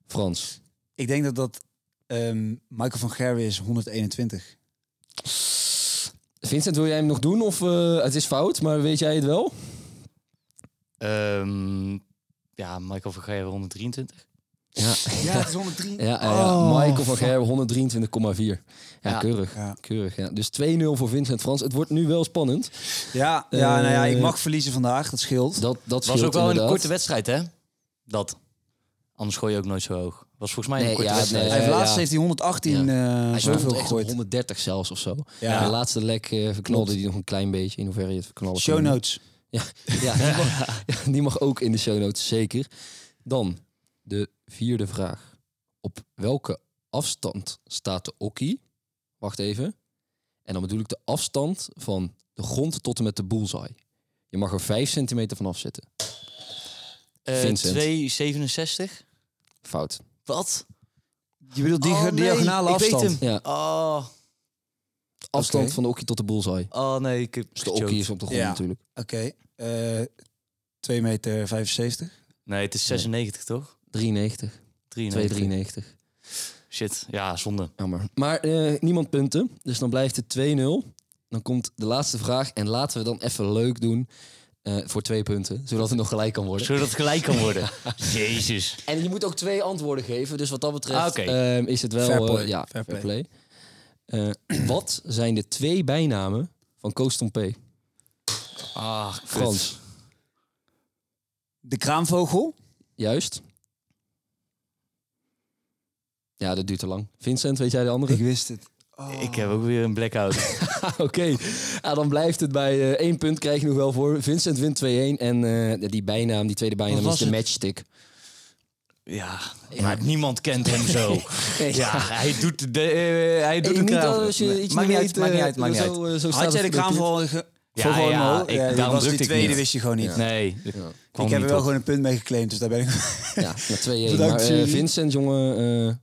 Speaker 3: Frans.
Speaker 4: Ik denk dat dat ehm, Michael van Gerwen is 121.
Speaker 3: Vincent, wil jij hem nog doen? Of eh, het is fout, maar weet jij het wel?
Speaker 1: Ehm, ja, Michael van Gerwen 123.
Speaker 3: Ja,
Speaker 4: Ja, het is 103.
Speaker 3: ja,
Speaker 4: Oh,
Speaker 3: Michael van Gerwen 123,4. Ja,
Speaker 1: Ja.
Speaker 3: keurig.
Speaker 4: Ja.
Speaker 3: keurig ja. Dus 2-0 voor Vincent Frans. Het wordt nu wel spannend.
Speaker 4: Ja, ja, nou ja, ik
Speaker 3: Eh,
Speaker 4: mag verliezen vandaag, dat scheelt.
Speaker 3: Dat, dat
Speaker 1: was ook wel een
Speaker 3: inderdaad.
Speaker 1: korte wedstrijd, hè? Dat. Anders gooi je ook nooit zo hoog. Was volgens mij een
Speaker 3: Nee,
Speaker 1: korte
Speaker 3: ja,
Speaker 1: wedstrijd.
Speaker 3: nee.
Speaker 4: Hij heeft
Speaker 3: eh,
Speaker 4: laatst
Speaker 3: ja.
Speaker 4: heeft hij 118 eh,
Speaker 3: Hij
Speaker 4: zoveel
Speaker 3: zoveel echt op
Speaker 4: gegooid.
Speaker 3: 130 zelfs of zo.
Speaker 4: Ja.
Speaker 3: Ja. De laatste lek eh, verknalde hij nog een klein beetje. In hoeverre je het verknallen
Speaker 4: Show
Speaker 3: kan.
Speaker 4: notes.
Speaker 3: Ja, ja, die, mag, ja, die mag ook in de show notes, zeker. Dan de vierde vraag. Op welke afstand staat de okkie? Wacht even. En dan bedoel ik de afstand van de grond tot en met de bullseye. Je mag er 5 centimeter van afzetten.
Speaker 1: Eh,
Speaker 3: Vincent.
Speaker 1: 267.
Speaker 3: Fout.
Speaker 1: Wat?
Speaker 4: Je bedoelt die
Speaker 1: Oh,
Speaker 4: ge-
Speaker 1: nee,
Speaker 4: diagonale
Speaker 1: ik weet
Speaker 4: afstand.
Speaker 1: hem.
Speaker 3: Ja,
Speaker 1: Oh,
Speaker 3: afstand
Speaker 4: Oké.
Speaker 3: van de okkie tot de bullseye.
Speaker 1: oh nee. Ik heb
Speaker 3: Dus de okkie is op de grond
Speaker 4: Ja.
Speaker 3: natuurlijk.
Speaker 4: Oké, eh 2 meter 75.
Speaker 1: Nee, het is 96, toch?
Speaker 3: 93,
Speaker 1: 93.
Speaker 3: 293.
Speaker 1: Shit, ja, zonde.
Speaker 3: Jammer. Maar eh, niemand punten. Dus dan blijft het 2-0. Dan komt de laatste vraag. En laten we dan even leuk doen. eh, voor twee punten. Zodat het nog gelijk kan worden.
Speaker 1: Zodat het gelijk kan worden. Jezus.
Speaker 3: En je moet ook twee antwoorden geven. Dus wat dat betreft
Speaker 1: Ah, oké.
Speaker 3: ehm, is het wel...
Speaker 4: Fair play.
Speaker 3: eh, ja,
Speaker 4: Fair
Speaker 3: fair play. Eh, wat zijn de twee bijnamen van Koos Tompé?
Speaker 1: Ah, kut.
Speaker 3: Frans,
Speaker 4: De kraanvogel.
Speaker 3: juist. Ja, dat duurt te lang. Vincent, weet jij de andere?
Speaker 4: Ik wist het.
Speaker 1: Ik heb ook weer een blackout.
Speaker 3: Oké, Ah, dan blijft het bij eh, één punt krijg je nog wel voor. Vincent wint 2-1 en eh, die bijnaam, die tweede bijnaam
Speaker 4: Wat
Speaker 3: is
Speaker 4: was
Speaker 3: de
Speaker 4: het?
Speaker 3: matchstick.
Speaker 1: ja, maar niemand kent hem zo. Ja, hij doet de, eh, hij doet
Speaker 3: Hey,
Speaker 1: de
Speaker 3: niet
Speaker 1: kraam.
Speaker 3: dat als je iets
Speaker 1: maakt niet uit,
Speaker 3: weet,
Speaker 1: maakt niet
Speaker 3: eh,
Speaker 1: uit, maakt niet uit.
Speaker 3: zo, eh, zo staat
Speaker 4: Had jij de
Speaker 3: het genoteerd.
Speaker 4: kraanvogel ge-
Speaker 1: Ja,
Speaker 4: vogel
Speaker 1: ja,
Speaker 4: omhoog?
Speaker 1: ik-
Speaker 4: die
Speaker 1: daarom
Speaker 4: was
Speaker 1: drukte
Speaker 4: die
Speaker 1: ik
Speaker 4: tweede
Speaker 1: niet.
Speaker 4: wist je gewoon niet.
Speaker 1: Nee, ik kwam
Speaker 4: Ik heb er
Speaker 1: niet
Speaker 4: wel
Speaker 1: op.
Speaker 4: gewoon een punt mee geclaimd, dus daar ben ik...
Speaker 3: Ja, met 2-1.
Speaker 4: Bedankt,
Speaker 3: maar eh,
Speaker 4: jury.
Speaker 3: Vincent, jongen, eh,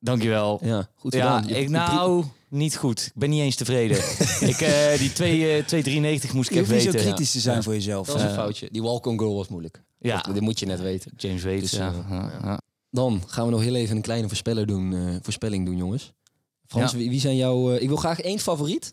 Speaker 1: Dankjewel.
Speaker 3: ja, goed
Speaker 1: ja,
Speaker 3: gedaan. Je-
Speaker 1: ik
Speaker 3: je-
Speaker 1: nou niet goed. Ik ben niet eens tevreden. ik, eh, die twee, eh, 293 moest ik
Speaker 4: Je hoeft
Speaker 1: even
Speaker 4: niet zo
Speaker 1: weten.
Speaker 4: kritisch te zijn voor
Speaker 3: Dat
Speaker 4: jezelf.
Speaker 3: was een foutje. Die walk-on goal was moeilijk.
Speaker 1: Ja.
Speaker 3: Dat, dit moet je net weten.
Speaker 1: James Wade.
Speaker 3: Dus,
Speaker 1: ja.
Speaker 3: eh,
Speaker 1: Ja, ja.
Speaker 3: Dan gaan we nog heel even een kleine voorspeller doen, eh, voorspelling doen, jongens. Frans,
Speaker 1: Ja.
Speaker 3: wie, wie zijn jouw... eh, ik wil graag één favoriet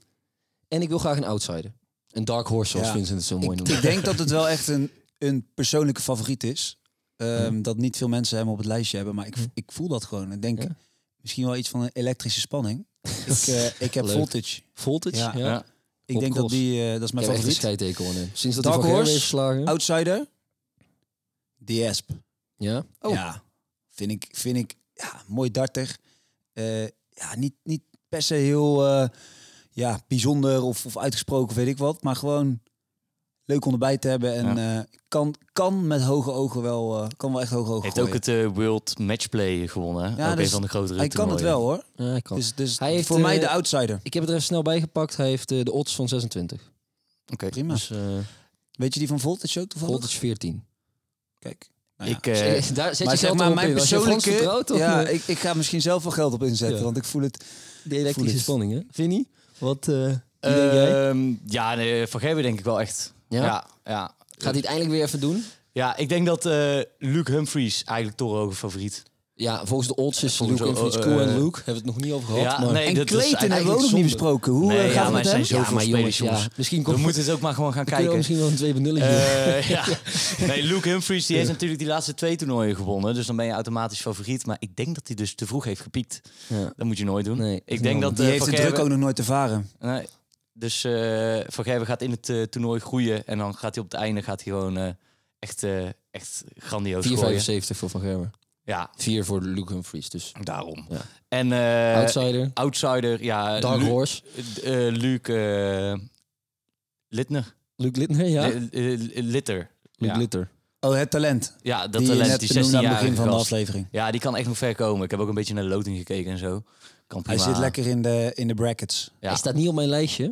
Speaker 3: en ik wil graag een outsider. Een dark horse, zoals
Speaker 4: Ja.
Speaker 3: Vincent het zo mooi
Speaker 4: Ik,
Speaker 3: noemt.
Speaker 4: Dus ik denk dat het wel echt een, een persoonlijke favoriet is. Ehm, Dat niet veel mensen hem op het lijstje hebben, maar ik, ik voel dat gewoon. Ik denk
Speaker 3: Ja.
Speaker 4: misschien wel iets van een elektrische spanning. ik, eh, ik heb
Speaker 3: Leuk.
Speaker 4: voltage.
Speaker 3: Voltage,
Speaker 4: Ja.
Speaker 3: ja.
Speaker 1: Ja.
Speaker 4: Ik
Speaker 3: Rob
Speaker 4: denk dat
Speaker 3: Cross.
Speaker 4: die, eh, dat is mijn
Speaker 3: Ik heb echt een
Speaker 4: favoriet.
Speaker 3: scheidtekel aan hem. Sinds dat
Speaker 4: Dark
Speaker 3: hij van Gerwen
Speaker 4: Horse,
Speaker 3: heeft geslagen.
Speaker 4: Outsider, The Asp.
Speaker 3: Ja.
Speaker 1: Oh.
Speaker 4: Ja, vind ik, vind ik ja, mooi darter. Eh, ja, niet, niet per se heel eh, ja, bijzonder of, of uitgesproken, weet ik wat. Maar gewoon leuk om erbij te hebben. En eh, kan, kan met hoge ogen wel, eh, kan wel echt hoge ogen
Speaker 1: Heeft ook het eh, World Matchplay gewonnen.
Speaker 4: Ja,
Speaker 1: Ja, ook
Speaker 4: dus
Speaker 1: een van de grotere
Speaker 4: Hij kan het
Speaker 1: toernooien.
Speaker 4: wel hoor.
Speaker 3: Ja, hij kan.
Speaker 4: Dus, dus
Speaker 3: Hij heeft,
Speaker 4: voor mij
Speaker 3: eh,
Speaker 4: de outsider.
Speaker 3: ik heb het er even snel bij gepakt. Hij heeft eh, de odds van 26.
Speaker 4: Prima.
Speaker 3: Dus eh
Speaker 4: Weet je die van Voltage ook toevallig?
Speaker 3: voltage 14.
Speaker 4: Kijk. Nou ja.
Speaker 1: Ik, eh,
Speaker 3: Daar zet
Speaker 4: maar
Speaker 3: je
Speaker 4: zeg
Speaker 3: zelf
Speaker 4: maar,
Speaker 3: maar
Speaker 4: mijn
Speaker 3: mijn persoonlijke...
Speaker 4: persoonlijke...
Speaker 3: vertrouwt, toch?
Speaker 4: ja,
Speaker 3: Eh,
Speaker 4: ik, ik ga misschien zelf wel geld op inzetten,
Speaker 3: Ja.
Speaker 4: want ik voel het...
Speaker 3: de
Speaker 4: voel
Speaker 3: elektrische
Speaker 4: het.
Speaker 3: spanning, hè? Vinnie? Wat eh, wie denk jij?
Speaker 1: Ehm, ja, nee, Van Gerwen denk ik wel echt.
Speaker 3: Ja?
Speaker 1: Ja, ja.
Speaker 3: Gaat hij het eindelijk weer even doen?
Speaker 1: Ja, ik denk dat eh, Luke Humphries eigenlijk torenhoge favoriet.
Speaker 3: Ja, volgens de odds is
Speaker 1: Volgens
Speaker 3: Luke en
Speaker 1: de-
Speaker 3: Fritz
Speaker 1: eh,
Speaker 3: Cool en
Speaker 1: eh,
Speaker 3: Luke. Hebben we het nog niet over gehad.
Speaker 1: Ja,
Speaker 3: maar...
Speaker 1: nee,
Speaker 4: en
Speaker 1: dat is
Speaker 4: Clayton hebben we ook nog niet
Speaker 3: zonde.
Speaker 4: besproken. Hoe eh,
Speaker 1: Nee,
Speaker 4: gaat
Speaker 1: ja,
Speaker 4: het
Speaker 1: maar
Speaker 4: met
Speaker 1: er zijn
Speaker 4: hem?
Speaker 1: zoveel
Speaker 3: Ja, maar
Speaker 1: spelers,
Speaker 3: jongens, ja,
Speaker 1: jongens.
Speaker 3: misschien komt
Speaker 1: We moeten het ook maar gewoon gaan
Speaker 3: kunnen we
Speaker 1: kijken.
Speaker 3: misschien wel een twee benullen
Speaker 1: Eh, ja. Nee, Luke Humphries die heeft natuurlijk die laatste twee toernooien gewonnen. Dus dan ben je automatisch favoriet. Maar ik denk dat hij dus te vroeg heeft gepiekt.
Speaker 3: Ja.
Speaker 1: Dat moet je nooit doen.
Speaker 3: Nee,
Speaker 1: ik denk dat
Speaker 4: Die
Speaker 1: eh,
Speaker 4: heeft
Speaker 1: Van
Speaker 4: de druk
Speaker 1: Gerwen-
Speaker 4: ook nog nooit ervaren.
Speaker 1: Nee. Dus eh Van Gerwen gaat in het eh, toernooi groeien. En dan gaat hij op het einde gaat hij gewoon eh, echt, eh, echt grandioos gooien.
Speaker 3: 4,75 voor Van Gerwen.
Speaker 1: Ja,
Speaker 3: Vier voor Luke Humphries, dus
Speaker 1: daarom.
Speaker 3: Ja.
Speaker 1: En eh,
Speaker 3: outsider.
Speaker 1: Outsider, ja.
Speaker 3: Dark
Speaker 1: Lu-
Speaker 3: Horse.
Speaker 1: eh, eh, Luc eh, Littner.
Speaker 3: Luke Littner, ja.
Speaker 1: Eh, eh, Litter.
Speaker 3: Luke
Speaker 1: ja.
Speaker 3: Litter.
Speaker 4: Oh, het talent.
Speaker 1: Ja, dat
Speaker 4: die je
Speaker 1: talent,
Speaker 4: net
Speaker 1: die
Speaker 4: benoemde
Speaker 1: 16
Speaker 4: aan het
Speaker 1: jaar
Speaker 4: begin van de aflevering.
Speaker 1: Ja, die kan echt nog ver komen. Ik heb ook een beetje naar de loting gekeken en zo. Kan
Speaker 4: Hij
Speaker 1: prima.
Speaker 4: zit lekker in de, in de brackets.
Speaker 1: Ja.
Speaker 3: Hij staat niet op mijn lijstje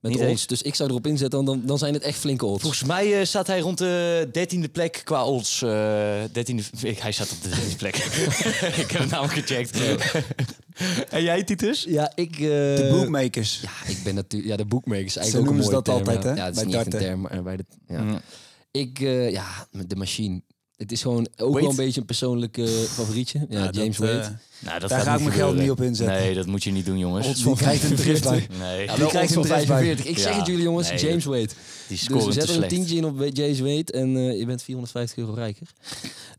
Speaker 3: met
Speaker 1: Niet
Speaker 3: de
Speaker 1: eens.
Speaker 3: odds, dus ik zou erop inzetten, want dan, dan zijn het echt flinke odds.
Speaker 1: Volgens mij eh, staat hij rond de dertiende plek qua odds. eh, 13e ik- hij staat op de dertiende plek. ik heb het namelijk gecheckt. en jij, Titus?
Speaker 3: Ja, ik...
Speaker 4: De bookmakers.
Speaker 3: Ja, ik ben natuurlijk... Ja, de bookmakers
Speaker 4: Zo
Speaker 3: eigenlijk ook een
Speaker 4: noemen ze
Speaker 3: mooie
Speaker 4: dat
Speaker 3: term,
Speaker 4: altijd,
Speaker 3: ja.
Speaker 4: hè?
Speaker 3: Ja, het is
Speaker 4: Bij
Speaker 3: niet echt een
Speaker 4: darten.
Speaker 3: term, maar bij de... Ja.
Speaker 1: Mm.
Speaker 3: Ik, eh, ja, de machine. Het is gewoon ook
Speaker 1: Wade?
Speaker 3: wel een beetje een persoonlijke favorietje. Ja,
Speaker 4: Ja,
Speaker 3: James
Speaker 4: dat,
Speaker 3: Wade.
Speaker 4: eh,
Speaker 1: Nou, dat
Speaker 4: Daar
Speaker 1: gaat
Speaker 4: ga ik mijn geld
Speaker 1: gebeuren.
Speaker 4: niet op inzetten.
Speaker 1: Nee, dat moet je niet doen, jongens.
Speaker 4: Odds van krijgt een drift bij.
Speaker 1: Nee,
Speaker 3: Ja,
Speaker 1: die,
Speaker 3: wel
Speaker 4: krijgt
Speaker 3: odds van
Speaker 4: een drift bij.
Speaker 3: 45. Ik zeg
Speaker 1: Ja.
Speaker 3: het jullie jongens,
Speaker 1: Nee,
Speaker 3: James Wade.
Speaker 1: die scoren
Speaker 3: Dus zet
Speaker 1: te
Speaker 3: er een
Speaker 1: slecht.
Speaker 3: tientje in op James Wade en eh, je bent 450 euro rijker.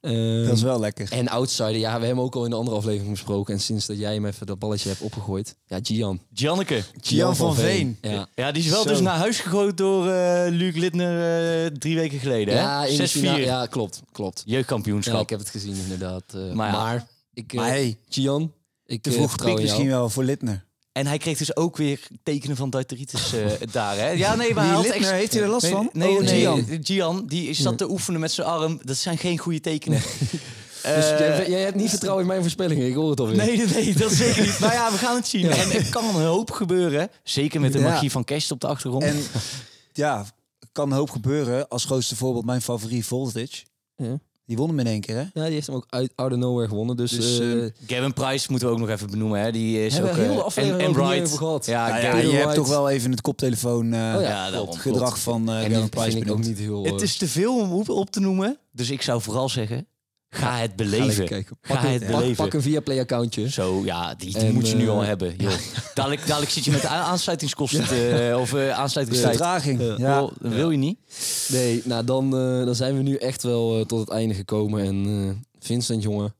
Speaker 3: Ehm,
Speaker 4: Dat is wel lekker.
Speaker 3: En Outsider, ja, we hebben hem ook al in de andere aflevering besproken. En sinds dat jij hem even dat balletje hebt opgegooid. Ja, Gian.
Speaker 1: Janneke.
Speaker 4: Gian van Veen.
Speaker 3: Ja.
Speaker 1: Ja, die is wel
Speaker 4: Zo.
Speaker 1: dus naar huis gegooid door eh Luc Littner eh, drie weken geleden. hè?
Speaker 3: Ja, in
Speaker 1: 6-4.
Speaker 3: de finale- ja, klopt. klopt. Ja,
Speaker 1: Jeugdkampioenschap.
Speaker 3: ik heb het gezien inderdaad. eh,
Speaker 1: Maar
Speaker 3: maar
Speaker 1: ja.
Speaker 3: ik, eh,
Speaker 4: Maar hey,
Speaker 3: Gian, ik
Speaker 4: te
Speaker 3: eh,
Speaker 4: vroeg
Speaker 3: vertrouw
Speaker 4: piek
Speaker 3: in jou.
Speaker 4: misschien wel voor Littner.
Speaker 1: En hij kreeg dus ook weer tekenen van darteritis eh, daar, hè? Ja, nee, maar hij
Speaker 4: Die
Speaker 1: had
Speaker 4: Littner,
Speaker 1: echt-
Speaker 4: heeft hij er last
Speaker 1: Nee,
Speaker 4: van?
Speaker 1: Nee,
Speaker 4: Oh,
Speaker 1: nee,
Speaker 4: Gian.
Speaker 1: Gian. die zat te oefenen met zijn arm. Dat zijn geen goede tekenen. Eh,
Speaker 3: Dus jij, jij hebt niet vertrouwen in mijn voorspellingen, ik hoor het alweer.
Speaker 1: nee, nee, nee, dat zeker niet. Maar ja, we gaan het zien. En er kan een hoop gebeuren. Zeker met de
Speaker 4: Ja.
Speaker 1: magie van Kerst op de achtergrond.
Speaker 4: En ja, kan een hoop gebeuren. Als grootste voorbeeld mijn favoriet Voltage.
Speaker 3: Ja.
Speaker 4: Die won hem in één keer, hè?
Speaker 1: Ah,
Speaker 3: Ja, die heeft hem ook uit out of nowhere gewonnen. Dus,
Speaker 4: Dus,
Speaker 3: eh,
Speaker 4: eh,
Speaker 1: Gavin Price moeten we ook nog even benoemen, hè? Die is
Speaker 3: Hebben
Speaker 1: ook...
Speaker 3: we heel
Speaker 1: eh,
Speaker 3: de aflevering
Speaker 1: en, en
Speaker 3: over die
Speaker 1: Wright.
Speaker 3: over gehad.
Speaker 1: Ja,
Speaker 4: Nou ja,
Speaker 1: Gavin-
Speaker 4: je
Speaker 3: White.
Speaker 4: hebt toch wel even het koptelefoon eh,
Speaker 3: Oh ja,
Speaker 1: ja, daarom,
Speaker 4: het gedrag van eh
Speaker 3: en
Speaker 4: Gavin
Speaker 3: die
Speaker 4: Price
Speaker 3: vind ik ook
Speaker 4: benoemd.
Speaker 3: niet heel... eh,
Speaker 1: Het is te veel om op- op te noemen. eh. Dus ik zou vooral zeggen, ga het beleven.
Speaker 3: Pak,
Speaker 1: Ga het
Speaker 3: een, pak,
Speaker 1: beleven.
Speaker 3: pak een Viaplay accountje.
Speaker 1: Zo, ja, die, die
Speaker 3: En,
Speaker 1: moet je nu
Speaker 3: eh,
Speaker 1: al hebben. Joh. Dadelijk, dadelijk zit je met de a- aansluitingskosten eh, of eh aansluitingstijd.
Speaker 4: Vertraging. Ja.
Speaker 1: Wil, wil je niet?
Speaker 3: Nee, nou dan, eh, dan zijn we nu echt wel eh, tot het einde gekomen. En eh, Vincent, jongen,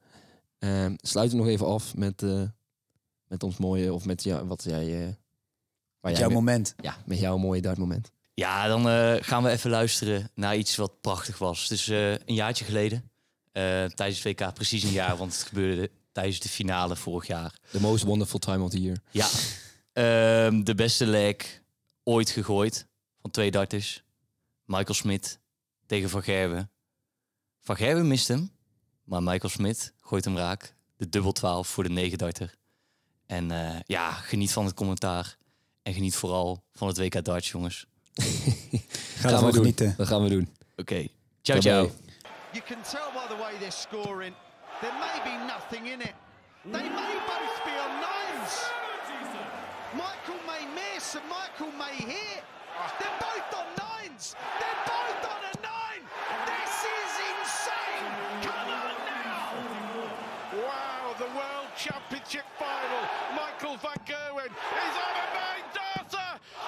Speaker 3: eh, sluit hem nog even af met, eh, met ons mooie, of met jou, wat jij, eh, waar jij
Speaker 4: Jouw
Speaker 3: mee-
Speaker 4: moment.
Speaker 3: ja, met jouw mooie dartmoment.
Speaker 1: Ja, dan eh, gaan we even luisteren naar iets wat prachtig was. Het is eh, een jaartje geleden. Eh, tijdens het WK precies een jaar, want het gebeurde tijdens de finale vorig jaar.
Speaker 3: The most wonderful time of the year.
Speaker 1: Ja. Ehm, de beste leg ooit gegooid van twee darters. Michael Smit tegen Van Gerwen. Van Gerwen mist hem, maar Michael Smit gooit hem raak. De dubbel 12 voor de negen darter. En eh, ja, geniet van het commentaar. En geniet vooral van het WK darts, jongens.
Speaker 4: Ga
Speaker 3: Gaan we
Speaker 4: ervan
Speaker 3: doen.
Speaker 4: genieten.
Speaker 3: Dat gaan we doen.
Speaker 1: Oké, ciao ciao.
Speaker 3: Daarbij.
Speaker 6: You can tell by the way they're scoring, there may be nothing in it. They may both be on nines. Michael may miss and Michael may hit. They're both on nines. They're both on a nine. This is insane. Come on now. Wow, the World Championship final. Michael van Gerwen is on a nine data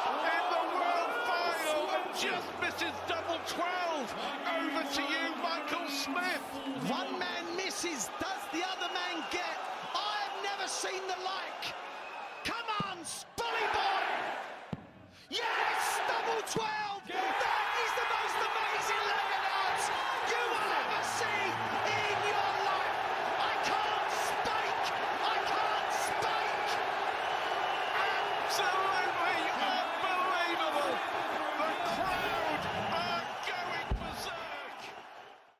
Speaker 6: in the World Final and just misses double 12. Over to you, Michael Smith. One man misses, does the other man get? I have never seen the like. Come on, Spully boy! Yes, double 12!